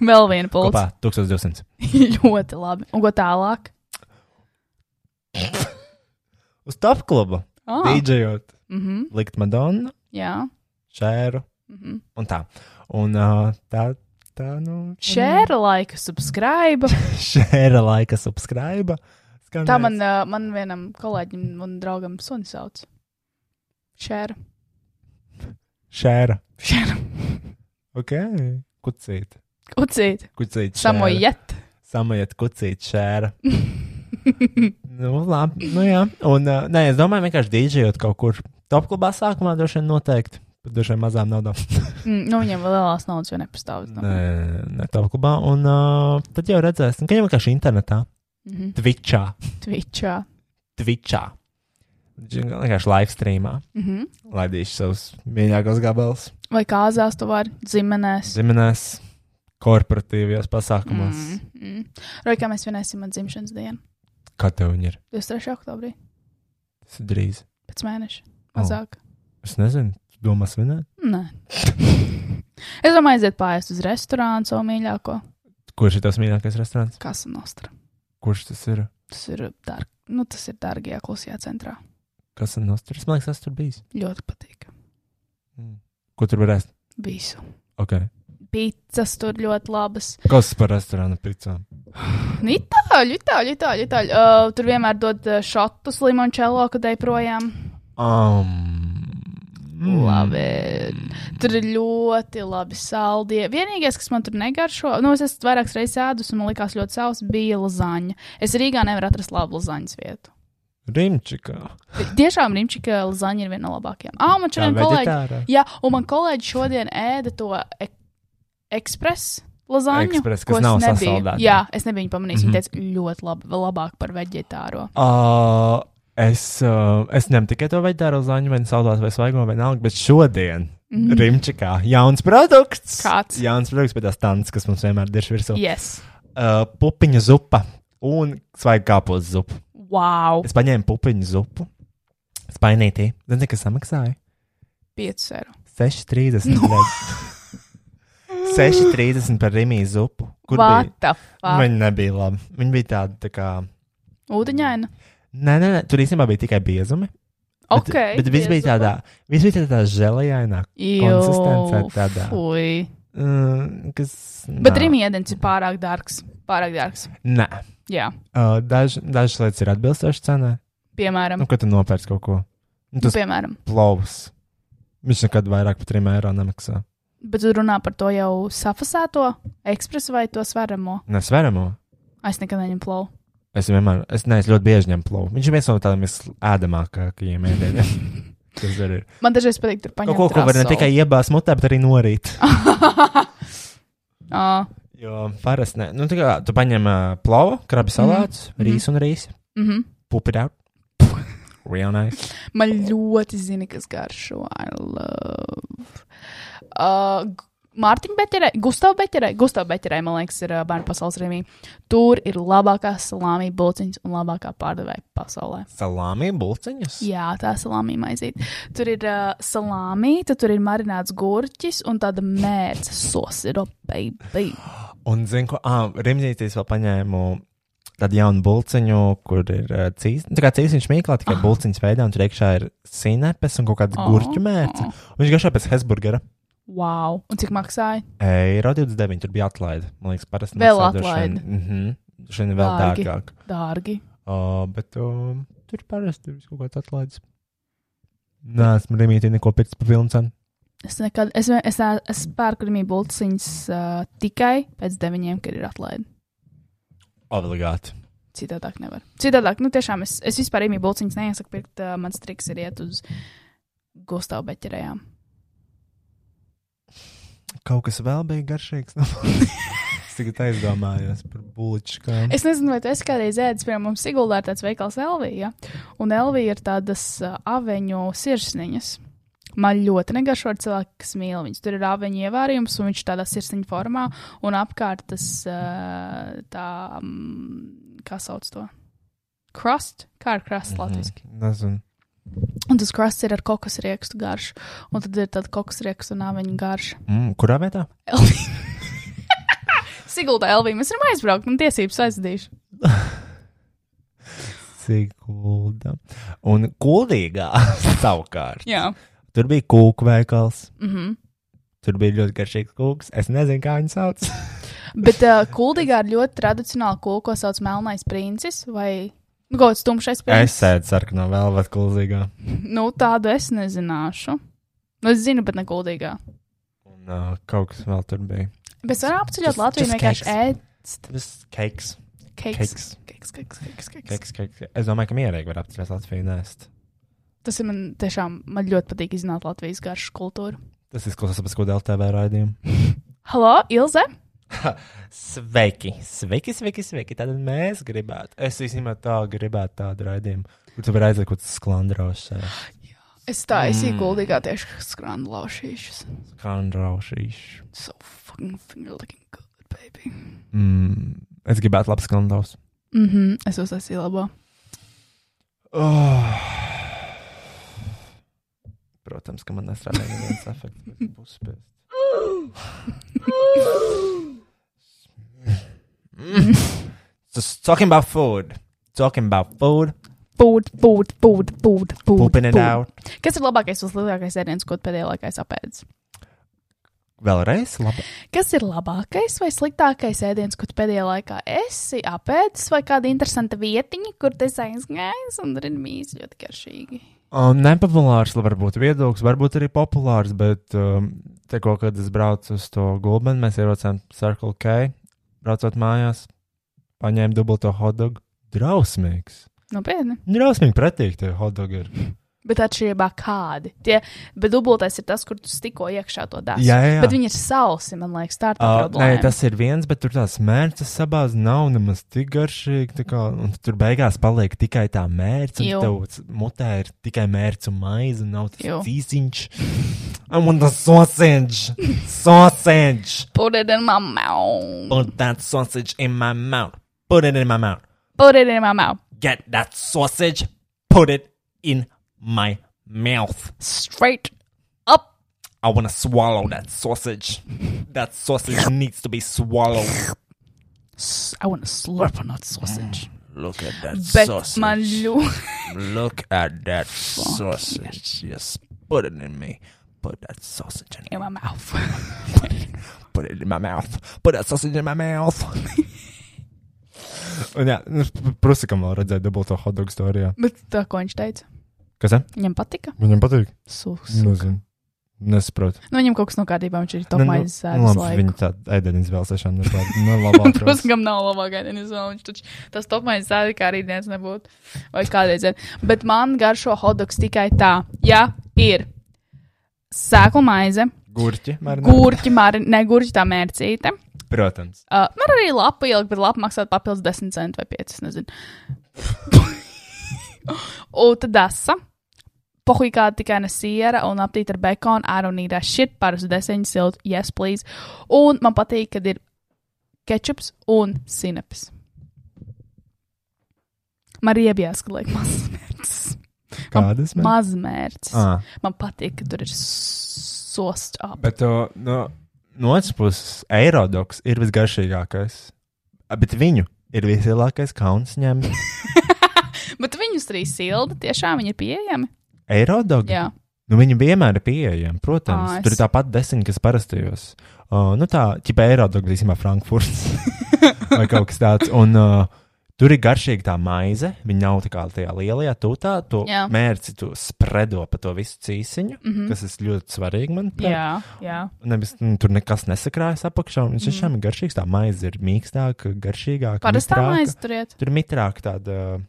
Vēl viena pulca.
Kopā 1200.
[laughs] ļoti labi. Un ko tālāk?
Uz top klubu.
Ah,
DJot.
mhm,
Likt Madonu,
jā.
Šēru
mhm.
un tā. Un uh, tā, tā, nu.
Šēra laika, subscribe.
Šēra laika subscribe. Skanēs.
Tā man, uh, man vienam kolēģim un draugam sunis sauc. Šēra.
Šēra.
[laughs] Šēra.
Ok. Kucīt.
Kucīt.
Kucīt.
[laughs]
šēra.
Samojiet.
Samojiet kucīt šēra.
Mm,
nu, labi. Nu, jā. Un, uh, nē, es domāju, vienkārši dīdžejot kaut kur topklubā sākumā droši vien noteikti. Par dažiem mazām naudām.
Mm, nu, viņam vēl lielās naudas jau nepastāv. es domāju.
Nē, nē, topklubā. Un uh, tad jau redzēsim, ka jau vienkārši internetā,
Mhm.
Twitchā,
Twitchā.
Twitchā. Dž- Vienkārši live streamā
Mhm.
laidīšu savus mīļākos gabalus.
Vai kāzās tu vari? Zimenēs.
Zīmenēs, korporatīvajos pasākumos. Mm.
Mm, mm. Vai kā mēs vienēsim man dzimšanas dienu?
Kā tev viņi ir?
23. oktobrī.
Tas ir drīz.
Pēc mēneša.
O.
Mazāk.
Es nezinu, tu domā svinēt?
Nē. [laughs] es domāju, aiziet pāri uz restorānu savu mīļāko.
Kurš ir tavs mīļākais restorāns?
Kas ir nostra?
Kurš tas ir?
Tas ir dārgi. Nu, tas ir dārgi, ja klusajā centrā.
Kas ir nostāsts? Man liekas, tas tur bijis.
Ļoti patīk.
Mm. Ko tur varēs?
Visu.
Okay.
Pizzas tur ļoti labas.
Kas par restorānu pizzām?
Nu, Itāļu, itāļu, itāļu. itāļu. Uh, tur vienmēr dod uh, šotus limončelo, kad ej projām.
Um,
Mm. Labi.
Hmm.
Tur ir ļoti labi saldie. Vienīgais, kas man tur negaršo, nu, es esmu vairākas reizes ēdus un man likās ļoti savs, bija lazaņa. Es Rīgā nevaru atrast labu lazaņas vietu.
Rimčikā.
Tiešām Rimčika lazaņa ir viena no labākajām. Ah, man
Tā
šodien kolēģi.
veģetārā.
Jā, un man kolēģi šodien ēda to e ekspresu lazaņu.
Ekspres,
ko
kas
es
nav
nebiju-
sasaldēta.
Jā, es nebiju viņu pamanījis. Mm
Mhm.
-hmm. Viņa teica, ļoti labi, vēl labāk par veģetāro.
Uh, es, uh, es ņemu tikai to veģetāro zāņu, vai nu saldās, vai svaigo, vai nāk, bet šodien mm. Rimčikā jauns produkts.
Mhm. Kāds?
Jauns produkts, bet tas tāds, kas mums vienmēr ir virsū. Yeah.
Yes.
Uh, pupiņu zupa un svaigu kāpostu zupa.
Wow!
Es paņēmu pupiņu zupu, spainītī. Zini, kas samaksāja?
5 eiro.
6,30. No.
[laughs]
6,30 par rīmiju zupu. Kur
What
bija?
the fuck?
Viņa nebija laba. Viņa bija tāda, tā kā.
Ūdeņaina.
Nē, nē, nē, tur īstenībā bija tikai biezumi. Bet,
Ok.
bet viss bija tādā, viss bija tādā žēlajainā, konsistencē tādā.
Fui.
mm, kas.
Bet
nā,
rīmiedens ir pārāk dārgs. Pārāk dārgs.
Nē,
Jā.
uh, daž, dažas lietas ir atbilstošas cenai.
Piemēram.
Nu, kad tu nopērci kaut ko, nu,
Nu,
tas
piemēram.
plovs. Viņš nekad vairāk par 3 eiro nemaksā.
Bet tu runā par to jau safasēto ekspresu vai to svaramo.
Nesveramo.
Es nekad neņemu plovu.
Es vienmēr, es neesmu ļoti bieži ņemu plovu. Viņš ir viens no tādiem visēdamākajiem ēdieniem. [laughs] Tas arī ir.
Man dažreiz patīk tur paņemt.
Kaut Nu, ko, ko var ne
rasolu.
tikai
[laughs]
iebāzt mutē, bet arī norīt.
Ā,
Jo parasti, ne. nu, tā kā tu paņem uh, plovu, krabi salātus, mm. rīsu un rīsu,
[laughs] mhm.
pupi out. Real nice.
Man ļoti zina, kas garšo. I love. Uh, Mārtiņa Beķerē, Gustavs Beķerē, Gustavs Beķerē, man liekas, ir uh, bērnu pasaules rīmī. Tur ir labākā salāmī bulciņas un labākā pārdevēja pasaulē.
Salāmī bulciņas.
Jā, tā salāmī maizīt. Tur ir uh, salāmī, tad tur ir marināts gurķis un tāda mērca sosiro, baby.
Un zinu, ko ah, Rimģītīs vēl paņēmu tādu jaunu bulciņu, kur ir eh, cīs, tā kā cīsiņš mīklā, tikai
Ah.
oh. bulciņas veidā, un tur iekšā ir sinepes un kaut kāda oh. gurķu mērce. Un Viņš garšā pēc Hesburgera.
Wow! Un cik maksāja?
Eiro 29, tur bija atlaide. Man liekas, parasti
Vēl
maksā droši
atlaide.
vien- Mhm. Šodien vēl
Dārgi.
dārgāk.
Dārgi.
Uh, bet um, tur parasti ir kaut kāds atlaides. Nē, esmu Rimītī neko pēc pa vilnu cenu.
Es nekad, es, vien- es, nē- es pērku rīmu bulciņas uh, tikai pēc deviņiem, kad ir atlaide.
Obligāti.
Citādāk nevar. Citādāk, nu tiešām es, es vispār rīmu bulciņas neiesaku pirkt. Uh, mans triks ir iet uz Gustavu beķerējām.
Kaut kas vēl bija garšīgs. Nu, [laughs] es tikai aizdomājos par buļbuļsakām.
Es nezinu, vai tu esi kādreiz ēdis, piemēram, mums Siguldā ir tāds veikals Elvija, un Elvija ir tādas uh, aveņu sirsniņas. Man ļoti negaršo ar cilvēku, kas mīl viņus. Tur ir aveņu ievārījums, un viņš ir tādā sirsniņa formā, un apkārt tas uh, tā, mm, kā sauc to? Krust, kā ir krusts latviešu.
Nezinu.
Un tas krusts ir ar kokas riekstu garšu, un tad ir tāda kokas riekstu un aveņu garša.
Mm, kurā vietā?
Siguldā Elvija, mēs varam aizbraukt, man tiesības aizdīšu.
Sigulda. Un kuldīgā [laughs] savukārt.
Jā.
Tur bija kūku veikals.
Mm -hmm.
Tur bija ļoti garšīgs kūks. Es nezinu, kā viņu sauc.
Bet uh, kuldīgā ir ļoti tradicionāla kūka, ko sauc melnais princis vai nu, kaut kāds tumšais
[laughs] es
princis.
sēdu sarkanā vēlvas kuldīgā.
Nu, tādu es nezināšu. Nu, es zinu, bet ne kuldīgā.
Un uh, kaut kas vēl tur bija.
Bet es varu apceļot
Just-
Latviju
just
vienkārši
cakes.
ēst
Tas keiks.
keiks.
Keiks.
Keiks, keiks, keiks, keiks.
Keiks, keiks. Es domāju, ka mierīgi var apturēt Latviju nēst.
Tas ir man tiešām, man ļoti patīk izzināt Latvijas garšu kultūru.
Tas izklausās pēc kāda LTV raidījuma.
Halo, Ilze!
Sveiki, sveiki, sveiki, sveiki. Tad mēs gribētu. Es īstenībā tā gribētu tādu raidījumu. Kur tu vari aiziet kaut eh, kāds sklandrošs,
Es tā esmu mm. guldīgā tieši skrānu laušīšus.
sklandrošīšs.
So fucking finger looking good, baby.
Mm, es gribētu labu skandālu.
Mhm, mm es uztaisīju labo.
Oh. Protams, ka man nestrādā viens efekts, bet būs spēcīgs. Just talking about food. Talking about food,
Pūt, pūt, pūt, pūt, pūt.
pooping it
pūt.
out.
Kas ir labākais un sliktākais ēdiens, ko tu pēdējā laikā esi apēdis?
Vēlreiz, labi.
Kas ir labākais vai sliktākais ēdiens, ko tu pēdējā laikā esi apēdis, vai kāda interesanta vietiņa, kur tas aizgājis un tur ir mīļš, ļoti garšīgi?
Um, nepopulārs varbūt viedoklis, varbūt arī populārs, bet um, tikko, kad es braucu uz to gulbeni, mēs ierocām Circle K, braucot mājās, paņēmu dubulto hotdogu. Drausmīgs!
Nopietni.
Drausmīgi pretīgi tie hotdogi ir.
Bet atšķirībā kādi. Tie, bet dubultais ir tas, kur tu tikko iekšā to dari.
Jā, jā, jā.
Bet viņi ir sausi, man liekas, tā ir tā
Uh, nē,
problēma.
tas ir viens, bet tur tās mērķis sabās nav nemaz tik garšīgi. tā Kā, un tur beigās paliek tikai tā mērķis,
Jū.
un tev c- mutē ir tikai mērķis un maize, un nav
Jū.
tas [laughs] cīsiņš. I want the sausage! sausage!
Put it in my mouth.
Put that sausage in my mouth. Put it in my mouth.
Put it in my mouth.
Get that sausage. Put it in my mouth.
Straight up.
I want to swallow that sausage. That sausage needs to be swallowed.
S- I want to slurp on that sausage.
Mm,
Look at that
Bet
sausage.
man ļoti. [laughs]
Look at that sausage. Just put it in me. Put that sausage in
in my mouth.
Put it in my mouth. Put that sausage in my mouth.
Un jā, prasakam, vēl redzēt dubulto hotdog stāstā.
Bet tā, ko viņš teica,
Kas? Ne?
viņam patika.
Viņam patīk.
Sūs.
Nezinu. Nesaprotu.
Nu, viņam kaut kas no kārtībā, viņš ir
Nu,
top
nu,
maizes
nu,
sēdes
labi,
[laughs]
Viņa
laiku.
tāda ēdienas nu, vēl
[laughs]
sešām nebija.
Protams, kam nav labākā ēdienas vēl, viņš taču tas top maizes sēde kā rītdienas nebūtu. Vai kādreiz. ir. Bet man garšo hotdogs tikai tā, ja ir sēklu maize,
Gurķi, marināti.
gurķi, mari, ne gurķi tā mērcīte.
Protams.
Uh, man arī lapa ielikt, bet lapa maksā papildus 10 centus vai 5, nezinu. Utadasa. Pohikā tikai ne siera un aptīt ar bekonu. I don't need a shit par uz deseņu siltu. Yes, please. Un man patīk, kad ir ketčups un sinepes. Man ir iebijās, ka liek mazs mērķis.
Kādas mēs?
Mazs mērķis.
Ah.
Man patīk, ka tur ir sost up.
Bet uh, no, no otras puses, Eirodoks ir visgaršīgākais. A, Bet viņu ir vislielākais kauns ņemt.
Bet viņus arī silda. Tiešām viņi ir pieejami.
Eirodoks?
Jā.
Nu, viņi vienmēr ir pieejami, protams.
Ā, es-
Tur ir tāpat desmit, kas parastajos. Uh, nu, tā, ķipa Eirodoks, īstenībā
[laughs]
Frankfurts vai kaut kas tāds. Un, uh, Tur ir garšīga tā maize. Viņa nav tā kā tajā lielajā tūtā. To
Jā.
mērci tu spredo pa to visu cīsiņu, mm
Mhm.
-hmm. kas ir ļoti svarīgi, manuprāt.
Jā, jā.
Nevis, nu, tur nekas nesakrājas apakšā.
Mm.
un Viņš tiešām ir garšīgs. Tā maize ir mīkstāka, garšīgāka.
Parastā
mitrāka.
maize turiet.
Tur ir mitrāka tāda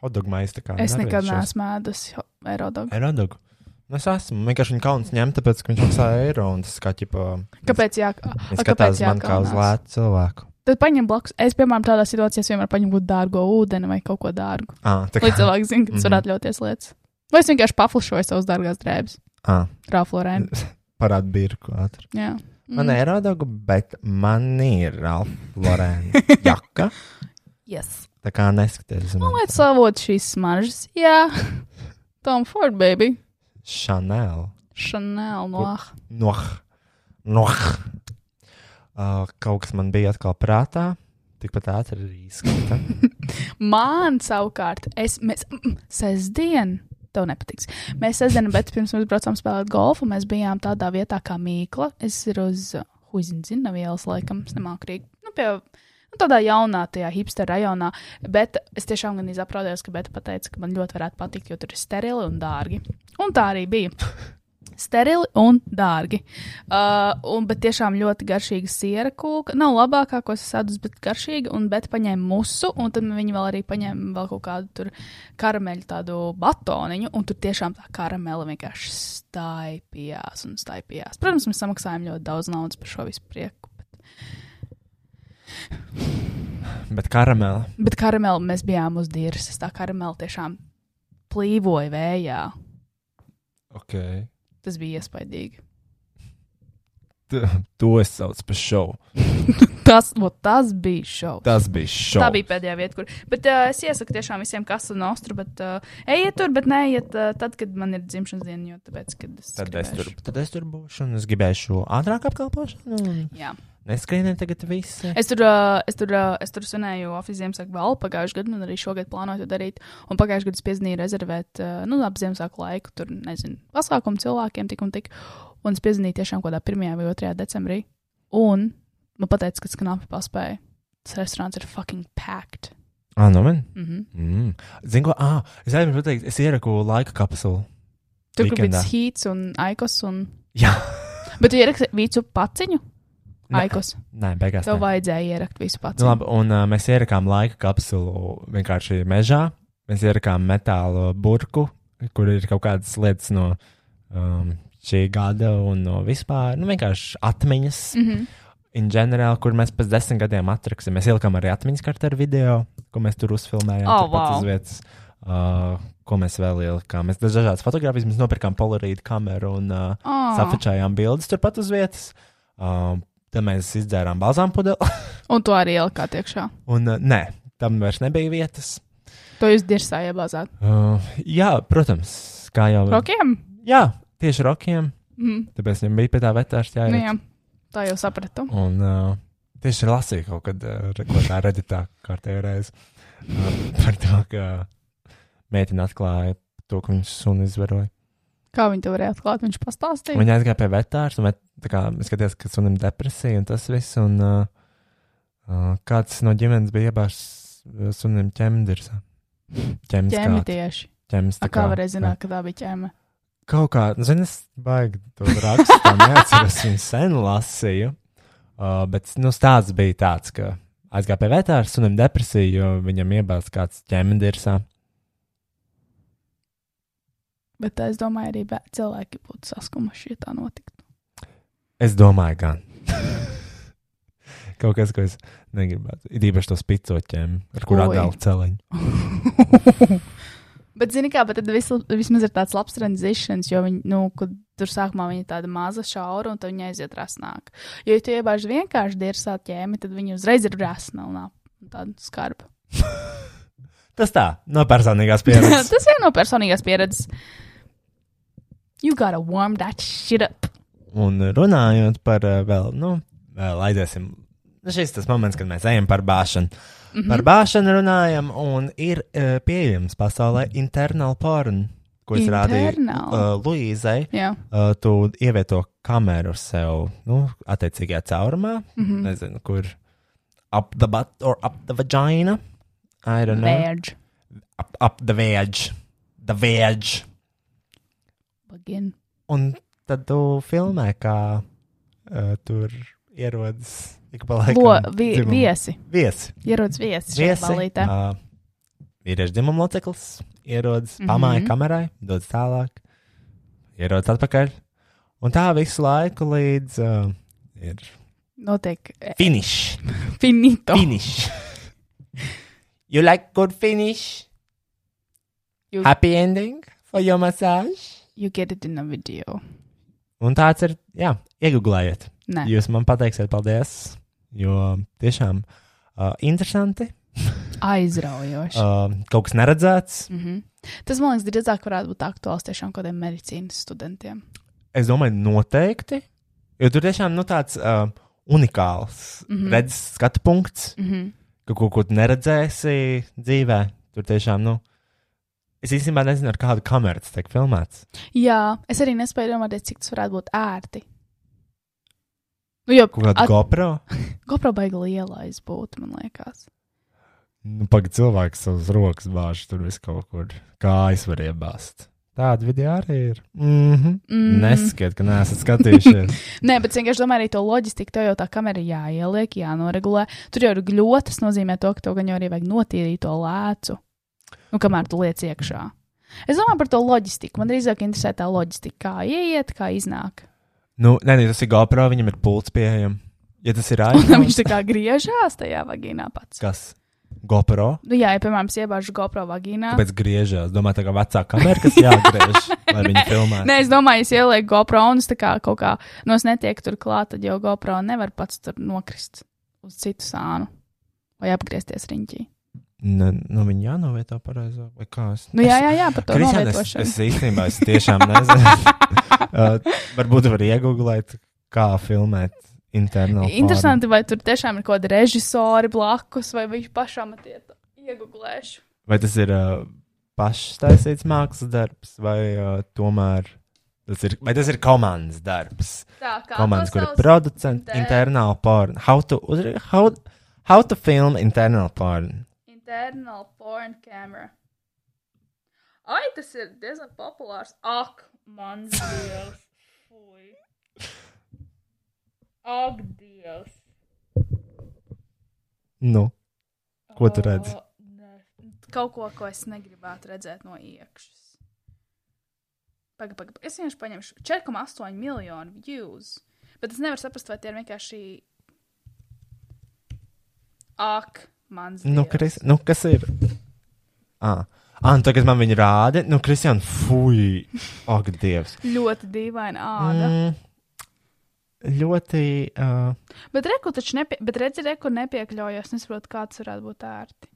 hotdog maize. tā kā
Es
norvēģišos.
nekad neesmu ēdusi aerodogu.
Ai, hotdogu? Nu, Es esmu vienkārši viņa kauns ņemt, tāpēc, ka viņš maksā eiro un tas kā ķipa.
Kāpēc jā?
Viņš
a,
skatās
kāpēc
man kā uz
jākaunās?
lētu cilvēku.
Tad paņem blakus. Es, piemēram, tādā situācijā es vienmēr paņemu kaut dārgo ūdeni vai kaut ko dārgu.
Ah, tā
Lai
kā.
cilvēki zinātu, ka tas
Mhm.
var atļauties lietas. Vai es vienkārši paflušoju savus dārgās drēbes?
Ah,
Rāflorēna.
parāda birku ātri.
Jā. Mhm.
Man ir aerodogu, bet man ir Ralf
[laughs]
Lorēna jaka.
Yes.
Tā kā neskaties uz
Lai
mani.
savot šīs smaržas. Jā. Tom Ford, baby.
Chanel.
Chanel no.
Noh, noh. Uh, kaut kas man bija atkal prātā. Tikpat ātri arī izskata.
Man savukārt, es, mēs mm, sestdien, tev nepatiks. Mēs sestdien, bet pirms mēs braucām spēlēt golfu, mēs bijām tādā vietā kā Mīkla. Es ir uz Huizindzina vielas, laikam, es nemāku rīk. Nu, pie, nu, tādā jaunā, tajā hipster rajonā. Bet es tiešām gan izapraudējos, ka Beta pateica, ka man ļoti varētu patikt, jo tur ir sterili un dārgi. Un tā arī bija. Sterili un dārgi. Uh, un, bet tiešām ļoti garšīga siera kūka. Nav labākā, ko es sadu, bet garšīga. Un bet paņēma musu, un tad viņi vēl arī paņēma vēl kaut kādu tur karameļu tādu batoniņu. Un tur tiešām tā karamela vienkārši staipījās un staipījās. Protams, mēs samaksājām ļoti daudz naudas par šo visu prieku. Bet,
Bet karamela.
bet karamela mēs bijām uz dīras. Tā karamela tiešām plīvoja vējā.
Okay.
Tas bija iespaidīgi.
To es saucu par šovu.
Tas, vo, tas bija šausmas.
Tas bija šovs.
Tā bija pēdējā vieta, kur. Bet uh, es iesaku tiešām visiem, kas ir nostru, bet uh, ejiet tur, bet neiet uh, tad, kad man ir dzimšanas diena, jo tāpēc, kad es.
Tad es,
gribēšu.
tur, tad es tur būšu, un es gribēšu ātrāk apkalpošanu. un
Jā.
Neskrieniet tagad visi.
Es tur, uh, es tur, uh, es tur svinēju oficiālu Ziemassvētku vēl pagājušajā gadā, un arī šogad plānoju to darīt. Un pagājušajā gadā es piezīmēju rezervēt, uh, nu, ap Ziemassvētku laiku, tur, nezinu, pasākumu cilvēkiem tik un tik. Un es piezīmēju tiešām kaut kādā 1. vai 2. decembrī. Un man teica, ka tas knapi paspēja. Tas restorāns ir fucking packed.
Ah, nu man.
Mm -hmm.
Mm. Zinu, ko. Ah, es aizmirsu pateikt, es ieraku laika kapsulu. [laughs]
Tur, kur bija
Vikendā.
Heats un Aikos un.
Jā.
Bet tu ierakstīji visu paciņu?
Nē.
Aikos.
Nē, beigās.
Tev
nē.
vajadzēja ierakstīt visu
Nu,
paciņu.
labi, un uh, mēs ierakām laika kapsulu vienkārši mežā. Mēs ierakām metāla burku, kur ir kaut kādas lietas no um, šī gada un no vispār. Nu, vienkārši atmiņas. Mm
Mhm.
-hmm. In general, kur mēs pēc desmit gadiem atraksim, mēs ielikām arī atmiņas kartē ar video, ko mēs tur uzfilmējām.
Oh,
turpat
wow.
uz vietas, uh, ko mēs vēl ielikām. Mēs dažādas fotogrāfijas, mēs nopirkām polārīdu kameru un uh,
Ah,
oh. safačājām bildes turpat uz vietas. Uh, tad mēs izdzērām balzām pudeli. [laughs]
Un to arī ielikāt iekšā.
Un, uh, nē, tam vairs nebija vietas.
To jūs dirsā iebāzāt.
Uh, jā, protams, kā jau
Rokiem?
Jā, tieši rokiem.
Mm.
Tāpēc viņam bija pie tā vetārs
Nu,
jāiet.
jā, tā jau sapratu.
Un uh, tieši lasīju kaut kad uh, re- ko tā redītā kārtējā reize uh, par to, ka meitene atklāja to, ka viņš suni izvaroja.
Kā viņi to varēja atklāt? Viņš pastāstīja.
Viņa aizgāja pie vetārs, un vet- tā kā skatījās, ka sunim depresija un tas viss. Un uh, uh, kāds no ģimenes bija iebārs uh, sunim ķemdirs. Ķemdirs.
Ķēmi
Ķemdirs.
tieši.
Ķemdirs.
A, kā varēja zināt, ka tā bija ķēme?
kaut kā, zinu, es baigi to rakstu, neatceros, viņu sen lasīju. Uh, bet nu, stāsts bija tāds, ka aizgāja pie vetāra sunim depresiju, jo viņam iebāz kāds ķemdirsā.
Bet es domāju, arī bē- cilvēki būtu saskumuši, ja tā notiktu.
Es domāju, gan. kaut kas, ko es negribētu. Ir īpaši tos picoķiem, ar kurām
Oi.
dēlu celiņu.
Bet, zini, kā, bet tad vis, vismaz ir tāds labs transitions, jo viņi, nu, kad tur sākumā viņa ir tāda maza šaura, un tad viņa aiziet rasnāk. Jo, ja tu iebāž vienkārši dirsā ķēmi, tad viņa uzreiz ir rasna un ap- un tāda skarba.
Tas tā, no personīgās pieredzes.
[laughs] Tas ir no personīgās pieredzes. You gotta warm that shit up.
Un runājot par eh, vēl, nu, vēl aiziesim. Nu, Šis tas moments, kad mēs ejam par bāšanu. Mm -hmm. Par bāšanu runājam, un ir uh, pieejams pasaulē internal porn, ko es rādīju
Internal?
uh, Luīzai.
Jā,
Uh, tu ievieto kameru sev, nu, attiecīgajā caurumā, mm -hmm. nezinu, kur up the butt or up the vagina. I don't know.
vērģ.
Up, up the veg. The veg.
Bagin.
Un tad tu filmē, kā uh, tur ierodas ik pa laikam.
Lo, vi,
dzimuma-
viesi.
viesi.
Ierodas viesi. šajā
Viesi.
ballītē.
ā, Vīriešu dzimuma loceklis ierodas,
Mhm.
pamāja mm -hmm. kamerai, dodas tālāk, ierodas atpakaļ. Un tā visu laiku līdz uh, ir
Notiek eh,
finish.
finito. [laughs]
Finish. you like good finish?
You-
Happy ending for your massage?
You get it in a video.
Un tāds ir, jā, iegūlējiet.
Nē.
Jūs man pateiksiet, paldies. Jo tiešām uh, interesanti.
Aizraujoši.
Uh, kaut kas neredzēts. Mm.
Mhm. Tas, man liekas, drīzāk varētu būt aktuāls tiešām kaut kādiem medicīnas studentiem.
Es domāju, noteikti. Jo tur tiešām nu, tāds uh, unikāls
Mhm.
mm -hmm. redzes skatu punkts, mm -hmm. ka kaut ko tu neredzēsi dzīvē. Tur tiešām, nu, es īstenībā nezinu, ar kādu kameru tas tiek filmēts.
Jā, es arī nespēju domāt, cik tas varētu būt ērti. Nu, jo,
Kaut kādu At...
at,
GoPro.
GoPro baigi lielais būtu, man liekas.
Nu, Pagaidā cilvēks savus rokas bāž, tur viss kaut kur kājas var iebāzt. Tāda video arī ir. Mm -hmm.
Mhm.
mm. Neskiet, ka neesat skatījušies.
Nē, bet es vienkārši domāju, arī to loģistiku, tev jau tā kamera ir jāieliek, jānoregulē. Tur jau ir gļota, tas nozīmē to, ka tev gan jau arī vajag notīrīt to lēcu. Nu, kamēr tu liec iekšā. Es domāju par to loģistiku. Man drīzāk interesē tā loģistika, kā ieiet, kā iznāk.
Nu, nē, nē, tas ir GoPro, viņam ir pults pieejams. Ja tas ir
Un [laughs]
iPhone,
viņš tā kā griežās tajā vagīnā pats.
kas GoPro,
Nu, jā, ja, piemēram, es iebāžu GoPro vagīnā.
kāpēc griežās? Domāju, tā kā vecā kamera, kas
[laughs]
jāgriež, lai viņi filmētu.
Nē, es domāju, es ielieku GoPro un es tā kā kaut kā no es netieku tur klāt, tad jau GoPro nevar pats tur nokrist uz citu sānu vai apgriezties riņķī.
Nu, nu viņi jānovieto pareizo, vai kā es.
Nu, jā, jā, jā, par to
Kristian, es,
novietošanu.
es īstenībā es tiešām
[laughs]
nezinu. uh, varbūt var iegooglēt, kā filmēt internal. porn.
Interesanti, vai tur tiešām ir kaut kādi režisori blakus, vai viņš pašam atiet iegublēšu.
Vai tas ir uh, paštaisīts mākslas darbs, vai uh, tomēr tas ir, vai tas ir komandas darbs?
Tā kā
komandas,
to
kur ir
sauc?
producents,
Inter-
internal porn. How to, uzra- how, how to film internal porn.
Internal porn camera. Ai, tas ir diezgan populārs. Ak, man dievs. Fui. Ak, dievs.
Nu, ko tu redzi?
O, nē. Kaut ko, ko es negribētu redzēt no iekšas. Pagaid, pagaid. Es vienkārši paņemšu 4,8 miljonu views. Bet es nevaru saprast, vai tie ir vienkārši. Ak, man zina.
Nu, Kris, nu, kas ir? Ah. Ah, nu tagad man viņa rāda. Nu, Kristian, fuj, ak, Dievs.
Ļoti dīvaina āda. Mm.
Mm. Ļoti. Uh,
Bet reku taču nepie... bet redzi, reku nepiekļaujos. Nesaprotu, kāds varētu būt ērti.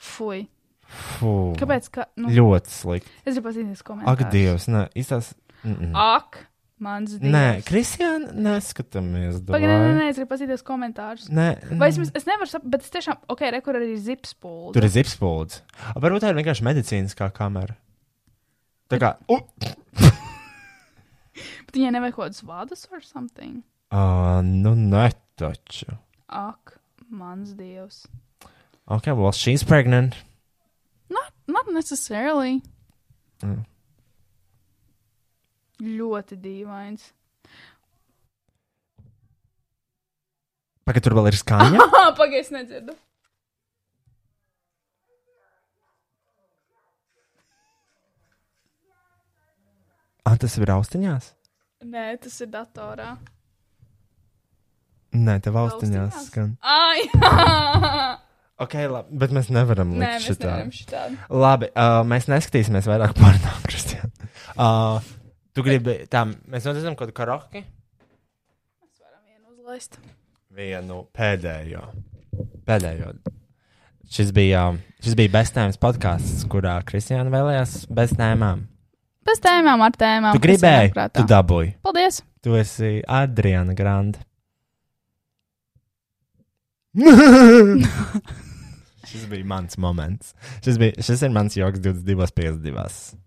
Fui.
fu,
Kāpēc? Ka... Nu,
Ļoti slikti.
es gribu pazīties komentārus.
Ak, Dievs, nē, izsās. Mm -mm.
Ak, man zina.
Nē, Kristian, neskatāmies.
Pagaid, nē, nē,
davai.
nē, es gribu pazīties komentārus.
Nē,
Vai es, vismaz- es nevaru saprast, bet es tiešām, ok, re, kur arī ir zips pūlis.
Tur ir zipspūlis. Varbūt tā ir vienkārši medicīniskā kamera. Tā kā. Uh,
Bet viņai nevajag kaut kādas vadas or something.
uh, nu, nē, taču.
Ak, mans dievs.
Ok, well, she's pregnant.
Not, not necessarily.
Mm.
Ļoti dīvains. [laughs]
Pagaid, tur vēl ir skaņa.
Ah, pagaidi, es nedzirdu.
ah, tas ir austiņās.
Nē, tas ir datorā.
Nē, tev austiņās
Austiņās?
[laughs] skan.
Ai, jā!
Ok, labi, bet mēs nevaram
Nē,
likt
mēs
šitā.
nevaram šitādu.
Labi, uh, mēs neskatīsimies vairāk [laughs] pornogrāfiju, Kristian. Uh, tu gribi, tā, mēs redzam kaut kādu karaoke?
Uzlaist.
Vienu pēdējo. Pēdējo. Šis bija, um, šis bija bestēmas podkāsts, kurā Kristiāna vēlējās bestēmām.
Bez tēmām ar tēmām.
Tu
kas ir
gribēji,
prātā.
tu dabūji.
Paldies!
Tu esi Adriana Grande. šis bija mans moments. Šis, bija, šis ir mans joks 22,52.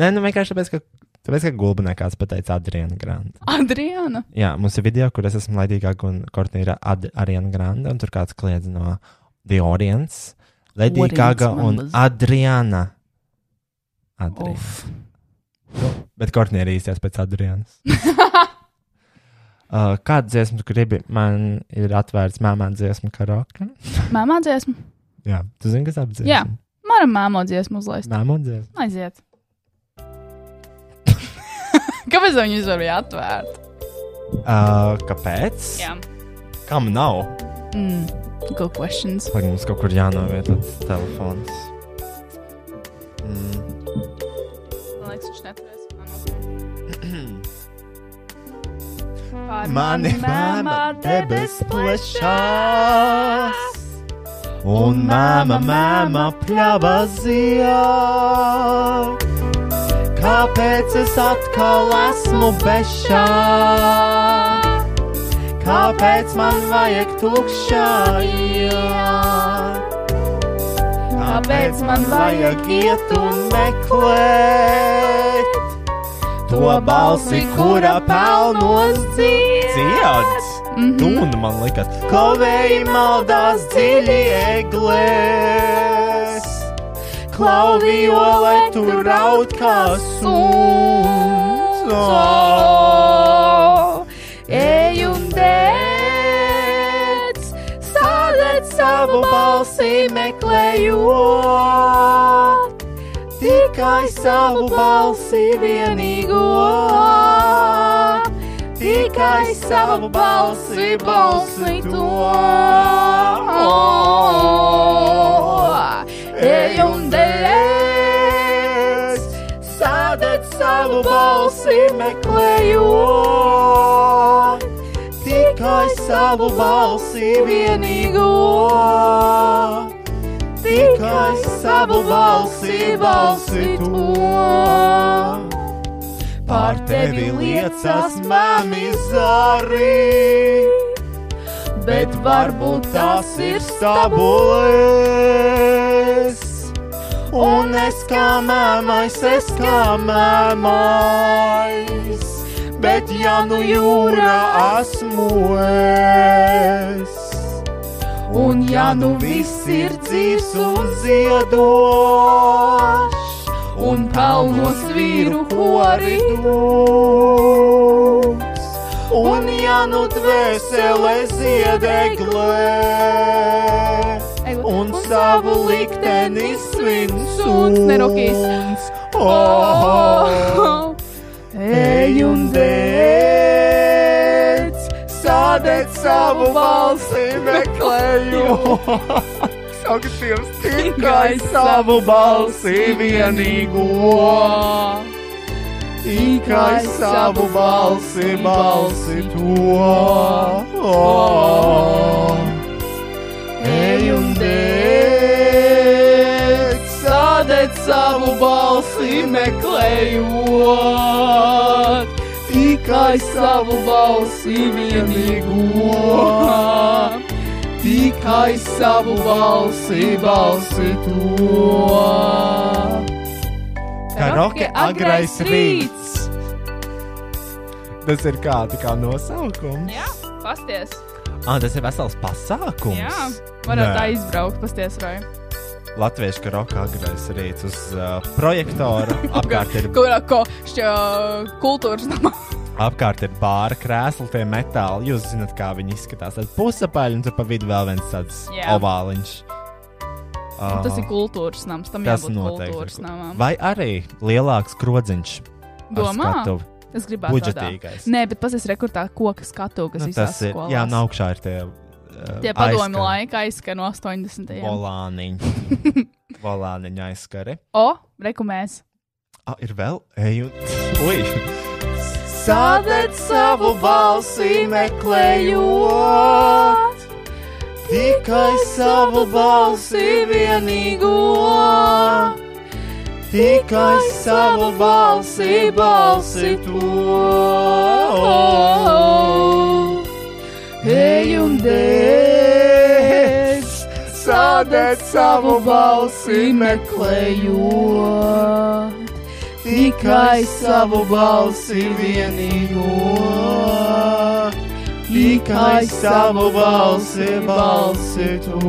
Nē, nu vienkārši tāpēc, ka, tāpēc, ka gulbinē kāds pateica Adriana Grande.
Adriana!
Jā, mums ir video, kur es esmu laidīgāk un kortnī ir Ad Ariana Grande, un tur kāds kliedz no The Orients. Lady
Orients,
Gaga
man
un
lūdzu.
Adriana. Adriana. Nu,
Uf.
Bet Kortnē ir īstais pēc
[laughs]
Adrianas. Uh, Kādu dziesmu tu gribi? Man ir atvērts māmā dziesmu karaoke.
Māmā dziesmu.
Jā, tu zini, kas apdzīvo.
Jā. Māra māmo dziesmu uzlaist.
māmā dziesmu.
Aiziet! [laughs] Kāpēc viņi izvarīja atvērt?
Uh, kāpēc?
Jā.
Kam nav?
Mm. Good questions.
Lai mums kaut kur jānovieto tas telefons. Mm.
Man liekas, viņš neturēs. Manu. Pār mani
Mani māma
mēmā
debes
debes
plešās, un māma
māma,
māma
māma
pļāvā zijā. Kāpēc es atkal esmu bešā? Kāpēc man vajag tukšā? iela? Kāpēc man vajag iet un meklēt to balsi, kura pelnos dziedāt. Tūna man liekas, klauvēji maldās dziļi eglēs. Klauvijole tu raud kā sūns.
Eju un dēc, sādēt savu
Savu balsi meklējot, tikai savu balsi vienīgo. Tikai savu balsi, balsi to. Ej un dēļ, sādēt savu balsi meklējot. Tikai savu balsi vienīgo. Tikai savu balsi, balsi to. Pār tevi liecas mamizārī, bet varbūt tas ir stabulēs. Un es kā mēmais, es kā mēmais, bet ja nu jūra esmu es. Un ja nu viss ir dzīves un ziedošs, un pelnos vīru kori dūks. Un ja nu dvēsele ziedeglē, un savu likteni svins
Suns nerokīs.
Oh, ej un dēc, sādēt savu balsi [laughs] meklējot. Saka, Dievs, tikai savu balsi vienīgo. Tikai savu balsi, balsi to. Ej un dēļ, sādēt savu balsi meklējot. Tikai savu balsi vienīgo. Tikai savu balsi, balsi to. Karaoke agrais rīts. Tas ir kā, tā kā nosaukums.
Jā, pasties.
Ah, tas ir vesels pasākums.
Jā, varētu
Nē.
aizbraukt, pasties, Roja.
Latviešu karaoke agrais rīts uz uh,
[laughs]
projektora. apkārt, ir,
Kurā ko šķiet kultūras [laughs] namā.
apkārt ir bāra krēsli, tie metāli. Jūs zināt, kā viņi izskatās. Tad pusapaļi un tur pa vidu vēl viens tāds
Jā.
ovāliņš. Ah,
Tas ir kultūras nams, tam
Tas
jābūt kultūras
noteikti.
namam.
Vai arī lielāks krodziņš? ar
Domā?
skatuvi.
Es gribētu. tādā.
Budžetīgais.
Nē, bet pasies rekordā koka skatu, kas
Nu,
nu,
tas
izsācis
ir.
skolā.
Jā, no augšā ir tie uh,
Tie padomi laika aizskan no 80. gadsimta. [laughs]
Volāniņa. Volāniņa aizskari.
O, rekomēs.
Ah, ir vēl eju. Ui!
Sādēt savu balsi meklējot,
tikai
savu balsi vienīgo,
tikai
savu balsi, balsi to. Ejam dēļ, sādēt savu balsi meklējot, tikai savu balsi vienīgo. Tikai savu balsi, balsi to.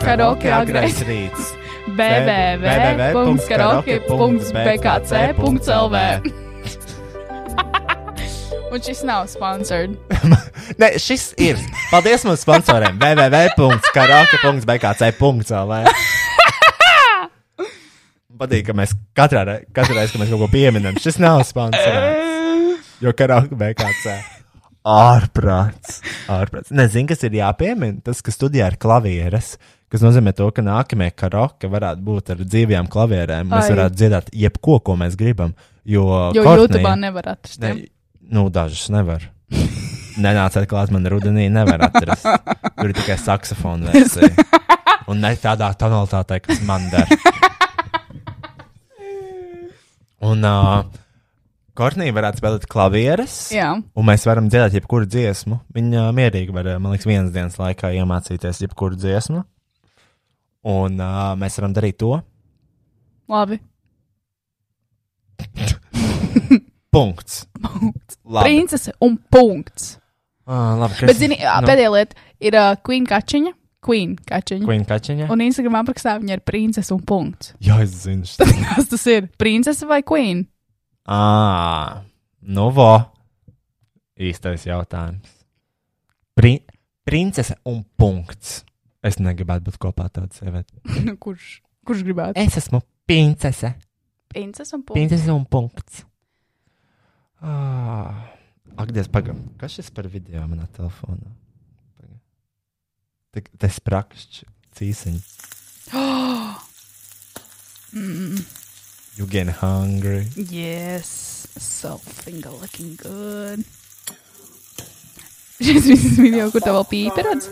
Karaoke agrais [laughs]
rīts.
www.karaoke.bkc.lv Un šis nav sponsored.
Nē, šis ir. Paldies mūsu sponsoriem. www.karaoke.bkc.lv Patīk, ka mēs katrā rei- katru reizi, kad mēs kaut ko pieminam, šis nav sponsorēts. Jo karaoke BKC. Ārprāts. Ārprāts. Nezinu, kas ir jāpiemina. Tas, ka studijā ir klavieres, kas nozīmē to, ka nākamie karaoke varētu būt ar dzīvajām klavierēm. Mēs
Ai.
varētu dziedāt jebko, ko mēs gribam. Jo,
Jo
Kortnija-
YouTube nevar atrast.
Ne, nu, dažas nevar. Nenāciet klāt, man rudenī nevar atrast. Tur ir tikai saksofona versija. Un ne tādā tonalitātē, kas man der. Un uh, Kornija varētu spēlēt klavieres.
Jā.
Un mēs varam dzirdēt jebkuru dziesmu. Viņa mierīgi var, man liekas, vienas dienas laikā iemācīties jebkuru dziesmu. Un uh, mēs varam darīt to.
Labi.
Punkts. Labi.
Princese un punkts.
Uh, labi
Bet, zini, ā,
nu.
pēdējā lieta ir uh, Queen Kačiņa. Queen Kačiņa.
Queen Kačiņa.
Un Instagram aprakstā viņa ir princese un punkts.
Jā, es zinu. šitā.
[laughs] Kas tas ir? Princese vai Queen? [laughs]
Ā, nu, vo. Īstais jautājums. Pri princese un punkts. Es negribētu būt kopā tāda sieviete.
Nu, kurš, kurš gribētu?
Es esmu princese.
Princese un punkts.
Princese un punkts. Ah, ak, Dievs, pagaidi. Kas šis par video manā telefonā? Pagaid. Tik- Tas prakšķis cīsiņš. You get hungry.
Yes, so finger looking good. [laughs] Šis visas video, kur tev vēl pīperats?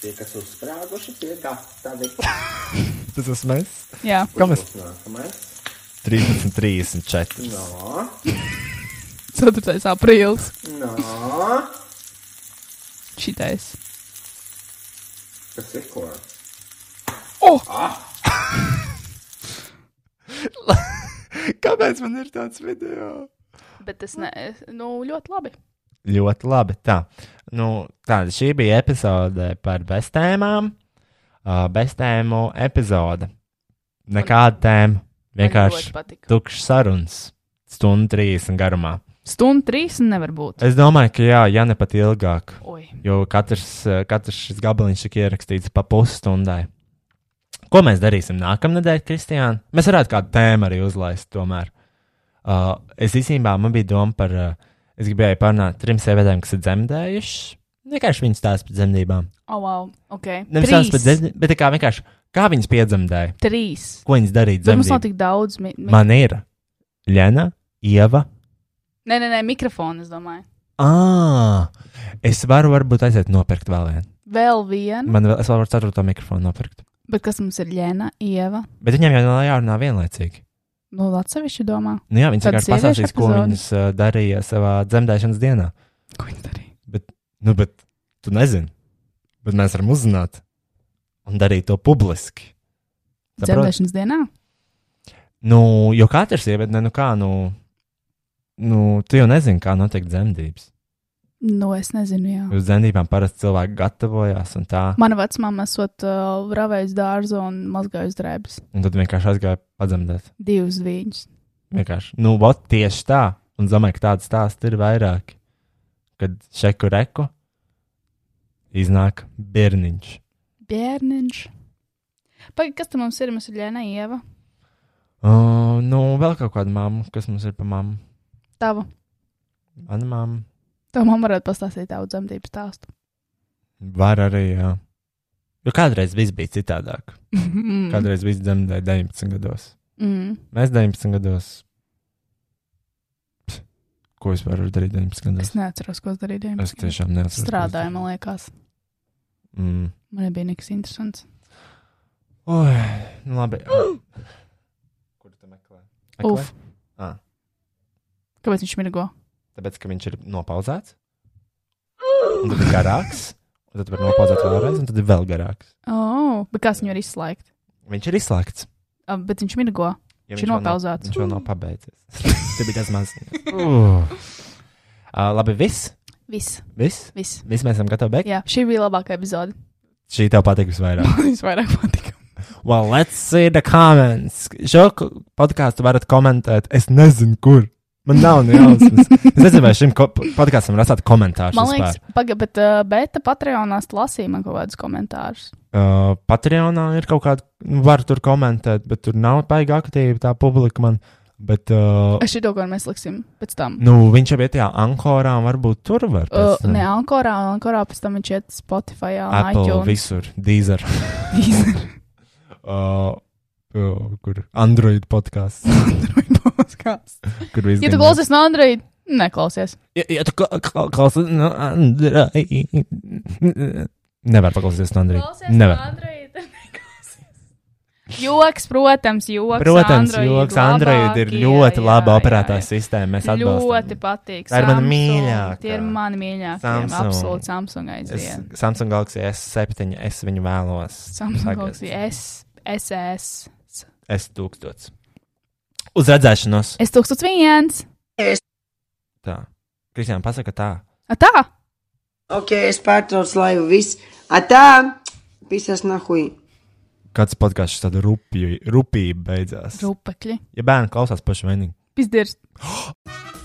Tie, kas uzsprāguši, tie
[laughs]
gatavi.
Tas esmu mēs.
Jā.
Kā mēs?
Nākamais.
13, 34.
Nā,
4. aprīlis.
nā.
Šitais.
Kas ir ko?
Oh!
Ah!
[laughs] Kāpēc man ir tāds video?
Bet tas, ne, es- nu, ļoti labi.
Ļoti labi. Tā, nu, tā šī bija epizode par bestēmām. Uh, bestēmu epizode. Nekāda tēma.
Man
Vienkārši
ļoti patika.
tukšs sarunas. Stundu 30 garumā.
Stundu trīs nevar būt.
Es domāju, ka jā, ja ne pat ilgāk.
Oi.
Jo katrs, eh, katrs šis gabaliņš tika ierakstīts pa pusstundai. Ko mēs darīsim nākamnedēļ, Kristiāna? Mēs varētu kādu tēmu arī uzlaist, tomēr. Uh, es īstenībā man bija doma par. Uh, es gribēju parunāt trim sievietēm, kas ir dzemdējušas. Vienkārši viņas stāsta par dzemdībām.
Oh, wow. Ok.
Nevis
Trīs.
stāsta par dzemdībām, bet tā kā vienkārši kā viņas piedzemdēja,
Trīs.
ko viņas darīja
Bet mums nav
dzemdībām.
tik daudz. Mi mi
Man ir Lena, Ieva.
nē, nē, nē, mikrofonu, es domāju.
Ah, es varu varbūt aiziet nopirkt vēl vienu.
Vēl viena.
Man vēl, es vēl varu ceturto mikrofonu nopirkt.
Bet kas mums ir Lēna, Ieva?
Bet viņiem jau nav jārunā vienlaicīgi.
Nu, atsevišķi domā.
Nu, jā, viņi
Tad
vienkārši
sieviešu
pasakīs, ko
epizode.
viņas uh, darīja savā dzemdēšanas dienā.
Ko viņi darīja?
Nu, bet tu nezini. Bet mēs varam uzzināt un darīt to publiski. Saproti?
Dzemdēšanas dienā?
Nu, jo katra sieviete, ne, nu kā, nu, nu, tu jau nezini, kā notiek dzemdības.
Nu, es nezinu, jā.
Uz dzemdībām parasti cilvēki gatavojās un tā.
Mana vecmāma esot uh, ravējusi dārzu un mazgājusi drēbes.
Un tad vienkārši aizgāja padzemdēt.
Divus viņus.
Vienkārši. Nu, vot tieši tā. Un es domāju, ka tādu stāstu ir vairāk. Kad šeku reku iznāk bērniņš.
Bērniņš. Pagaid, kas tam mums ir? Mums ir Lēna, Ieva.
Uh, nu, vēl kaut kāda mamma, kas mums ir pa mammu.
Tava.
Mana mamma.
Tev man varētu pastāstīt tavu dzemdību stāstu.
Var arī, jā. Jo kādreiz viss bija citādāk.
[laughs] Kad...
Kādreiz viss dzemdēja 19 gados.
Mm.
Mēs 19 gados. Pst, Ko es varu darīt 19 gados?
Es neatceros, ko es darīju.
Es
dienas
tiešām neatceros. ko es
strādāju, man liekas.
darīju. Mm.
Man nebija nekas interesants.
Oi, nu
[gasps]
labi. Kur tu meklē? Meklē? Ah.
Uf.
Ā.
Kāpēc viņš mirgo?
Tāpēc, ka viņš ir nopauzēts. Un tad ir garāks. Un tad var nopauzēt vēlreiz, un tad ir vēl garāks.
Oh, bet kāds viņu var izslēgt?
Viņš ir izslēgts.
Ah, bet viņš mirgo.
jo
Viņš
viņš
ir
vēl nav-
nopauzēts.
Viņš vēl nav
[laughs]
pabeidzies. Tas bija tas mans. Uh. [laughs] Uh, labi, viss.
Viss,
Viss.
viss.
Viss mēs esam gatavi beigt.
Jā, šī bija labākā epizode. [laughs]
Šī tev patīk visvairāk.
Man vislabāk patika.
Well, let's see the comments. Šo k- podkāstu varat komentēt. Es nezinu, kur. Man nav nu,
[laughs]
ne jausmas. Es nezinu, vai šim ko- podkāstam var atstāt komentāru.
Man liekas, pagaidi, bet uh, Bēta Patreonā lasīja man kaut kādus komentārus.
uh, Patreonā ir kaut kāda, nu, var tur komentēt, bet tur nav baigā aktīva tā publika man. Bet,
[laughs]
uh,
Es šito, ko mēs liksim pēc tam.
nu, viņš jau bija tajā ankorā, un varbūt tur var.
Uh,
pēc tam.
ne Ankorā, un Ankorā pēc tam viņš iet Spotify un
Apple,
iTunes.
visur, Deezer,
[laughs] Deezer.
uh, uh, kur Android
[laughs]
podkāsts,
Android podcasts.
kur viss
Ja tu klausies no Android, neklausies.
Ja, ja tu kla- kla- klausies, no Andra. Nevar paklausīties no Andra. Nevar.
Joks, protams, joks.
Protams,
Android
joks, Android ir ļoti laba operētā sistēma. Mēs
Ļoti
atbalstām.
patīk.
Tā ir mana
Samsung,
mīļākā.
Tie ir mani mīļākie.
Samsung.
Absolūti Samsung
Es,
aiziet.
Samsung Galaxy S7, es viņu vēlos.
Samsung
Tagad.
Galaxy S, SS.
S1000. Uz redzēšanos.
Es 1001.
Tā. Kristiāna, pasaka tā.
A, Tā!
Ok, es pārtraucu laivu. Viss. Atā! Pisas nahuj.
Kāds podkāsts tāda rupju- rupība beidzās?
Rupekļi.
Ja bērni klausās paši vienīgi.
Pizdirs.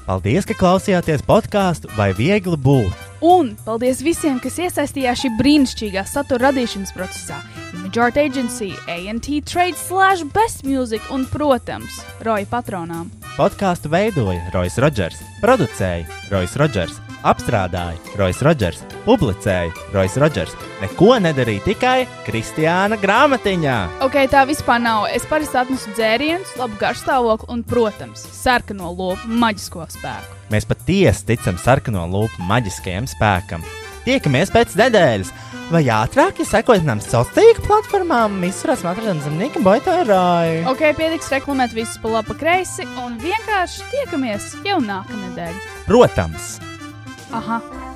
Paldies, ka klausījāties podkāstu vai viegli būt.
Un paldies visiem, kas iesaistījās šī brīnišķīgā satura radīšanas procesā. Majority Agency, ANT Trade, Slash, Best Music un, protams, Roja patronām.
Podkāstu veidoja Rois Rodžers, producēja Rois Rodžers, apstrādāja Rois Rodžers, publicēja Rois Rodžers. Neko nedarīja tikai Kristiāna grāmatiņā.
Ok, tā vispār nav. Es parasti atnesu dzērienus, labu garšstāvokli un, protams, sarkano lopu maģisko spēku.
Mēs patiesi ticam sarkano lupu maģiskajam spēkam. Tiekamies pēc nedēļas, vai ātrāk, ja sekojat mums sociālajām tīkla platformām, visurās matradienas zemnieka boitārāju.
Ok, pietiks reklamēt visus pa labi, pa kreisi un vienkārši tiekamies jau nākamnedēļ.
Protams!
Aha,